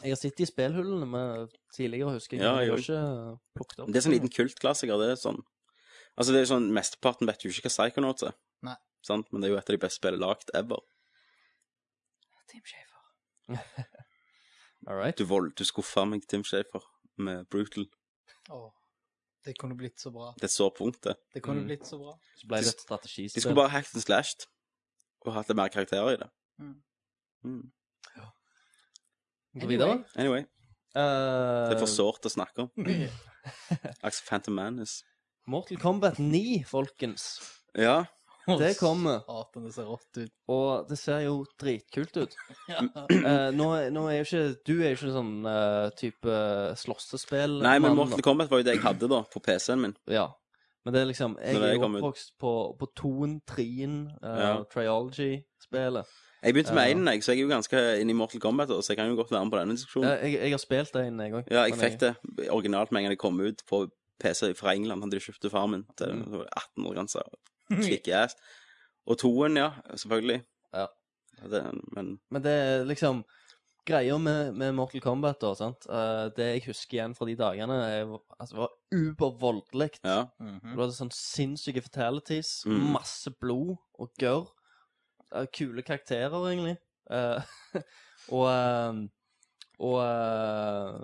I: Jeg har sittet i spillhullene med tidligere, husker jeg.
G: Ja,
I: men jeg har
G: jeg
I: ikke eh, plukket opp.
G: Det er sånn liten kultklassiker. Det er sånn Altså, det er sånn, Mesteparten vet jo ikke hva Psychonauts er.
H: Nei.
G: Sant? Men det er jo et av de beste spillene lagd ever.
H: Tim Schafer.
I: All right.
G: Du, vold, du skuffa meg, Tim Shafer, med Brutal.
H: Åh, det kunne blitt så bra.
G: Det er et sårt punkt, det.
H: Det kunne
I: Mm.
H: blitt så bra.
I: Så ble
G: De-
I: det et strategispill.
G: De skulle bare hacked and slashed og hatt litt mer karakterer i det.
I: Mm.
G: Mm.
I: Gå videre.
G: Anyway,
I: Eh,
G: det er for sårt å snakke om. Axe Phantom Manus.
I: Mortal Kombat 9, folkens.
G: Ja,
I: Det kommer.
H: Satan, det ser rått ut.
I: Og det ser jo dritkult ut. Eh, nå, nå er jo ikke Du er jo ikke sånn eh, type slåssespill.
G: Nei, men
I: mann,
G: Mortal Kombat var jo det jeg hadde da, på PC-en min.
I: Ja. Men det er liksom Jeg
G: Når det
I: er jo
G: kom ut.
I: oppvokst på, på toen, trien, eh,
G: Ja.
I: triology-spelet.
G: Jeg begynte med
I: Ja.
G: én, jeg, så jeg er jo ganske inne i Mortal Kombat, så jeg kan jo godt være med på denne
I: Ja,
G: diskusjonen.
I: jeg, jeg har spilt det en gang.
G: Ja, jeg
I: men
G: fikk det originalt med en gang det kom ut på PC fra England. Hadde de kjøpt det faren min til
I: Mm.
G: 18 år grensa. Kickass. Og toen, ja, selvfølgelig.
I: Ja.
G: Det, men
I: Men det er liksom Greia med, med Mortal Kombat, da, sant Eh, Det jeg husker igjen fra de dagene, er, jo- altså, det var ubervoldelig.
G: ja.
H: Mm.
I: Det
H: Mhm,
I: var sånn sinnssyke fatalities,
G: Mm.
I: masse blod og gørr. Eh, Kule karakterer, egentlig. Eh, og eh, og, eh,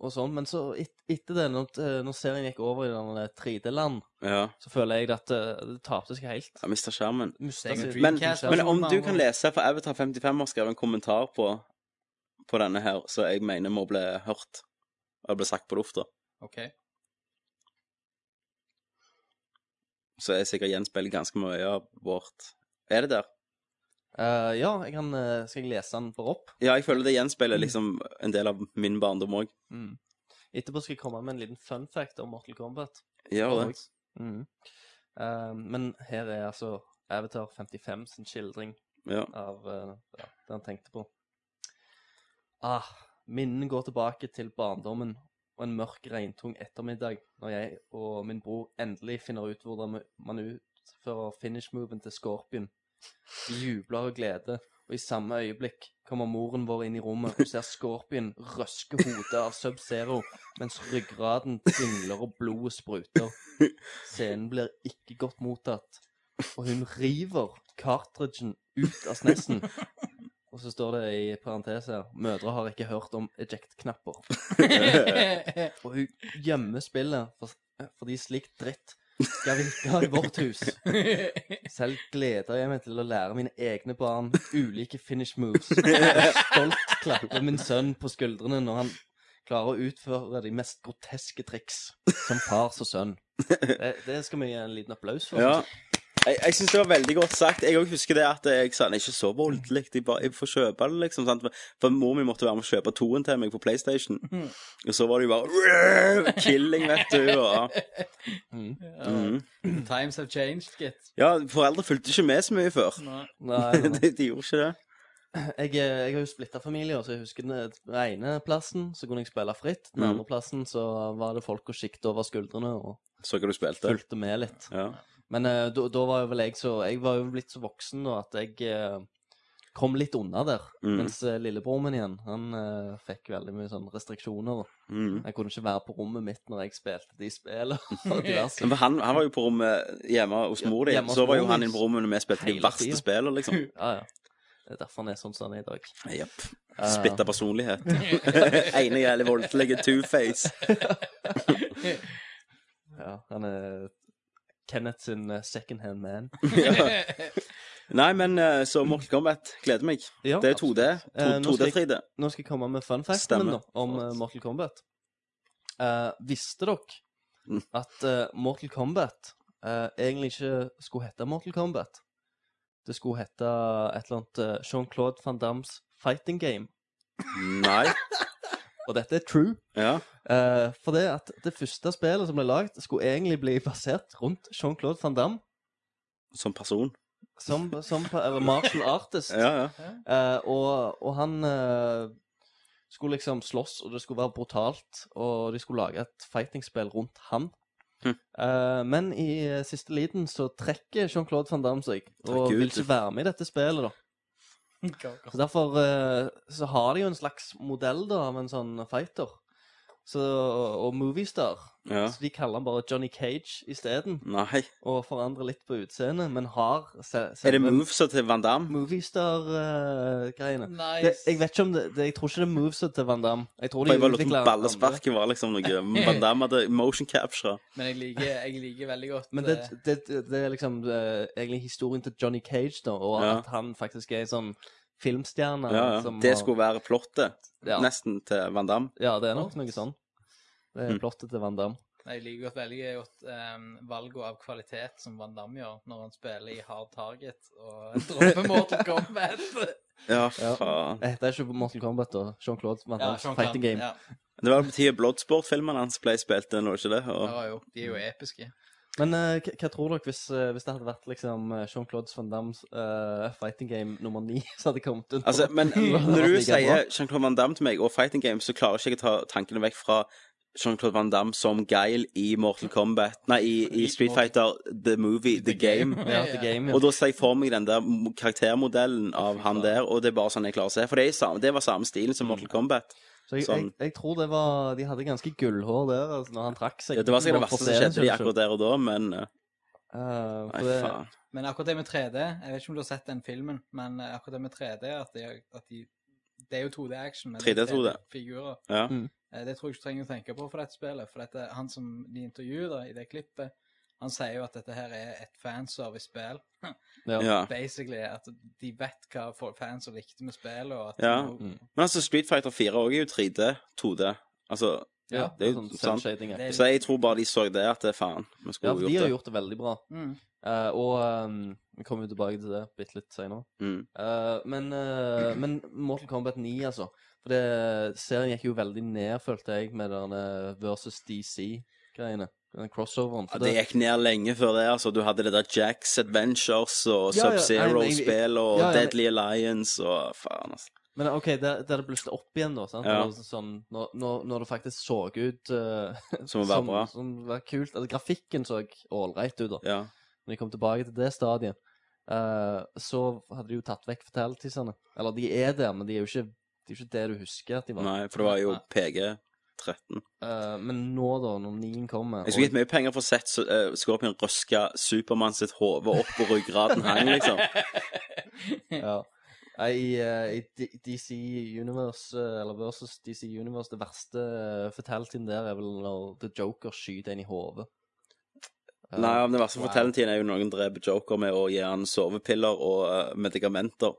I: og sånn. Men så et, etter det, når, eh, når serien gikk over i den der 3D-land,
G: ja.
I: så føler jeg at eh, det tapte seg helt.
G: Jeg mista skjermen.
I: Mista
H: Det er
I: sin-
H: jo
G: Men,
H: Dreamcast,
G: men
H: altså,
G: om
H: med
G: du
H: andre
G: kan
H: ord.
G: lese, for Avatar55 har skrevet en kommentar på, på denne her, så jeg mener må bli hørt. Og det ble sagt på lufta.
H: OK.
G: Så jeg sikkert gjenspeiler ganske mye av vårt Er det der?
I: Eh, ja, jeg kan, eh, skal jeg lese den bare opp?
G: Ja, jeg føler det
H: Mm.
G: gjenspeiler liksom en del av min barndom òg.
I: Etterpå skal jeg komme med en liten fun fact om Mortal Kombat.
G: Gjør det.
I: Eh, Mm. men her er altså Avatar 55 sin skildring
G: Ja.
I: av eh, ja, det han tenkte på. Ah, minnen går tilbake til barndommen og en mørk, regntung ettermiddag når jeg og min bror endelig finner ut hvordan man utfører finish-moven til Scorpion. Vi jubler av glede, og i samme øyeblikk kommer moren vår inn i rommet og ser Scorpion røske hodet av Sub-Zero mens ryggraden dingler og blodet spruter. Scenen blir ikke godt mottatt, og hun river cartridgen ut av snessen. Og så står det i parentes her Mødre har ikke hørt om eject-knapper. Og hun gjemmer spillet for, eh, fordi slik dritt skal vi ikke ha i vårt hus. Selv gleder jeg meg til å lære mine egne barn ulike finish moves. Og stolt klapper min sønn på skuldrene når han klarer å utføre de mest groteske triks som fars og sønn. Det, det skal vi gi en liten applaus for.
G: ja. Jeg, jeg syns det var veldig godt sagt. Jeg òg husker det at jeg sa det er ikke så voldelig. Jeg, bare, jeg får kjøpe det, liksom. Sant? For mor mi måtte være med og kjøpe toen til meg på PlayStation.
I: Mm.
G: Og så var det jo bare Killing, vet du. Og, Mhm.
H: The times have changed, gitt.
G: Ja, foreldre fulgte ikke med så mye før.
I: Nei, nei, nei.
G: de, de gjorde ikke det.
I: Jeg, eh, jeg har jo splitta familier, så jeg husker den eh, den ene plassen så kunne jeg spille fritt. Den
G: Mhm.
I: andre plassen så var det folk og sikta over skuldrene og
G: Så hva du spilte.
I: fulgte med litt.
G: Ja.
I: Men eh, da da var jo vel jeg så Jeg var jo blitt så voksen nå at jeg eh, kom litt unna der.
G: Mm.
I: Mens eh, lillebror min igjen, han eh, fikk veldig mye sånn restriksjoner. da.
G: Mm.
I: Jeg kunne ikke være på rommet mitt når jeg spilte de spillene. og diverse.
G: Men han, han var jo på rommet hjemme hos mor di.
I: Ja, hjemme hos
G: Så var
I: mor
G: jo
I: di.
G: han inne på rommet når vi spilte de
I: Hele
G: verste
I: tiden.
G: spillene, liksom.
I: Ja, ja. Det er derfor han er sånn som han er i dag.
G: Jepp.
I: Eh,
G: Splitta personlighet. Ene jævlig voldelige two-face.
I: Ja, han er Kenneth sin eh, second hand man.
G: Ja. Nei, men eh, så Mortal Kombat gleder meg.
I: Ja,
G: Det er 2D.
I: absolutt. Eh, nå skal jeg-
G: 2D-3D.
I: Nå skal jeg komme med fun facten min
G: Stemmer.
I: da, om eh, Mortal Kombat. Eh, visste dere
G: Mm.
I: at eh, Mortal Kombat eh, egentlig ikke skulle hete Mortal Kombat? Det skulle hete et eller annet eh, Jean-Claude Van Dams Fighting Game.
G: Nei.
I: Og dette er true.
G: Ja.
I: eh, for det at det første spillet som ble lagd, skulle egentlig bli basert rundt Jean-Claude Van Damme
G: Som person.
I: som, som pa- eller martial artist.
G: Ja, ja.
I: Eh, og, og han eh, skulle liksom slåss, og det skulle være brutalt. Og de skulle lage et fightingspill rundt han.
G: Hm.
I: Eh, men i eh, siste liten så trekker Jean-Claude van Damme seg, og
G: Trekker ut,
I: vil ikke
G: du.
I: være med i dette spillet. da
H: Hva-
I: Så Derfor eh, så har de jo en slags modell da av en sånn fighter. Så, og moviestar.
G: ja.
I: Så de kaller han bare Johnny Cage isteden,
G: Nei.
I: og forandrer litt på utseendet, men har se,
G: Er det
I: selve eh,
G: movesa til Van Damme?
I: moviestar-greiene. Det,
H: Nice.
I: jeg vet ikke om det, det Jeg tror ikke det er moveset til Van Damme. Jeg tror de
G: For jeg bare lot
I: utvikler andre.
G: ballesparket være liksom noe Van Damme hadde motion capture.
H: Men jeg liker, jeg liker veldig godt
I: Men det,
H: eh,
I: det, det er liksom eh, egentlig historien til Johnny Cage, da, og
G: Ja.
I: at han faktisk er en sånn filmstjerne.
G: Ja, ja.
I: som
G: Det
I: har-
G: skulle være plottet,
I: ja.
G: nesten, til Van Damme.
I: ja, det er nok noe sånn. Det er
G: Mm.
I: plottet til Van Damme.
H: Jeg liker godt veldig godt um, valget av kvalitet som Van Damme gjør når han spiller i Hard Target og dropper Mortal Kombat.
G: Ja,
I: Ja.
G: faen.
I: Det heter ikke Mortal Kombat, da. Jean-Claude Van
H: Ja,
I: Dammes
H: sånn kan-
I: Fighting Game.
H: Ja.
G: Det var på tide Bloodsport-filmene hans ble spilt inn, var det ikke det? Og...
H: Ja, jo, de er jo episke.
I: Men eh, hva- hva tror dere hvis, eh, hvis det hadde vært liksom eh, Jean-Claude Van Dammes eh, Fighting Game nummer ni som hadde kommet ut?
G: Altså, men
I: Det hadde
G: når
I: vært
G: du
I: like bra.
G: sier Jean-Claude Van Damme til meg og Fighting Games, så klarer ikke jeg å ta tankene vekk fra Jean-Claude Van Damme som Geil i Mortal Kombat Nei, i, i Street Fighter, The Movie, The Game.
I: ja, The Game, ja.
G: Og da ser jeg for meg den der mo- karaktermodellen av han der, og det er bare sånn jeg klarer å se. For det, er i samme, det var samme stilen som Mortal Kombat.
I: Så jeg, jeg,
G: Sånn.
I: jeg tror det var De hadde ganske gullhår der altså, når han trakk seg.
G: Ja, det var sikkert det
I: For
G: verste som
I: scenens
G: skjedde de
I: skyld.
G: akkurat der og da, men eh,
I: Eh,
G: Nei,
I: for det,
G: faen.
H: Men akkurat det med 3D Jeg vet ikke om du har sett den filmen, men eh, akkurat det med 3D at de, at de Det er jo 2D-action, men
G: 3D, 2D.
H: figurer.
G: Ja.
I: Mm.
H: Eh, Det tror jeg ikke du trenger å tenke på for dette spillet. For dette, han som de intervjuer da, i det klippet, han sier jo at dette her er et fanservice-spill.
I: ja.
G: Ja.
H: Basically at de vet hva folk- fans som likte med spillet, og at
G: Ja. Men
H: de-
G: altså, Street Fighter 4 også er jo 3D, 2D. Altså,
I: ja,
G: det er jo
I: sånn
G: sant.
I: selvshading, ja.
H: Det er-
G: Så jeg tror bare de så det at det, faen, vi
I: Ja,
G: skulle
I: for de har
G: gjort det.
I: gjort det veldig bra.
H: Mm.
I: Eh, og eh, vi kommer jo tilbake til det bitte litt senere.
G: Mm.
I: Eh, men, eh, men Mortal Kombat 9, altså. For det, serien gikk jo veldig ned, følte jeg, med den eh, versus DC-greiene. Den crossoveren.
G: Ja,
I: For
G: det gikk ned lenge før det. altså Du hadde det der Jacks Adventures og
I: Ja, ja, nei, men jeg-
G: Sub-Zero-spill og
I: Ja, ja, men-
G: Deadly Alliance og faen, altså.
I: Men eh, OK, der, der det blusset opp igjen, da. sant?
G: Ja.
I: Og Sånn, når, når, når det faktisk så ut eh,
G: Som å være bra.
I: Som var kult. Altså, grafikken så ålreit ut, da.
G: Ja.
I: Når de kom tilbake til det stadiet, eh, så hadde de jo tatt vekk fortellertissene. Eller de er der, men de er jo ikke det, er jo ikke det du husker at de var.
G: Nei, for det var jo PG-13.
I: Eh, men nå, da, når nien kommer
G: Jeg skulle gitt mye penger for å sett så, eh, Scorpion røske Supermann sitt hode opp og ryggraden hang, liksom.
I: Ja. Nei, I, eh, i D- DC Universe, eh, eller versus DC Universe, det verste uh, fortellertiden der er vel når The Joker skyter en i hodet. Eh,
G: Nei, men det verste for fortellingtiden er jo noen dreper Joker med å gi han sovepiller og eh, medikamenter.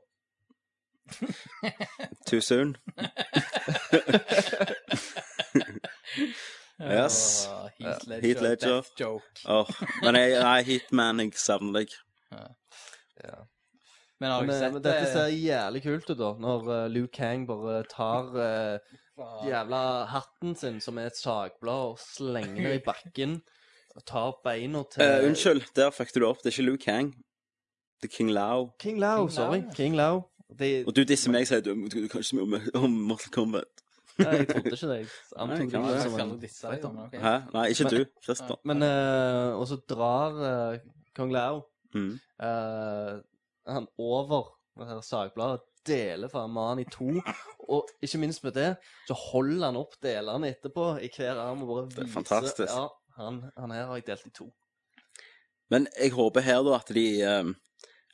G: Too soon. Yes.
H: Og Heath Ledger.
G: Heath Ledger.
H: Death joke.
G: Åh, Men jeg, nei, Hitman, jeg savner deg.
H: Men har du
I: Men, eh,
H: sett
I: men dette
H: det?
I: ser jævlig kult ut, da. Når eh, Liu Kang bare tar eh,
H: Faen.
I: jævla hatten sin, som er et sagblad, og slenger det i bakken. Og tar beina til
G: Eh, unnskyld, der fucket du opp. Det er ikke Luke Hang. Det er King Lao.
I: King Lao,
H: King Lao,
I: sorry.
H: ja.
I: King Lao. De,
G: Og du disser meg og sier du, du kan ikke så mye om- om Mortal Kombat.
I: nei, jeg trodde ikke det. Jeg
G: Nei,
I: antok
G: King
I: det
G: Lao.
I: var
H: Jeg
I: som
H: skal
I: en
H: aldri disse deg, Tom, men ok.
G: Hæ? Nei, ikke du, Christer.
I: Men eh, Og så drar eh, Kong Lao.
G: Mm.
I: Eh, han over det her sagbladet, deler faen meg han i to. Og ikke minst med det, så holder han opp delene etterpå i hver arm og bare
G: er
I: viser
G: fantastisk.
I: Ja, han, han her har jeg delt i to.
G: Men jeg håper her da at de eh,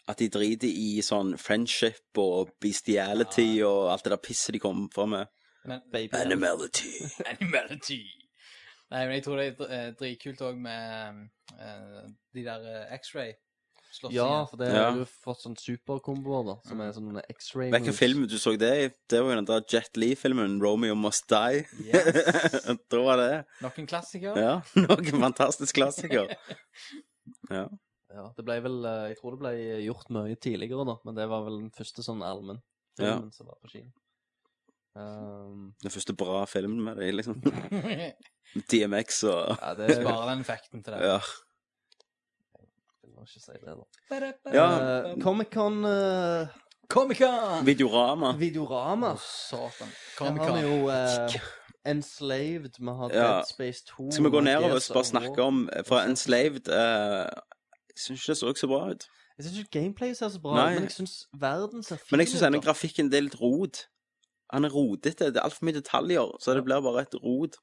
G: At de driter i sånn friendship og bestiality og alt det der pisset de kommer fra med.
H: Men,
I: Baby.
G: Animality.
H: Animality. Nei, men jeg tror det er dr- eh, dritkult òg med eh, de der eh, X-ray.
I: Ja, for det
G: Ja.
I: har du fått sånn superkomboer, da, som er sånne X-ray
G: Hvilken film du så det i? Det var jo den der Jet Lee-filmen, 'Romeo Must Die'.
H: Yes.
G: da var det
H: Nok en klassiker.
G: Ja, noen fantastisk klassiker.
I: Ja, det ble vel, eh, jeg tror det ble gjort mye tidligere da, men det var vel den første sånn allmenn
G: Ja.
I: filmen som var på kino. Um,
G: Den første bra filmen med det, liksom. DMX og
I: ja, det var
H: Bare den effekten til det.
G: Ja.
I: ikke si det da.
G: ja
I: Eh, Comic-Con, eh,
H: Comic-Con!
G: Videorama.
I: Videorama,
H: Satan.
I: Der har vi
H: Comic-Con.
I: jo eh, Enslaved, vi har
G: Ja.
I: Dead Space 2.
G: Skal vi gå
I: vi har
G: nedover og
I: Gears
G: bare
I: of
G: snakke
I: War.
G: om For Enslaved eh, Jeg syns ikke det så ikke så bra ut.
I: Jeg syns ikke gameplay ser så bra ut,
G: Nei.
I: men jeg syns verden ser fin ut.
G: Men jeg syns denne
I: da.
G: grafikken det er litt rot. Han er rodete. Det er altfor mye detaljer, så det blir bare et rot.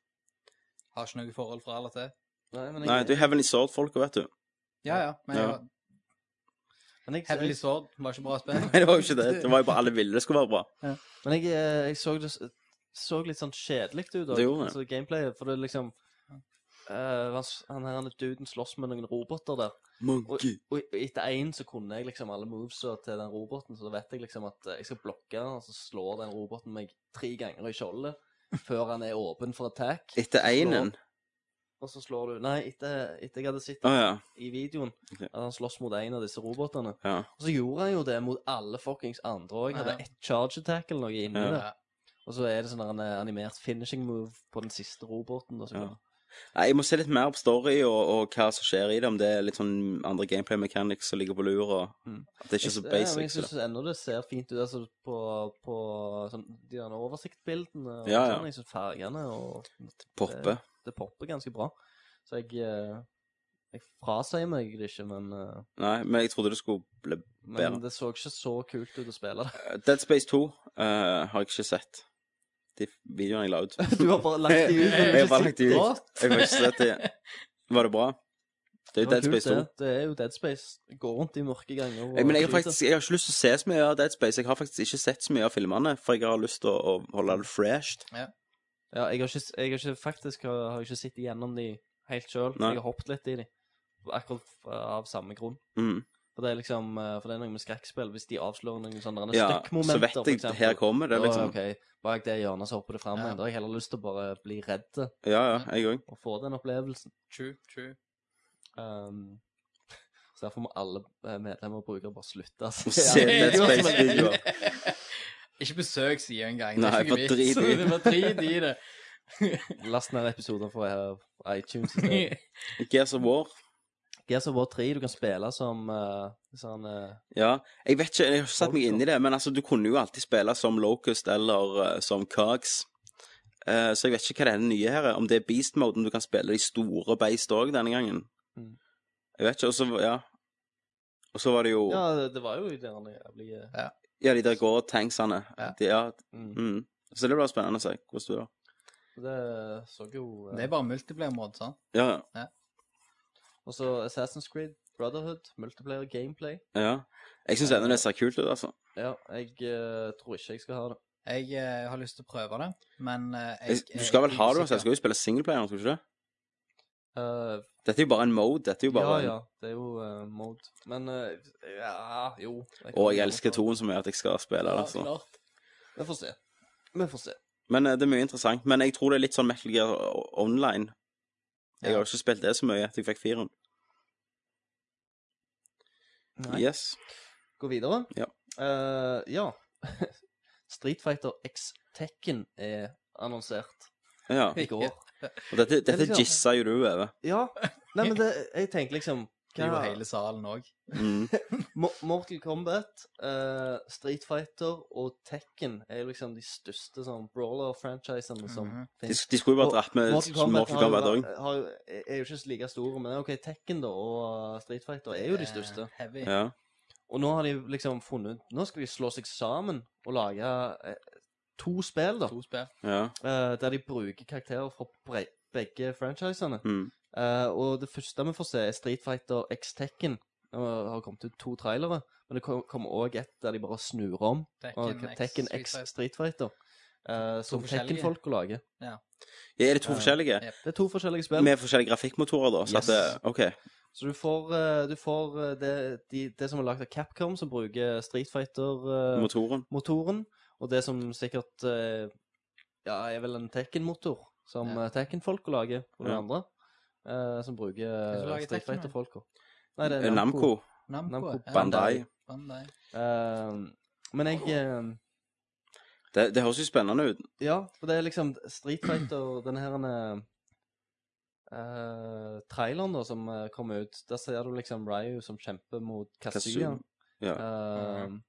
H: Har ikke noe forhold fra eller til.
I: Nei, men jeg,
G: Nei, du er Heavenly Sword-folka, vet du.
H: Ja, ja. Men
G: Ja.
H: ja.
I: men jeg,
H: Heavenly Sword var ikke bra spill.
G: Nei, det var jo ikke det. Det var jo bare alle ville det skulle være bra.
I: Men jeg, eh, jeg så det s- så litt sånn kjedelig ut. da.
G: Det gjorde det.
I: Altså, gameplayet, for det liksom eh, han s- Han her han duden slåss med noen roboter der.
G: Monkey.
I: Og og etter én så kunne jeg liksom alle movesa til den roboten, så da vet jeg liksom at eh, jeg skal blokke han, og så slår den roboten meg tre ganger i skjoldet før han er åpen for attack.
G: Etter einen.
I: Og så slår du Nei, etter, etter jeg hadde sett
G: Å ja.
I: i videoen
G: Ok.
I: at han slåss mot en av disse robotene,
G: ja.
I: og så gjorde han jo det mot alle fuckings andre òg. Hadde
H: Ja.
I: ett charge attack eller noe inni
G: Ja.
I: der. Og så er det sånn der en eh, animert finishing move på den siste roboten. Og så
G: Ja.
I: bare-
G: Nei, jeg må se litt mer på story og, og hva som skjer i det. Om det er litt sånn andre gameplay mechanics som ligger på lur, og
I: Mm.
G: at det er ikke er så
I: Jeg- ja, men
G: basic.
I: jeg
G: så det-
I: syns ennå det ser fint ut altså, på, på sånn, de der oversiktbildene. Og
G: Ja, ja.
I: Sånn, jeg synes fargene og det,
G: Poppe.
I: det popper ganske bra. Så jeg, eh, jeg frasier meg det ikke, men, eh,
G: Nei, men jeg trodde det skulle bli
I: men
G: Bedre.
I: det så ikke så kult ut å spille det.
G: Dead Space 2 eh, har jeg ikke sett. De videoene jeg la ut.
I: Du har bare lagt det ut. men
G: Jeg har bare
I: ikke
G: lagt det ut.
I: sett det.
G: Jeg har ikke sett det. Var det bra? Det er jo
I: Det var
G: Dead
I: kult,
G: Space 2.
I: det. Det er jo Dead Space. Gå rundt i mørke ganger. og
G: Jeg, men jeg, har
I: skyte.
G: faktisk, jeg har ikke lyst til å se så mye av Dead Space. Jeg har faktisk ikke sett så mye av filmene, for jeg har lyst til å, å holde det fresh.
I: Ja, jeg har ikke, jeg har ikke faktisk har, har ikke sittet gjennom de helt sjøl.
G: Nei.
I: Jeg har hoppet litt i de. Akkurat f- av samme grunn.
G: Mm.
I: For det er liksom eh, For det er noe med skrekkspill. Hvis de avslører noen sånne
G: Ja, så
I: stykkmomenter,
G: vet jeg at her kommer det,
I: Da,
G: liksom.
I: ok, Bak det hjørnet så hopper det fram.
H: Ja.
I: igjen. Da har jeg heller lyst til å bare bli redd og
G: Ja, ja, jeg òg.
I: få den opplevelsen.
H: True, true.
I: Um, så derfor må alle eh, medlemmer og brukere bare slutte. å
G: Å se
I: alle
G: Dead
I: videoer som er- sånn
G: Space-videoer.
H: Ikke besøk sida engang.
G: Nei,
H: Det er ikke
G: bare
H: vits.
G: drit i det.
H: Det er bare drit i det.
I: Last ned episoder fra eh, iTunes. i stedet.
G: Gears of War.
I: Gears of War 3 du kan spille som eh, sånn eh,
G: Ja. Jeg vet ikke, jeg har ikke satt meg inn i det, men altså, du kunne jo alltid spille som Locust eller eh, som Cogs. Eh, så jeg vet ikke hva det er det nye her er. Om det er beast mode, om du kan spille de store beist òg denne gangen.
I: Mm.
G: Jeg vet ikke. Og så, ja. Og så var det jo
I: Ja, det- det var jo gjerne jævlig eh,
G: Ja, de der går tanksene.
H: Ja.
G: De, ja.
I: mm.
G: Mm. Så det blir spennende å se hvordan du gjør.
I: Det så jo eh,
H: Det er bare multiplayer-mode, sant?
G: Ja,
I: Og så Assassin's Creed, Brotherhood, multiplayer gameplay.
G: ja. Jeg syns ennå det ser kult ut, altså.
I: Ja, jeg eh, tror ikke jeg skal ha det.
H: Jeg eh, har lyst til å prøve det, men eh,
G: Jeg,
H: jeg,
G: du skal vel
H: er
G: ha det, altså.
H: usikker.
G: Jeg skal jo spille singleplayeren, skal du ikke det?
I: Eh,
G: Dette er jo bare en mode. Dette er jo bare
I: Ja, ja, det er jo eh, mode. Men eh, ja, jo. kan
G: Og jeg
I: gjerne
G: elsker
I: ta det.
G: toen så mye at jeg skal spille det, altså.
H: klart.
I: Vi får se. Vi får se.
G: Men eh, det er mye interessant. Men jeg tror det er litt sånn Metal Gear o- Online. Jeg
H: Ja.
G: har jo ikke spilt det så mye etter jeg fikk firen.
I: Nei.
G: Yes.
I: Gå videre.
G: Ja.
I: Eh, ja. Street Fighter X Tekken er annonsert
G: Ja.
I: i går.
G: Og dette,
I: litt
G: dette
I: rart.
G: gissa jo du over.
I: Ja. Nei, men det, jeg tenker liksom
H: Det er jo hele salen òg.
G: Mm.
I: Mo- Mortal Kombat, eh, Street Fighter og Tekken er jo liksom de største sånn brawler-franchisene som
H: Mhm.
G: De,
I: finnes.
G: de skulle jo bare
I: Og
G: dratt med Mortal
I: har jo
G: Kombat òg.
I: vært- har jo- er jo ikke like store, men OK, Tekken da og eh, Street Fighter er jo de største.
H: eh, Heavy.
G: Ja.
I: Og nå har de liksom funnet ut Nå skal de slå seg sammen og lage eh, to spill, da.
H: To spill.
G: ja.
I: eh, der de bruker karakterer fra bre begge franchisene.
G: Mm.
I: Eh, og det første vi får se, er Street Fighter X Tekken. Det har kommet ut to trailere, men det kom- kommer òg et der de bare snur om. Og
H: Tekken X,
I: Tekken
H: Street
I: X
H: Fighter.
I: Street Fighter. eh, som
H: forskjellige.
I: Tekken-folk lager.
G: Ja, Er det to forskjellige?
H: ja.
I: Det er to forskjellige spill.
G: Med forskjellige grafikkmotorer, da? Så at
I: Yes.
G: det, OK.
I: Så du får, eh, du får eh, det, de, det som er lagd av Capcom, som bruker Street eh, Fighter-motoren,
G: Motoren.
I: og det som sikkert eh, ja, er vel en Tekken-motor, som
H: Ja.
I: eh, Tekken-folk lager, og det
G: Ja.
I: andre, eh, som bruker
H: er det som
I: eh,
H: lager
I: Street
H: Tekken, da?
I: Fighter-folka. Nei,
G: Eh,
I: det er Namco.
G: Namco.
H: Namco,
I: Namco
H: ja.
G: Bandai.
H: Bandai.
I: Eh, men jeg eh,
G: Det, det høres jo spennende ut.
I: Ja, for det er liksom Street Fighter, den her eh, traileren da, som eh, kom ut, der ser du liksom Ryu som kjemper mot Kazuya.
G: Kazuya. Ja.
I: Eh,
H: Mhm.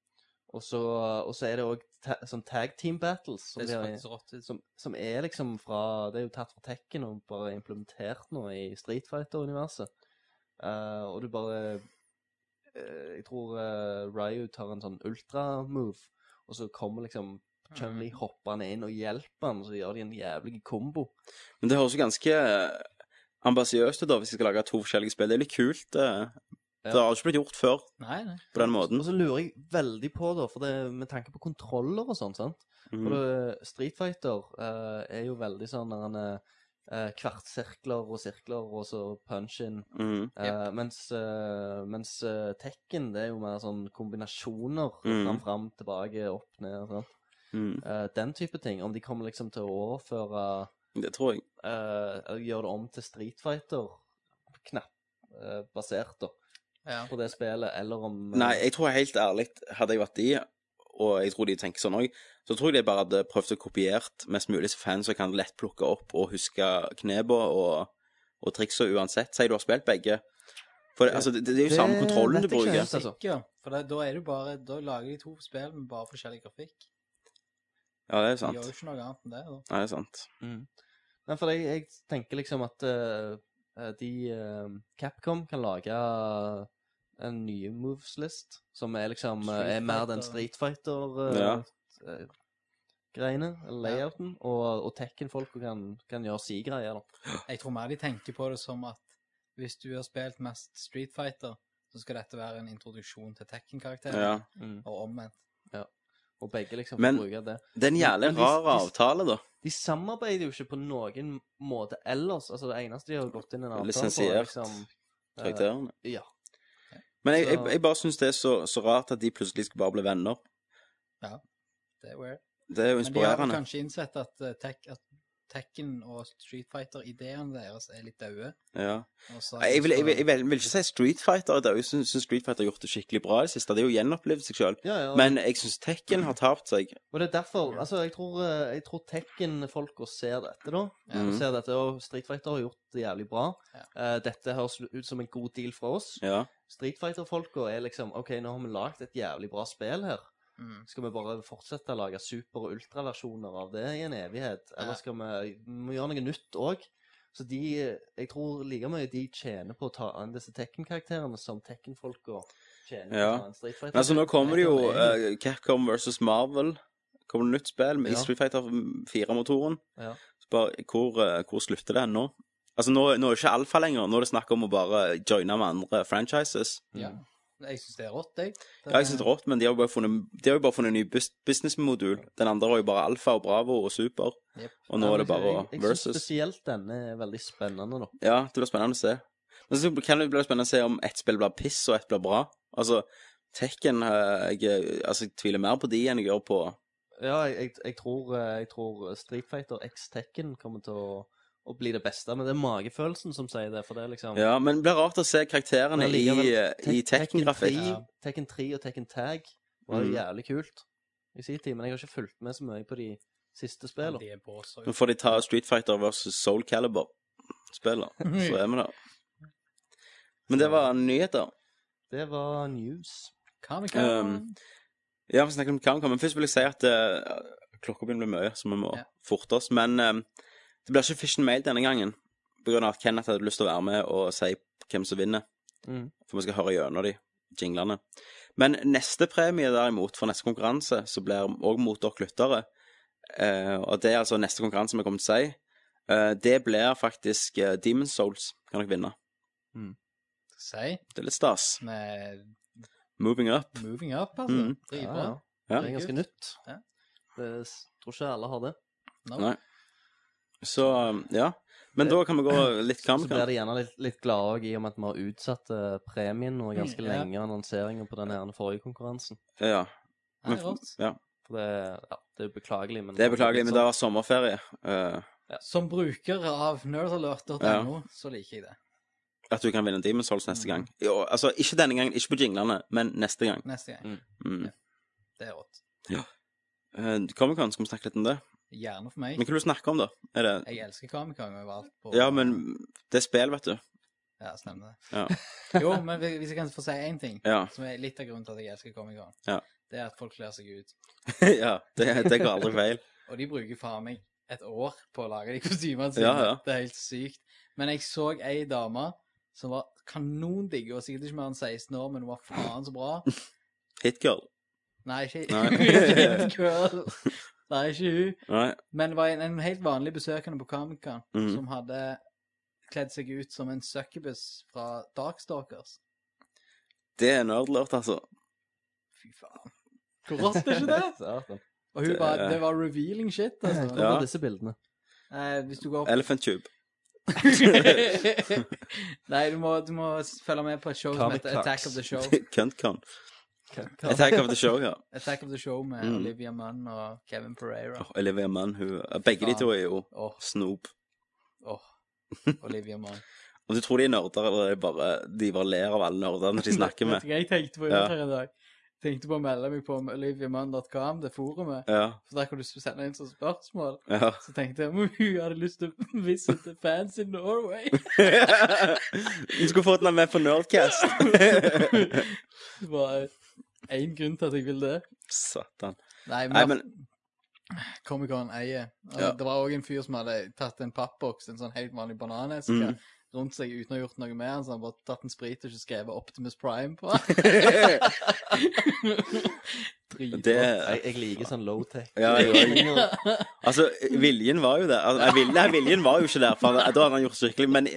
I: og, så, og så er det òg ta sånn tag team battles, som,
H: Det
I: de
H: ser
I: har-
H: faktisk rått ut.
I: som, som er liksom fra Det er jo tatt fra Tekken og bare implementert nå i Street Fighter-universet. Eh, og du bare eh, Jeg tror eh, Ryu tar en sånn ultra-move, og så kommer liksom Chun-Li hoppende inn og hjelper han, og så gjør de en jævlig kombo.
G: Men det høres jo ganske eh, ambisiøst ut, da, hvis de skal lage to forskjellige spill. Det er litt kult. Det, det har jo ikke blitt gjort før
H: Nei, nei.
G: på den måten.
I: Og så lurer jeg veldig på, da, for det med tanke på kontroller og sånn, sant
G: Mhm.
I: For det, Street Fighter eh, er jo veldig sånn der han eh, kvartsirkler og sirkler, og så punch-in.
G: Mhm.
I: Eh, mens eh, mens eh, Tekken det er jo mer sånn kombinasjoner.
G: Mm.
I: Fram, fram, tilbake, opp, ned. Sant?
G: Mhm.
I: Eh, den type ting. Om de kommer liksom til å overføre
G: Det tror jeg.
I: eh, eller Gjøre det om til Street Fighter-knapp eh, basert da,
H: Ja.
I: på det spillet, eller om eh,
G: Nei, jeg tror helt ærlig, hadde jeg vært de, og jeg tror de tenker sånn òg, så tror jeg de bare hadde prøvd å kopiert mest mulig så fans som kan lett plukke opp og huske knepa og, og triksa uansett. Si du har spilt begge. For det, altså, det, det er jo
I: Det
G: samme kontrollen
I: vet
G: du
I: jeg ikke
G: bruker.
I: helt. altså.
H: Sikker. For da, da er det jo bare Da lager de to spill med bare forskjellig grafikk.
G: Ja, det er
H: De gjør
G: sant.
H: jo ikke noe annet enn det. da.
G: Nei, det er sant.
H: Mm.
I: Nei, for jeg, jeg tenker liksom at eh, eh, de eh, Capcom kan lage eh, en ny moveslist, som er liksom eh, er
H: Street
I: mer den
H: Fighter.
I: Street
G: Ja.
I: Fighter-greiene, eller layouten, og, og Tekken-folk kan, kan gjøre si greier, da.
H: Jeg tror mer de tenker på det som at hvis du har spilt mest Street Fighter, så skal dette være en introduksjon til Tekken-karakteren,
G: Ja.
H: og omvendt.
I: Og begge liksom
G: Men-
I: får bruke det.
G: Det er en jævlig
I: Men de-
G: rar
I: de-
G: avtale, da.
I: De samarbeider jo ikke på noen måte ellers. Altså, det eneste de har gått inn i en avtale
G: Lisensiert
I: på, er liksom, eh,
G: Karakterene.
I: Ja.
G: Men jeg,
I: så-
G: jeg, jeg bare syns det er så, så rart at de plutselig skal bare bli venner.
H: Det er weird.
G: Det er jo
H: Men de har vel
G: inspirerende.
H: kanskje innsett at, eh, tek, at Tekken og Street Fighter-ideene deres er litt døde.
G: Ja.
H: og så-
G: Nei, Jeg vil, jeg, vil, jeg vil, vil ikke si Street Fighter. Det er jo- Jeg syns syns Street Fighter har gjort det skikkelig bra i det siste. Det er jo gjenopplevd seg sjøl.
I: Ja, ja, og-
G: Men jeg syns Tekken har tapt seg.
I: Og det er derfor altså Jeg tror, eh, jeg tror Tekken-folka ser dette, da.
G: Ja.
I: De Ser dette, og Street Fighter har gjort det jævlig bra. Eh, dette høres ut som en god deal fra oss.
G: Ja.
I: Street Fighter-folka er liksom OK, nå har vi lagd et jævlig bra spill her.
H: Mm.
I: Skal vi bare fortsette å lage super- og ultraversjoner av det i en evighet? Eller
H: Ja.
I: skal vi, vi må gjøre noe nytt òg? Så de Jeg tror like mye de tjener på å ta an disse Tekken-karakterene som Tekken-folka tjener på
G: Ja.
I: å ta an Street Fighter.
G: Men altså, nå kommer det jo eh, Capcom versus Marvel. Kommer det nytt spill med
I: Ja.
G: Street Fighter 4-motoren?
I: Ja.
G: Så bare, hvor, eh, hvor slutter det nå? Altså, nå, nå er det ikke alfa lenger. Nå er det snakk om å bare joine med andre franchises.
H: Ja. Jeg syns det er rått, jeg.
G: Ja, jeg synes det er rått, men de har jo bare funnet, de har jo bare funnet en ny bus businessmodul. Den andre har jo bare alfa og bravo og super.
H: Jep.
G: Og nå
I: Ja,
G: er det
I: men
G: bare
I: jeg, jeg synes
G: versus.
I: Spesielt denne er veldig spennende, da.
G: Ja, det blir spennende å se. Men så kan det bli spennende å se om ett spill blir piss, og ett blir bra. Altså, Tekken eh, jeg, altså, jeg tviler mer på de enn jeg gjør på
I: Ja, jeg, jeg, jeg, tror, eh, jeg tror Street Fighter X Tekken kommer til å, å bli det beste, men det er magefølelsen som sier det, for det er liksom
G: Ja, men det blir rart å se karakterene
I: Men
G: i, eh,
I: allikevel,
G: i
I: Tek-
G: Tekken-grafikk.
I: 3,
H: Ja.
I: Tekken 3 og Tekken Tag var
G: Mm.
I: jo jævlig kult i sin tid, men jeg har ikke fulgt med så mye på de siste
H: Men
I: spillene.
H: De er båser.
G: Nå får de ta Street Fighter versus Soul Calibur-spiller, så er vi der. Men det var nyheter.
I: Det var news.
H: Comic
G: Um, Ja, vi snakker om Kamcom, men først vil jeg si at eh, klokka begynner å bli mye, så vi må
H: Ja.
G: forte oss. Men eh, det blir ikke Fish and Mail denne gangen, på grunn av at Kenneth hadde lyst til å være med og si hvem som vinner.
I: Mhm.
G: For vi skal høre gjennom de jinglene. Men neste premie, derimot, for neste konkurranse, så blir òg mot dere lyttere. Eh, og det er altså neste konkurranse vi kommer til å si. Eh, det blir faktisk uh, Demon Souls kan dere vinne.
H: Si
G: Det er litt stas.
H: med
G: Moving up.
H: Moving Up, altså.
G: Mm.
H: Dritbra.
G: Ja.
I: Det er ganske nytt.
H: Ja.
I: Det s- tror ikke alle har det.
H: No.
G: Nei. Så um, ja. Men
I: Det-
G: da kan vi gå litt
I: Så blir
G: kamp.
I: de gjerne litt, litt glade også i og med at vi har utsatt eh, premien og ganske
H: Mm, ja.
I: lenge annonseringen på den her forrige konkurransen.
G: Ja.
H: Nei, rått.
I: For det, ja, det er jo beklagelig, men
G: Det er beklagelig, men det
I: Sånn.
G: var sommerferie. Eh,
H: Som bruker av nerdalert.no, så liker jeg det.
G: at du kan vinne Demon's Souls neste
H: Mm.
G: gang. Jo, altså, ikke denne gangen, ikke på jinglene, men neste gang.
H: Neste gang.
G: Mm.
H: Ja. Det er rått.
G: Eh, Comic-Con, skal vi snakke litt om det?
H: Gjerne for meg.
G: Men hva vil du snakke om, da? Er det
H: Jeg elsker Comic Con overalt. På...
G: Ja, men det er spill, vet du.
H: Ja, stemmer det.
G: Ja.
H: jo, men hvis jeg kan få si én ting,
G: Ja.
H: som er litt av grunnen til at jeg elsker Comic Con,
G: Ja.
H: det er at folk kler seg ut.
G: ja det, det går aldri feil.
H: Og de bruker faen meg et år på å lage de kostymene sine.
G: Ja, ja.
H: Det er helt sykt. Men jeg så ei dame som var kanondigg, og sikkert ikke mer enn 16 år, men hun var faen så bra.
G: Hitgirl.
H: Nei, ikke
G: Nei.
H: Ikke girl. Nei, ikke hun.
G: Nei.
H: Men det var en, en helt vanlig besøkende på Comic-Con
G: Mhm.
H: som hadde kledd seg ut som en succubus fra Darkstalkers.
G: Det er nerdlurt, altså.
H: Fy faen. Hvor rått er ikke det?
I: Satan.
H: Og hun
G: Det-
H: bare Det var revealing shit, altså.
I: Hvor
G: Ja.
I: var disse bildene?
H: Eh, hvis du går
G: Elephant Tube.
H: Nei, du må, du må følge med på et show som
I: Comic
H: heter
I: Clarks.
H: Attack of the Show.
G: Cuntcon.
I: Hva-
G: Attack of the Show, ja.
H: Attack of the Show med
G: Mm.
H: Olivia Munn og Kevin Pereira.
G: Åh, Olivia Munn, hun Begge de to er jo
H: Åh,
G: snop.
H: åh. Olivia Munn.
G: Om du tror de er nerder, eller er det bare, de bare ler av alle nerdene de snakker
H: Vet
G: med.
H: du hva jeg tenkte på i
G: Ja.
H: dag her i dag? Tenkte på å melde meg på oliviamunn.com, det forumet.
G: Ja,
H: For der kan du sende inn sånne spørsmål.
G: ja.
H: Så tenkte jeg om hun hadde lyst til å visite fans in Norway.
G: Du skulle fått henne med på Nerdcast.
H: Det var én grunn til at jeg ville det.
G: Satan.
H: Nei,
G: Nei,
H: men,
G: men
H: Comic-Con eier. Og
G: Ja.
H: Det var òg en fyr som hadde tatt en pappboks, en sånn helt vanlig bananeske,
G: Mm.
H: rundt seg uten å ha gjort noe med den, så han bare tatt en sprit og ikke skrevet Optimus Prime på den. Dritbra.
G: det
I: Jeg, jeg liker sånn low-tech.
G: Ja, jo, jo. Altså, viljen var jo der. Altså, nei, viljen, nei, viljen var jo ikke der, for han, da hadde han gjort skikkelig Men,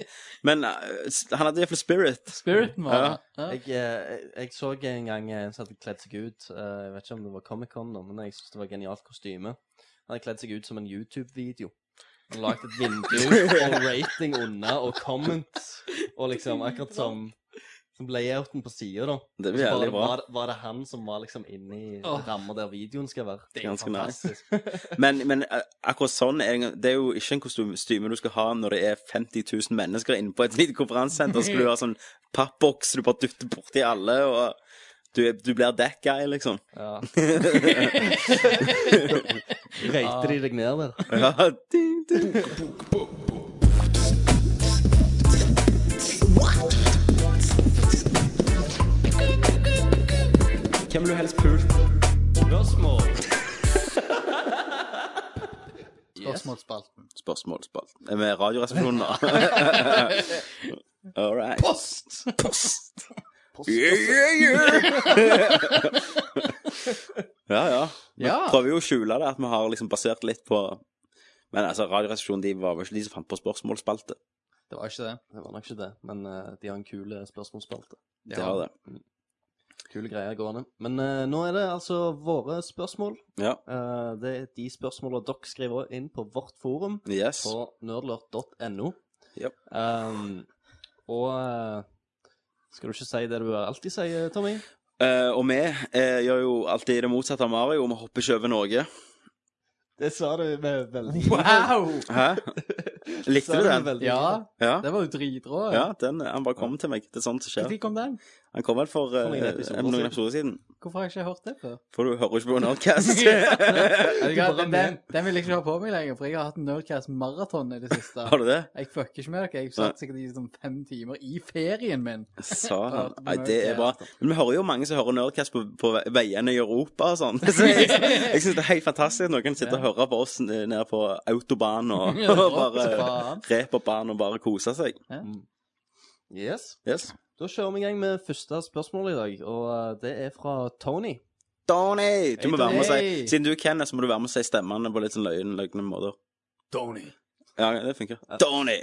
G: men eh, han hadde iallfall spirit.
H: Spiriten var
G: Ja.
H: det.
I: Jeg, eh, jeg, jeg så en gang en som hadde kledd seg ut eh, Jeg vet ikke om det var Comic-Con, da, men jeg synes det var et genialt kostyme. Han hadde kledd seg ut som en YouTube-video. Han lagde et vindu og rating unna og comment, og liksom akkurat som, som layouten på sida, da.
G: Det
I: Så
G: blir
I: bare
G: jævlig bra.
I: Var, var det han som var liksom inni
H: Åh.
I: ramma der videoen skal være?
H: Det er
G: Ganske
H: fantastisk.
G: Men, men eh, akkurat sånn er det, det er jo ikke en kostyme du skal ha når det er 50 000 mennesker inne på et lite konferansesenter. Så Skal du ha sånn pappboks du bare dytter borti alle, og du, er- du blir that guy, liksom.
I: Ja. Røyter de deg ned der?
G: Ja, ding, ding.
I: Hvem vil du helst pult? Spørsmål.
H: Spørsmålsspalten.
G: Spørsmålsspalt. Med radioresepsjonen, da. All right.
H: Post!
G: Post! Yeah, yeah, yeah. ja, ja. Vi
H: Ja.
G: prøver jo å skjule det, at vi har liksom basert litt på Men altså, Radioresepsjonen de var vel ikke de som fant på spørsmålsspalte.
H: Det var ikke det.
I: Det var nok ikke det, men eh, de har en kul eh, spørsmålsspalte.
G: Det har det.
I: Kule greier gående. Men eh, nå er det altså våre spørsmål.
G: Ja.
I: Eh, det er de spørsmålene dere skriver inn på vårt forum
G: Yes.
I: på nerdlert.no.
G: Japp.
I: Um, og eh, skal du ikke si det du alltid sier, Tommy?
G: Eh, og vi eh, gjør jo alltid det motsatte av Mario. Vi hopper ikke over Norge.
I: Det sa du med veldig
H: Wow!
G: Hæ? Likte du den?
H: Ja,
G: Ja.
H: det var jo dritrå.
G: ja den, han bare kom til meg. Det er sånt som skjer.
H: Når kom den?
G: Han kom vel for eh,
I: For noen episoder
G: noen
I: siden.
G: episoder siden.
H: Hvorfor har jeg ikke hørt det før?
G: For du hører ikke på Nerdcast.
H: Vet du hva, Den, den, den vil jeg ikke ha på meg lenger, for jeg har hatt Nerdcast-maraton i det siste.
G: Har du det?
H: Jeg fucker ikke med dere. Jeg satt sikkert i sånn fem timer i ferien min.
G: Sa han. Nei,
H: Ja, men
G: det
H: det
G: er
H: er
G: bra. Men vi hører jo mange som hører Nerdcast på, på ve- veiene i Europa og sånn. Så jeg, jeg syns det er helt fantastisk at noen sitter og hører på oss n- nede på autobahn og,
H: Ja, det er
G: og
H: bra.
G: bare
I: Faen.
G: reper barn og bare koser seg.
I: Yes.
G: Yes.
I: Da kjører vi i gang med første spørsmål i dag, og eh, det er fra Tony.
G: Tony! Du må
I: Hei,
G: være med og
H: Tony.
G: si Siden du er Kenneth, så må du være med og si stemmene på litt sånn løgn- løgne måter.
H: Tony.
G: Ja, det funker. Tony!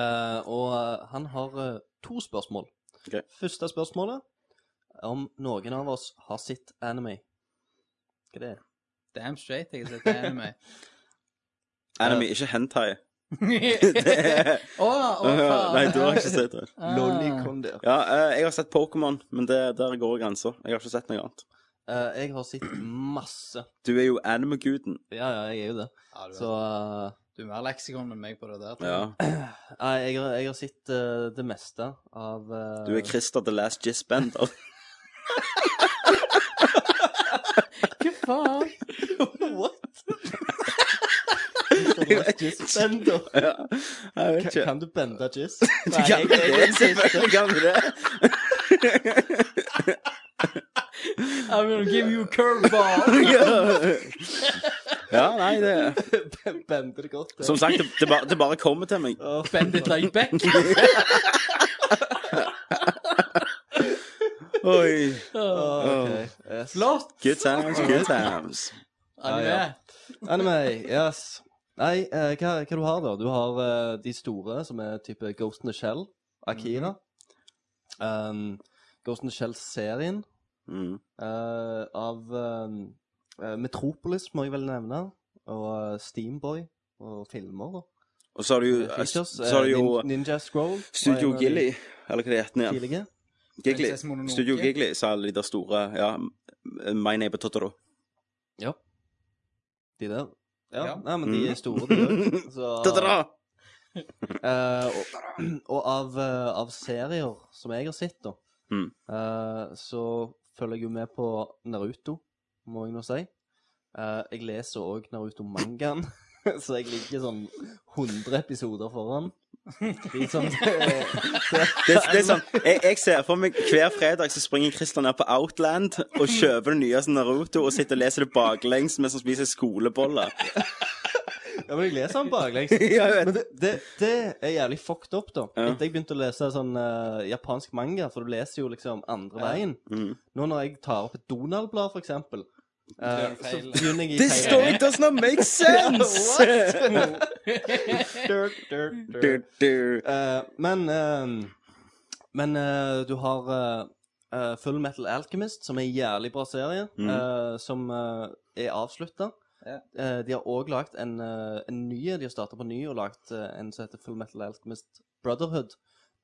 I: Eh, og eh, han har eh, to spørsmål.
G: Ok.
I: Første spørsmålet om noen av oss har sett anime. Hva det er
H: Damn straight, jeg har sett anime.
G: Anime, ikke hentai.
H: Å, å, faen.
G: Nei, du har ikke sett det.
H: Ah.
I: der.
G: Ja, eh, jeg har sett Pokémon, men det, der går grensa. Jeg har ikke sett noe annet.
I: Eh, jeg har sett masse.
G: Du er jo anime-guden.
I: Ja, ja, jeg er jo det.
H: Ja, du,
I: Så eh,
H: du er mer leksikon enn meg på det der. tror jeg.
G: Ja.
I: Nei, jeg, har- jeg har sett eh, det meste av eh,
G: Du er Christer the Last Jizz Bender.
H: Hva faen?
I: What?
G: Jeg vet
I: Bender.
G: Ja, jeg vet
I: Kan,
G: ikke.
I: kan du bende jizz?
G: Du kan
I: jeg-
G: det,
I: jeg er
G: selvfølgelig kan du det.
H: I'm gonna give you curveball.
G: Ja, nei, det
I: Ben- Bender det godt. det.
G: Som sagt, det, det, bare, det bare kommer til meg.
I: Å,
H: Bend it like back.
G: Oi.
I: ok, yes.
H: Flott.
G: Good times, good times.
H: Er du
I: Ja, ja.
H: med?
I: Anime, yes. Nei, eh, hva, hva du har da? Du har eh, de store, som er type Ghost in the Shell, Akira.
G: Mhm.
I: Um, Ghost in the Shell-serien
G: Mm.
I: eh, av um, eh, Metropolis, må jeg vel nevne. Og eh, Steamboy og filmer, da.
G: Og så har du jo,
I: Eh, Features.
G: så har du jo eh,
I: Nin- Ninja Scroll. var
G: Studio
I: en av de
G: Gilly, eller hva det heter igjen.
I: Tidlige.
G: Gigli.
H: Prinsesse Mononoke.
G: Studio Gigli, sa alle de der store Ja, My Neighbor Totoro.
I: De der. Ja,
H: Ja.
I: Nei, men de
G: Mm.
I: er store, de òg.
G: Totoro!
I: Eh, og, og av, eh, av serier som jeg har sett, da,
G: Mm.
I: eh, så følger jeg jo med på Naruto, må jeg nå si. Eh, jeg leser òg Naruto-mangaen, så jeg ligger sånn 100 episoder foran. Litt sånn
G: Det, det er sånn, jeg, jeg ser for meg hver fredag så springer Christian ned på Outland og kjøper det nyeste Naruto og sitter og leser det baklengs mens han spiser skoleboller.
I: Ja, men jeg leser den baklengs.
G: Ja, jeg vet.
I: Men det, det, det er jævlig fucked up, da.
G: Ja.
I: Etter jeg begynte å lese sånn eh, japansk manga, for du leser jo liksom andre veien.
G: Mm.
I: Nå når jeg tar opp et Donald-blad, for eksempel, eh,
H: er
I: så
H: feil.
I: begynner jeg i
G: This story does not make sense!
I: Dirt, dirt,
G: Du, du.
I: Eh, men eh, men eh, du har eh, eh, Full Metal Alchemist, som er en jævlig bra serie,
G: Mhm.
I: eh, som eh, er avslutta.
H: Ja.
I: Eh, de har òg lagd en, eh, en ny, de har starta på ny og lagd en som heter Full Metal Alchemist Brotherhood.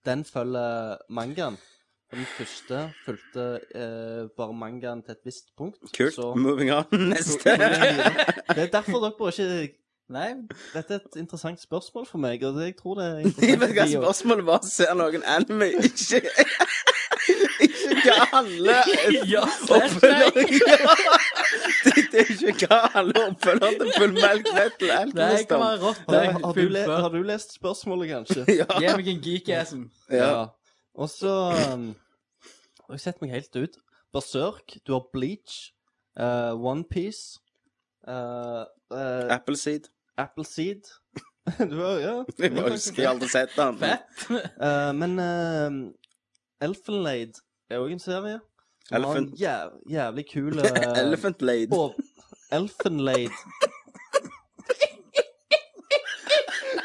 I: Den følger mangaen. Og Den første fulgte eh, bare mangaen til et visst punkt.
G: Kult. Mm.
I: Så,
G: Moving on. Neste.
I: det er derfor dere ikke
H: Nei,
I: Dette er et interessant spørsmål for meg, og det- jeg tror det er
G: Jeg vet hva
I: interessant. for de også.
G: spørsmålet var. Ser noen anime? Ikke Ikke hva alle
H: Ja,
G: oppfølgere Ja. Det det er ikke hva alle oppfølgere til full melk vet eller alt
H: det
G: visst
H: kan
G: om.
H: være rått.
I: Har,
H: det.
I: har, du le,
H: Fullfør.
I: har du lest spørsmålet, kanskje?
G: Ja.
H: Gi meg en geek-assen.
G: Ja.
I: Og så um, har jeg sett meg helt ut. Berserk, du har Bleach, uh, Onepiece, uh, uh,
G: Appleseed.
I: Appleseed Du har Ja.
G: Jeg bare husker jeg aldri sett den.
I: Uh, men uh, Elfenlade er òg en serie. Som har en
G: Elephant-
I: jæv, jævlig kul uh,
G: Elephant Lade.
I: Og Elfenlade.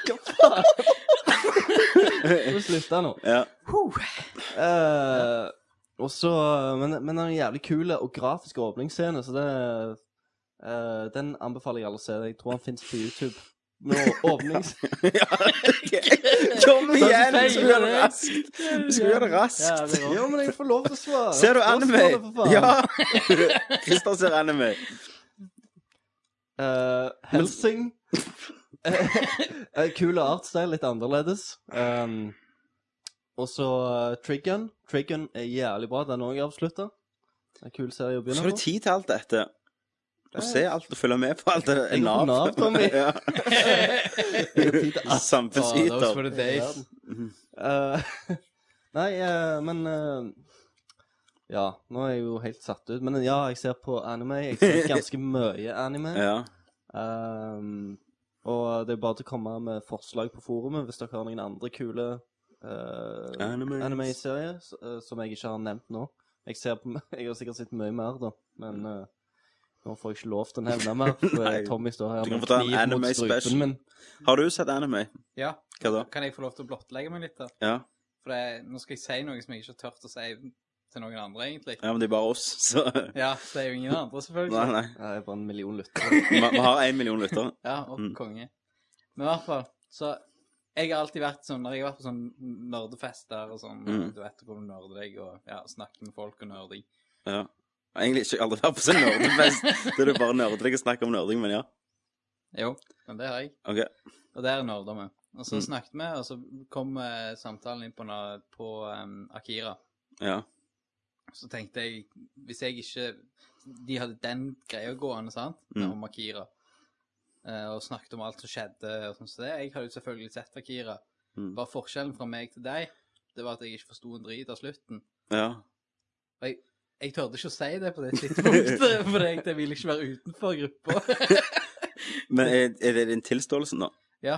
I: Hva faen? Må slutte nå.
G: Ja.
I: Eh, og så Men, men den er en jævlig kul og grafisk åpningsscene, så det eh, Den anbefaler jeg alle å se. Jeg tror han fins på YouTube. Med åpnings...
G: Kom igjen!
H: feil,
G: Vi skal gjøre det
H: det.
G: raskt. Vi skal gjøre det
H: Ja,
G: raskt.
H: det er
I: Jo,
H: rått.
I: men jeg får lov til å svare.
G: Ser du anime?
I: Spørsmålet, for faen.
G: Ja! Christer ser anime.
I: Eh, Helsing. Eh, Kul artstyle, litt annerledes. Um, og så eh, Trigun. Trigun er jævlig bra. Den er òg avslutta. Det er en kul serie
G: Så
I: å begynne
G: har du
I: på.
G: tid til alt dette. Å se alt og følge med på alt det der.
I: Jeg går på Nav, Tommy.
G: ja.
I: Jeg har tid til alt.
K: Oh, those were
G: Samfunnsyter.
K: the days.
I: Eh, nei, eh, men eh, Ja, nå er jeg jo helt satt ut. Men ja, jeg ser på anime. Jeg ser ganske mye anime.
G: Ja.
I: Ehm, og det er bare til å komme med forslag på forumet hvis dere har noen andre kule eh,
G: Animes.
I: anime-serier s- eh, som jeg ikke har nevnt nå. Jeg, ser på, jeg har sikkert sett mye mer, da, men eh, nå får jeg ikke lov til å nevne mer. For
G: Mm.
I: eh,
G: Nei.
I: Tommy står
G: Du
I: her
G: kan
I: med
G: få ta en
I: kniv mot
G: anime special.
I: strupen min.
G: Har du sett anime?
H: Ja.
G: Hva da?
H: Kan jeg få lov til å blottlegge meg litt? da?
G: Ja.
H: For det, nå skal jeg si noe som jeg ikke har tørt å si til noen andre, egentlig.
G: ja, men det er bare oss, så Nei,
H: Ja, det er jo ingen andre, selvfølgelig.
G: nei.
I: Jeg er bare en million lyttere.
G: Vi vi har én million lyttere.
H: Ja, og
G: Mm.
H: konge. Men i hvert fall, så Jeg har alltid vært sånn, når jeg har vært på sånn nerdefester og sånn,
G: Mm.
H: du vet hvor du nerder deg, og ja, snakker med folk og nerder deg.
G: Ja. Egentlig ikke aldri vært på sånn nerdefest. Det er det bare nerder jeg snakker om nerding, men ja.
H: Jo, men det har jeg.
G: OK.
H: Og der nerder vi. Og så
G: Mm.
H: snakket vi, og så kom eh, samtalen inn på, na- på em, Akira.
G: Ja.
H: Så tenkte jeg, hvis jeg ikke De hadde den greia gående, sant,
G: Mm.
H: om Akira. Eh, og snakket om alt som skjedde og sånn som det. Jeg hadde jo selvfølgelig sett Akira.
G: Mm.
H: Bare forskjellen fra meg til deg, det var at jeg ikke forsto en drit av slutten.
G: Ja.
H: Jeg tørde ikke å si det på det tidspunktet, for jeg jeg ville ikke være utenfor gruppa.
G: Men er, er det din tilståelse nå?
H: ja,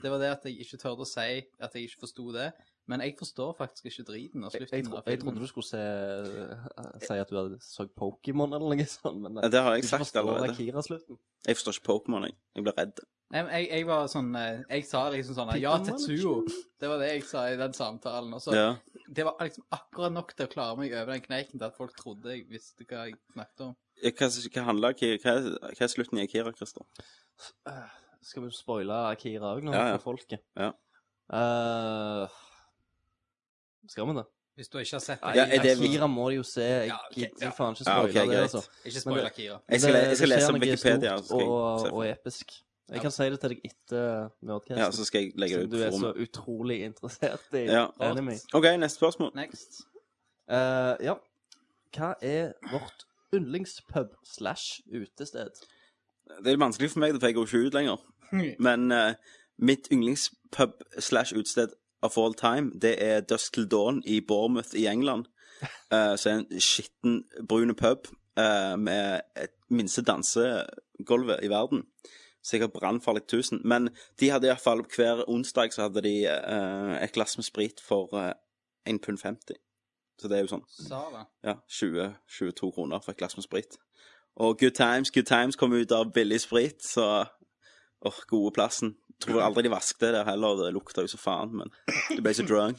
H: det var det at jeg ikke tørde å si at jeg ikke forsto det. Men jeg forstår faktisk ikke driten av
I: Jeg,
H: slutten
I: jeg, tro,
H: av
I: jeg trodde
H: filmen.
I: du skulle se, eh, si at du hadde så Pokémon eller noe sånt, men eh,
G: Ja, Det har
I: du
G: jeg sagt
I: forstår
G: allerede.
I: Akira-slutten.
G: Jeg forstår ikke Pokémon, jeg. Jeg blir redd.
H: Nei, men jeg, jeg var sånn eh, Jeg sa liksom sånn Ja,
I: Pikmin
H: Tetsuo. Det var det jeg sa i den samtalen. Og så
G: Ja.
H: Det var liksom akkurat nok til å klare meg over den kneiken til at folk trodde jeg visste hva jeg snakket om.
G: Hva, hva handler Akira hva, er- hva er slutten i Akira, Christer?
I: Eh, Skal vi spoile Akira òg nå,
G: Ja, ja.
I: for folket?
G: Ja.
I: Eh, skal vi det?
H: Hvis du ikke har sett
G: Ja, er det
I: Akira må de jo se. Jeg
H: altså- Ja, ok,
I: gidder
H: ja.
I: faen ikke
G: Ja,
I: spoile
G: ok,
I: det,
G: greit.
I: altså.
H: Ikke
I: spoil
H: spoil
I: det-
H: Akira.
G: Jeg skal,
I: Det-
G: le- jeg skal
I: det skjer
G: lese om
I: noe
G: Wikipedia. Så
I: stort
G: skal jeg se
I: og,
G: for-
I: og episk. Jeg
H: Ja.
I: kan si det til deg etter Nerdcast.
G: ja, så skal jeg legge det ut
I: siden du
G: på
I: er så
G: forumet.
I: utrolig interessert i
G: Ja.
I: anime.
G: OK, neste spørsmål.
H: Next.
I: Eh, ja. Hva er vårt yndlingspub slash utested?
G: Det er vanskelig for meg, for jeg går ikke ut lenger. Men eh, mitt yndlingspub slash utsted of all time, det er Dusk Till Dawn i Bournemouth i England. Uh, så er det en skitten, brun pub eh, med et minste dansegulvet i verden. Sikkert brannfarlig 1000. Men de hadde iallfall hver onsdag så hadde de eh, et glass med sprit for uh, 1 pund 50. Så det er jo sånn
H: Sara.
G: ja, 20, 22 kroner for et glass med sprit. Og Good Times, Good Times kom ut av billig sprit, så Åh, gode plassen. Tror aldri de vaskte det heller, det lukta jo så faen, men de ble så drunk.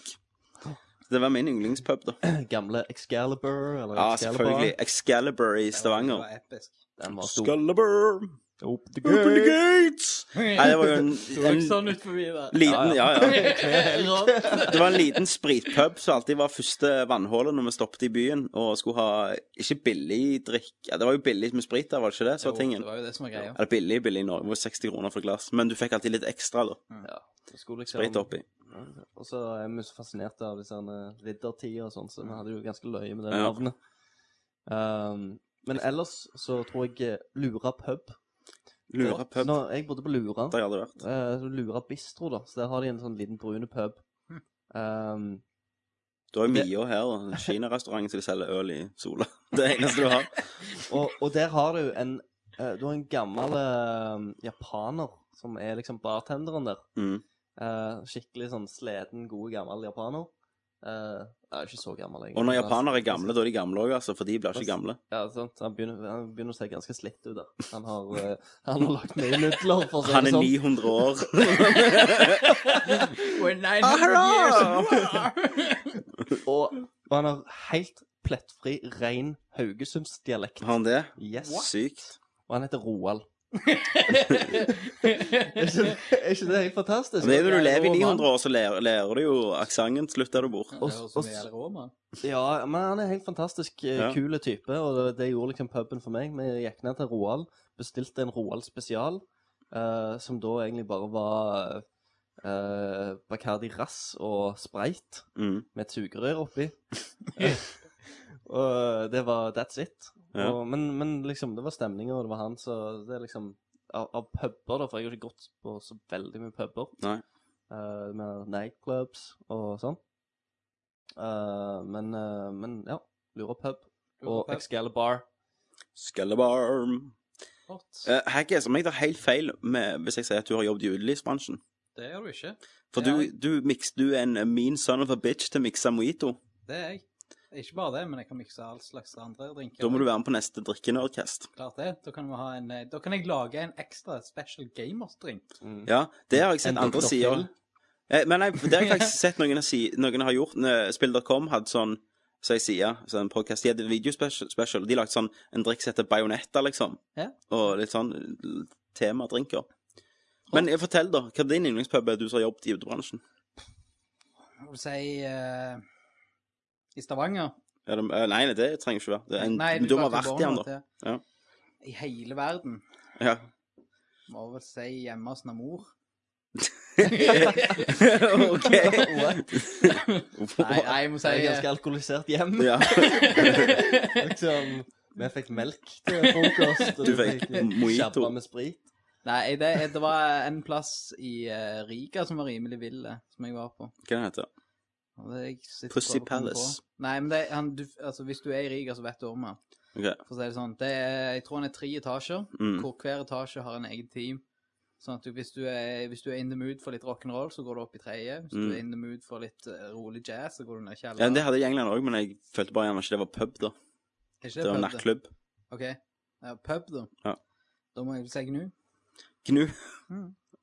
G: Så det var min yndlingspub, da.
I: Gamle Excalibur? Eller
G: Ja,
I: Excalibur?
G: selvfølgelig. Excalibur i
H: Det var
G: Stavanger.
H: episk.
I: Den var stor.
G: Excalibur,
I: Open the
G: open the
I: gate.
G: gates! Nei, det var jo en, en
H: sånn ut forbi der.
G: liten Ja, ja.
H: Rått.
G: Det var en liten spritpub som alltid var første vannhålet når vi stoppet i byen og skulle ha ikke billig drikk ja, Det var jo billig med sprit der, var det ikke det? Så var
H: Jo,
G: tingen.
H: Det var jo det som var greia.
G: Eller billig, billig i Norge. Det var 60 kroner for et glass. Men du fikk alltid litt ekstra, da.
I: Det skulle liksom-
G: Sprit oppi.
I: Og så er vi så fascinert av disse her riddertider og sånn, så vi hadde jo ganske løye med det
G: Ja.
I: navnet. Um, men ellers så tror jeg eh, Lura pub.
G: Lura
I: Det-
G: pub.
I: Når jeg bodde på Lura,
G: Der jeg hadde vært.
I: eh, Lura bistro, da, så der har de en sånn liten brune pub. Um,
G: Du har jo Mio her, da. En kinarestaurant som de selger øl i sola. Det eneste du har.
I: og, og der har du en eh, Du har en gammel eh, japaner som er liksom bartenderen der.
G: Mm.
I: Eh, skikkelig sånn sleden, god gammel japaner. Eh, jeg er ikke så gammel, egentlig.
G: Og når
I: men-
G: japanere er gamle, da er de gamle òg, altså. For de blir ikke gamle.
I: Ja, sant. Han begynner, han begynner å se ganske slitt ut der. Han har, eh, han har lagt mye nudler, for å si
G: Han
I: det
G: er
I: sånn.
G: 900 år.
H: We're 900
G: Ah, Ahara!
H: years apart.
I: Og, og han har helt plettfri, ren Haugesundsdialekt.
G: Har han det?
I: Yes.
G: Sykt.
I: Og han heter Roald. er, ikke, er ikke det helt fantastisk?
G: Men det er jo når du lever i
I: Og han-
G: 900 år, så lærer, lærer du jo aksenten til slutt der du bor.
H: Det
I: Og-
H: høres ut som
I: og-
H: en jævla rå mann.
I: Ja, men han er en helt fantastisk eh,
G: Ja.
I: kule type, og det, det gjorde liksom puben for meg. Vi gikk ned til Roald, bestilte en Roald spesial, eh, som da egentlig bare var eh, Bacardi Rass og Spreit.
G: Mm.
I: med et sugerør oppi. Eh, Og det var That's it.
G: Ja.
I: Og, men, men liksom, det var stemninga, og det var han, så det er liksom Av, av puber, da, for jeg har ikke gått på så veldig mye puber.
G: Nei.
I: Eh, med nightclubs og sånn. Eh, men, eh, men ja. Lura pub. Og Excalibur.
G: Skellebarm.
H: Hot.
G: Uh, Haggis, om jeg tar helt feil med, hvis jeg sier at du har jobbet i utelivsbransjen
H: Det gjør du ikke.
G: For
H: Ja.
G: du, du, miks- du er en eh, mean son of a bitch til å mikse mojito.
H: Det er jeg. Ikke bare det, men jeg kan mikse all slags andre drinker.
G: Da må du være med på neste drikkenørdcast.
H: Klart det. Da kan, vi ha en, eh, da kan jeg lage en ekstra special gamers-drink.
I: Mm.
G: Ja, det har jeg sett
I: En
G: andre
I: Dr.
G: sider.
I: Phil.
G: Eh, Men nei, det har jeg faktisk sett noen, har si, noen har gjort. Når Spill.com hadde sånn så jeg sier, så en podcast, De hadde en videospecial. og De lagde sånn en drikk som heter Bajonetta, liksom.
H: Ja.
G: Og litt sånn eh, temadrinker. Men eh, fortell, da. Hva er din yndlingspub er du som har jobbet i utebransjen?
H: Hva vil du si eh, I Stavanger.
G: Er det, eh, nei, nei, det trenger ikke være. Det er en,
H: Nei,
G: men du må ha vært
H: snakker barn,
G: i den, da.
H: vet du.
G: Ja.
H: I hele verden.
G: Ja.
H: Må vel si hjemme hos Namor.
G: OK.
H: Nei, nei, jeg må si
I: Det er ganske alkoholisert hjem.
G: ja.
I: liksom, vi fikk melk til frokost. og
G: Du fikk mojito.
I: Shabba med sprit.
H: eh, Nei, det, det var en plass i eh, Riga som var rimelig ville, som jeg var på.
G: Hva heter det?
H: Og det, jeg sitter
G: Pussy
H: bare og kommer
G: Palace.
H: på. Nei, men det, han, du, altså, hvis du er i Riga, så vet du om han.
G: Ok.
H: For å si det sånn. Det er, jeg tror han er tre etasjer,
G: Mm.
H: hvor hver etasje har en egen team. Sånn at du, hvis, du er, hvis du er in the mood for litt rock'n'roll, så går du opp i tredje. Hvis
G: Mm.
H: du er in the mood for litt eh, rolig jazz, så går du ned i
G: Ja,
H: kjelleren.
G: det hadde jeg i England òg, men jeg følte bare gjerne ikke det var pub, da.
H: Er
G: Det
H: ikke
G: var
H: pub,
G: nattklubb.
H: OK. Ja, pub, da.
G: Ja.
H: Da må jeg si Gnu.
G: Gnu.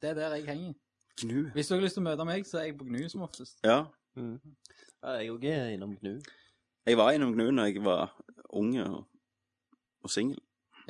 H: Det er der jeg henger.
G: Gnu.
H: Hvis du har lyst til å møte meg, så er jeg på Gnu som oftest.
G: Ja.
I: Mm. Ja, jeg òg er innom Gnu.
G: Jeg var innom Gnu når jeg var ung og, og singel.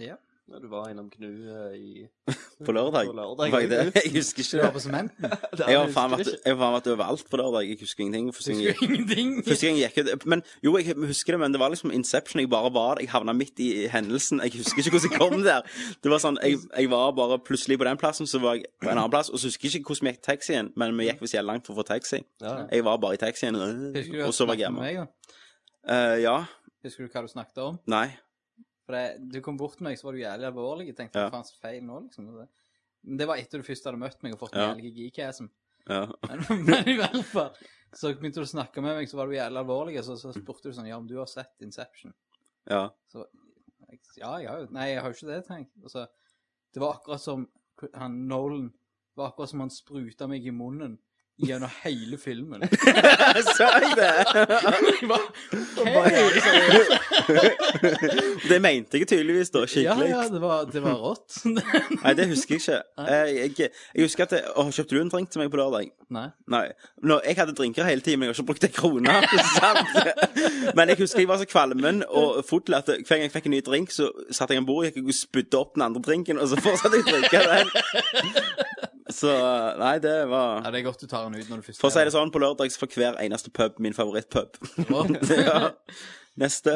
I: Ja, du var innom Gnu eh, i
G: På lørdag.
I: På lørdag,
G: Var jeg, det?
I: Gnu.
G: jeg husker ikke
H: Du var
G: det.
H: på sementen.
G: Jeg har faen vært, jeg har faen vært overalt på lørdag. Jeg husker ingenting. Første gang jeg,
H: Ingenting.
G: første gang jeg gikk ut Men jo, jeg husker det, men det var liksom Inception. Jeg bare var der. Jeg havna midt i hendelsen. Jeg husker ikke hvordan jeg kom der. Det var sånn, jeg, jeg var bare plutselig på den plassen, så var jeg på en annen plass. Og så husker jeg ikke hvordan vi gikk taxien, men vi gikk visst jævlig langt for å få taxi.
I: Ja.
G: Jeg var bare i taxien,
H: Husker du
G: og
H: at
G: så var
H: du
G: jeg
H: snakket med
G: hjemme.
H: meg, da?
G: Eh, ja.
H: Husker du hva du snakket om?
G: Nei.
H: For det, du kom bort til meg, så var du jævlig alvorlig. Jeg tenkte,
G: Ja.
H: hva faen så feil nå, liksom? Og det- Men det var etter du først hadde møtt meg og fått
G: Ja.
H: en jævlig geekasm.
G: Ja.
H: Men, men i hvert fall. Så begynte du å snakke med meg, så var du jævlig alvorlig, og så, så spurte du sånn, ja, om du har sett Inception?
G: ja.
H: Så, jeg, ja, jeg har jo, nei, jeg har jo ikke det, tenk. Og så, det var akkurat som han, Nolan, det var akkurat som han spruta meg i munnen gjennom hele filmen.
G: Sa jeg det?
H: Jeg var,
G: Det mente jeg tydeligvis da,
H: ja,
G: skikkelig.
H: ja, det var, det var rått.
G: Nei, det husker jeg ikke. Jeg, jeg, jeg husker at jeg, Å, kjøpte du en drink til meg på lørdag?
H: nei.
G: Nei. Nå, jeg hadde drinker hele tiden, men jeg har ikke brukt en krone. sant? Men jeg husker jeg var så kvalmen og full at hver gang jeg fikk en ny drink, så satte jeg en bord, gikk og spydde opp den andre drinken, og så fortsatte jeg å drikke den. Så nei, det
H: Ja,
G: var
H: det er godt du tar den ut når du først
G: For å si det sånn, på lørdag så får hver eneste pub min favorittpub. Ja. Neste.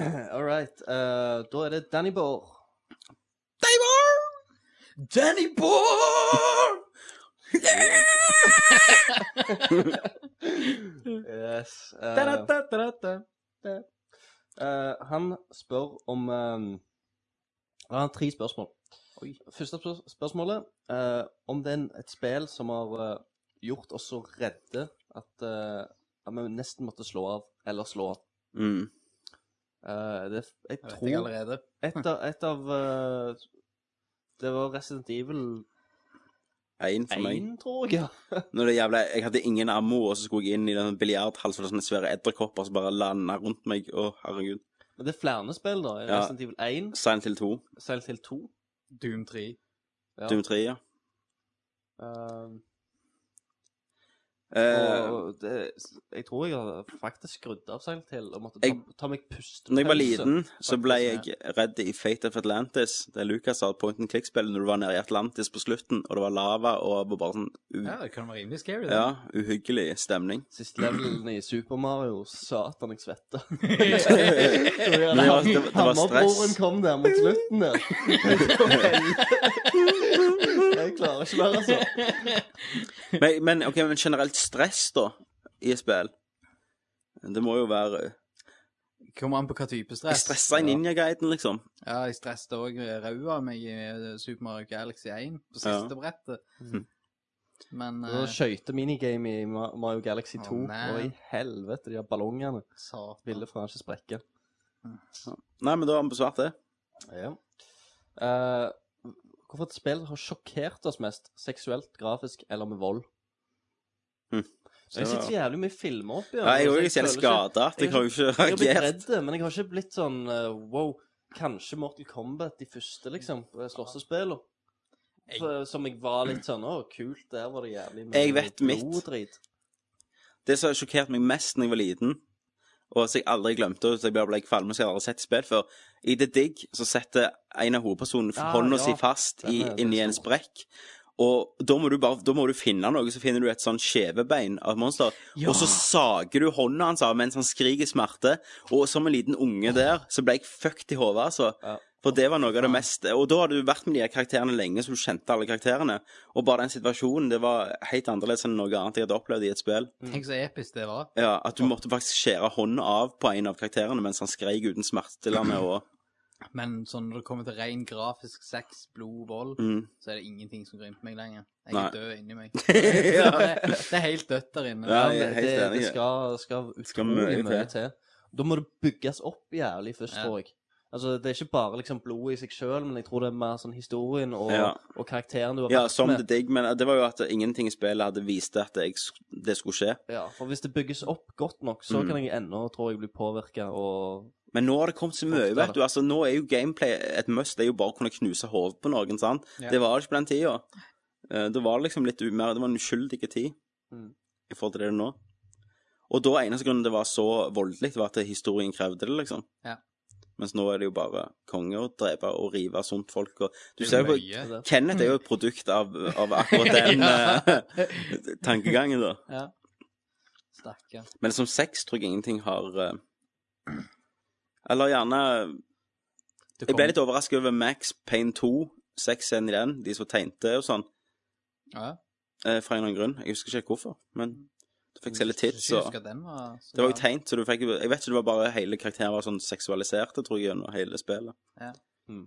I: All right. eh, da er det Danny Bohr.
H: Danny Bohr!
I: Yes. eh,
H: Da-da-da-da-da.
I: eh, han spør om eh, Han har tre spørsmål. Første spør- spørsmålet eh, om det er en- et spill som har eh, gjort oss så redde at, eh, at vi nesten måtte slå av, eller slå av.
G: Mm.
I: Eh, det,
H: Jeg
I: jeg
H: vet jeg
I: tror
H: allerede.
I: et av, et av eh, Det var Resident Evil
G: Én for meg.
I: 1, tror jeg.
G: Når det jævla, jeg hadde ingen ammo, og så skulle jeg inn i den biljardhalsen med sånne svære edderkopper som bare landa rundt meg. Å, herregud.
I: Men det er flere spill, da.
G: Ja.
I: Resident Evil 1,
G: Silent Hill 2,
I: Silent Hill 2
H: Doom 3.
I: ja.
G: Doom 3, ja.
I: eh,
G: Eh,
I: og det, jeg tror jeg har faktisk skrudd av Silent Hill og måtte ta,
G: Jeg-
I: ta meg pustepause.
G: når jeg var liten, så ble
I: faktisk,
G: jeg redd i Fate of Atlantis. Det er Lucas har point and click-spill når du var nede i Atlantis på slutten, og det var lava og var bare sånn u
H: Ja, det kan være rimelig scary, det.
G: ja, uhyggelig stemning.
I: Siste levelen i Super Mario, satan, jeg svetter.
G: Men det var- det var- det var stress.
I: Hammerbroren kom der mot slutten der. Jeg klarer ikke mer, altså.
G: Men, men, ok, men generelt stress, da, i et spill Det må jo være
H: Kommer an på hva type
G: Jeg
H: stress.
G: stressa i Ninja-guiden, liksom.
H: Ja, jeg stresset òg ræva av meg i eh, Super Mario Galaxy 1 på siste brettet. Men
I: Og
H: eh,
I: så skøyte minigame i Ma- Mario Galaxy
H: Å,
I: 2.
H: nei.
I: og i helvete, de der ballongene
H: satan.
I: ville faen ikke sprekke.
G: Nei, men da har vi besvart det.
I: Ja. Eh, hvorfor et spill har sjokkert oss mest seksuelt, grafisk eller med vold?
G: Hm.
I: Så jeg sitter så jævlig mye filmer oppi.
G: Nei, jeg er jo selv
I: altså, føler
G: skada. Jeg har jo ikke
I: Jeg har blitt
G: reagert.
I: redd, men jeg har ikke blitt sånn eh, Wow, kanskje Mortal Kombat de første, liksom, eh, slåssespillene. For- eh, Som jeg var litt sånn Å, kult, der var det jævlig mye
G: Jeg vet mitt.
I: blod og drit.
G: Det som sjokkerte meg mest da jeg var liten, og som jeg aldri glemte, og så jeg bare ble kvalm og jeg har aldri sett spill før I The Dig så setter en av hovedpersonene
I: Ja,
G: hånda
I: Ah, ja.
G: si fast i,
I: Den er- den er
G: inni en
I: stor.
G: sprekk. Og da må, du bare, da må du finne noe, så finner du et sånn skjevebein av et monster. Og så sager du hånda hans av mens han skriker smerte. Og som en liten unge der, så ble jeg fucked i hodet, altså.
I: Ja.
G: For det var noe av det mest Og da hadde du vært med de her karakterene lenge, så du kjente alle karakterene. Og bare den situasjonen, det var helt annerledes enn noe annet jeg hadde opplevd i et spill.
H: Tenk så episk det var.
G: Ja, at du måtte faktisk skjære hånden av på en av karakterene mens han skreik uten smertestillende og
H: Men sånn når det kommer til ren grafisk sex, blod, vold,
G: mm.
H: så er det ingenting som grymper meg lenger. Jeg
G: Nei.
H: er død inni meg.
G: Ja.
H: det, det er helt dødt der inne.
G: Ja,
I: Men
G: jeg er
I: det,
G: helt enig.
I: det skal, skal
G: Skal
I: utrolig
G: mye
I: mye
G: til.
I: til. Da må det bygges opp jævlig først,
H: Ja.
I: tror jeg. Altså, Det er ikke bare liksom blodet i seg sjøl, men jeg tror det er mer sånn historien og,
G: Ja.
I: og karakteren du har
G: ja,
I: vært
G: som
I: med.
G: det digg, men det var jo at ingenting i spillet hadde vist at jeg, sk- det skulle skje.
I: Ja, For hvis det bygges opp godt nok, så
G: Mm.
I: kan jeg ennå, tror jeg, bli påvirka og
G: Men nå har det kommet så mye,
I: Ofte er
G: vet du. Altså, nå er jo gameplay et must. Det er jo bare å kunne knuse hodet på noen, sant.
H: Ja.
G: Det var det ikke på den tida. Eh, Det var liksom litt u- mer Det var en uskyldig tid
I: Mm.
G: i forhold til det det er nå. Og da eneste grunnen det var så voldelig, var at historien krevde det, liksom.
H: Ja.
G: Mens nå er det jo bare konge å drepe og rive sunt folk og Du
H: Det er
G: ser jo på
H: mye.
G: Kenneth er jo et produkt av, av akkurat den
H: Ja.
G: eh, tankegangen, da.
H: Stakkar.
G: Men som sex tror jeg ingenting har eh, Eller gjerne
H: Det
G: Jeg ble
H: kom-
G: litt overrasket over Max Payne 2, sexscenen i den, de som tegnte og sånn,
H: ja.
G: eh, fra en eller annen grunn. Jeg husker ikke hvorfor, men du fikk se litt tits
H: Jeg
G: og
H: husker den var så
G: Det var jo
H: bra.
G: tegnt, så du fikk Jeg vet ikke, det var bare hele karakteren var sånn seksualiserte, tror jeg, gjennom hele spillet.
H: Ja. Hmm.
I: Mm.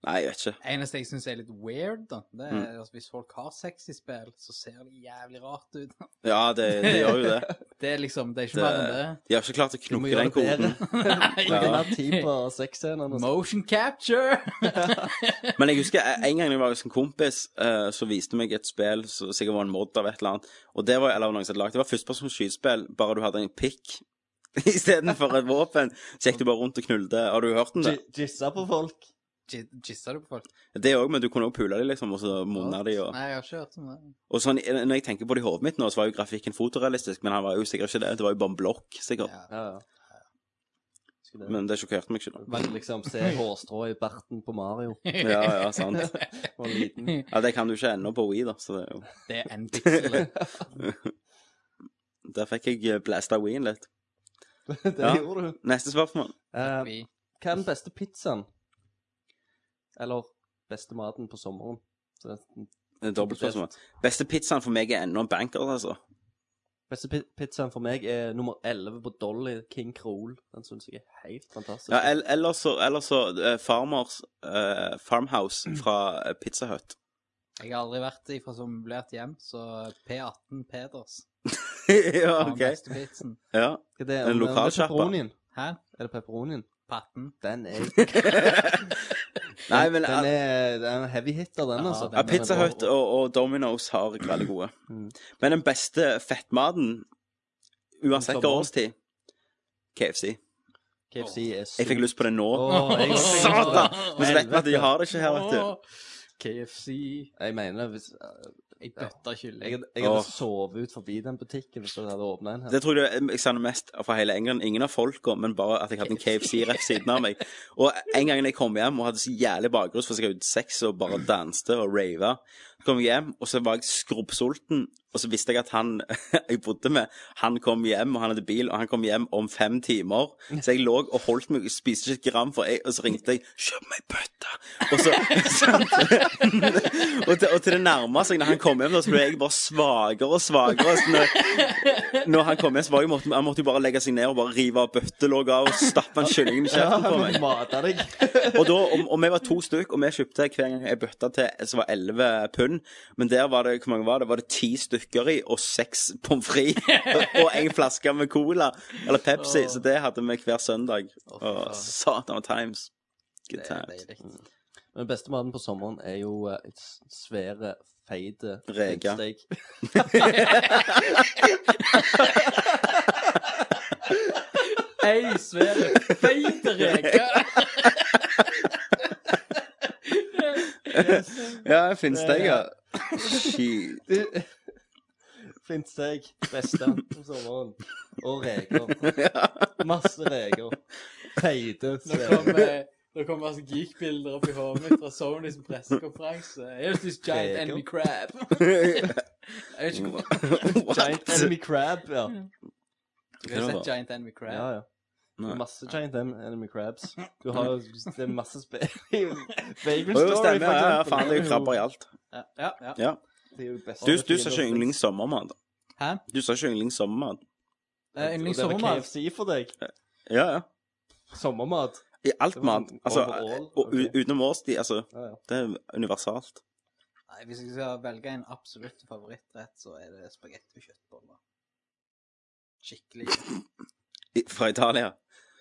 G: Nei, jeg vet ikke.
H: Eneste jeg syns er litt weird, da, det er
G: Mm.
H: altså, hvis folk har sex i spill, så ser det jævlig rart ut.
G: Ja, det, det gjør jo det.
H: Det er liksom Det er ikke
G: Det-
H: mer enn det.
G: eh, De har ikke klart å
I: Du må
G: knukke
I: gjøre
G: den
I: det bedre.
G: koden.
H: Nei.
I: Bruke mer tid på sexscenene. og sånn.
H: Motion capture!
G: Men jeg husker eh, en gang jeg var hos en kompis, eh, så viste meg et spill som sikkert var en mod av et eller annet. Og det var, eller noen som hadde lagt, det var førstepersons skytespill, bare du hadde en pikk istedenfor et våpen. Så gikk du bare rundt og knullte. Har du hørt om det?
I: Gi- Gissa på folk.
H: Jizza du på folk?
G: Det òg, men du kunne òg pule dem, liksom, og så munne de og
H: Nei, jeg har ikke hørt om det.
G: Og sånn, når jeg tenker på det i hodet mitt nå, så var jo grafikken fotorealistisk, men han var jo sikkert ikke det. Det var jo bare en blokk, sikkert.
H: Ja.
I: Ja, ja. Skulle det-
G: Men det sjokkerte meg ikke. da.
I: Men liksom se hårstrå i barten på Mario.
G: Ja, ja, sant.
I: Og liten.
G: Ja, det kan du ikke ennå på Wii, da, så det er jo
H: Det er en pixel.
G: Der fikk jeg eh, blasta Wii-en litt.
I: Det
G: Ja.
I: gjorde du.
G: Neste spørsmål.
I: Eh,
H: Vi-
I: Hva er den beste pizzaen? Eller beste maten på sommeren? Så det er
G: Eh, Dobbeltspørsmål. Beste pizzaen for meg er ennå en banker, altså.
I: Beste pi- pizzaen for meg er nummer 11 på Dolly King Kroll. Den syns jeg er helt fantastisk.
G: Ja, el- ellers så, ellers så eh, Farmers eh,
I: Mm.
G: Farmhouse fra eh, Pizza Hut.
H: Jeg har aldri vært ifra som møblert hjem, så P18 Peders
G: ja,
H: har den
G: OK.
H: beste pizzen.
G: Ja.
I: Hva
G: en
I: det, om- om det er
G: lokalsjappa.
I: pepperonien?
H: Hæ?
I: Er det pepperonien?
H: Patten?
I: Den er
G: Nei, men
I: den er, den er heavy hitter, den,
H: Ja,
I: altså.
H: den
G: ja,
I: Den er
G: Pizza
I: bra.
G: Hut og, og Domino's har veldig gode.
I: Mm.
G: Men den beste fettmaten, uansett hva
I: Sommer.
G: årstid KFC.
I: KFC er
G: Jeg fikk lyst på det nå.
I: Åh, jeg også fikk lyst på det.
G: Satan! Men så vet vi at de har det ikke her, vet du.
H: KFC
I: Jeg mener hvis
H: Jeg bøtta kylling.
I: Jeg, jeg
G: Åh.
I: hadde sovet ut forbi den butikken hvis jeg hadde åpna en her.
G: Det tror jeg jeg savner mest fra hele England. Ingen av folka, men bare at jeg hadde en KFC rett ved siden av meg. Og en gang jeg kom hjem og hadde så jævlig bakgrunns, for så gikk jeg ut sex og bare danste og rava, så kom jeg hjem, og så var jeg skrubbsulten Og så visste jeg at han jeg bodde med, han kom hjem, og han hadde bil, og han kom hjem om fem timer. Så jeg lå og holdt meg, spiste ikke et gram, for jeg, og så ringte jeg 'Kjøp meg bøtte!' Og så sant? og, til, og til det nærmeste, når han kom hjem, da, så ble jeg bare svakere og svakere. Så når, når han kom hjem, så var jeg, måtte, han måtte jo bare legge seg ned og bare rive av bøttelogget av og stappe han kyllingen i kjeften på meg.
I: Mata deg.
G: Og, da, og, og vi var to stykk, og vi kjøpte hver gang ei bøtte til som var 11 pund. Men der var det hvor mange var det? Var det ti stykker i, og seks pommes frites. og- Og en flaske med cola, eller Pepsi. Så det hadde vi hver søndag. Og satan og times. Good times.
I: Men beste maten på sommeren er jo eh, et svære, feite
G: Reker.
I: ribsteak.
H: Ei svær feite reke.
G: Ja, finnsteik, ja. Shit.
I: Flintsteak, beste om sommeren. Og reker. Masse reker. Feite,
H: Nå
I: svære
H: kommer eh, det kom masse geek-bilder opp i hodet mitt fra Sony som pressekonferanse. Here's this giant
I: Reker.
H: enemy crab. Jeg vet ikke hvorfor
I: Giant
G: What?
I: enemy crab, ja.
H: jeg har sett giant enemy crab.
I: Ja, ja.
G: Nei.
I: Masse giant en- enemy crabs. Du har jo det er masse spe... Vagrant
G: Å, jo,
I: Story,
G: stemmer. Ja, ja, faen, det er
H: Eh,
G: jo krabber i alt.
H: Ja, ja, ja.
G: Ja.
I: Det er jo beste
G: Du, du sa
I: fiender.
G: ikke yndlings sommermat.
H: Hæ?
G: Du sa ikke yndlings sommermat.
H: Eh,
I: Og
H: Yndlings
I: Det var
H: sommermat.
I: KFC for deg.
G: Ja, ja.
I: Sommermat.
G: I alt
I: Det var
G: mat.
I: sånn
G: Altså,
I: overall,
G: og, u-
I: ok.
G: utenom årstid. Altså,
I: Ja, ja.
G: det er universalt.
H: Nei, Hvis jeg skal velge en absolutt favorittrett, så er det spagetti og kjøttboller. Skikkelig.
G: I- Fra Italia?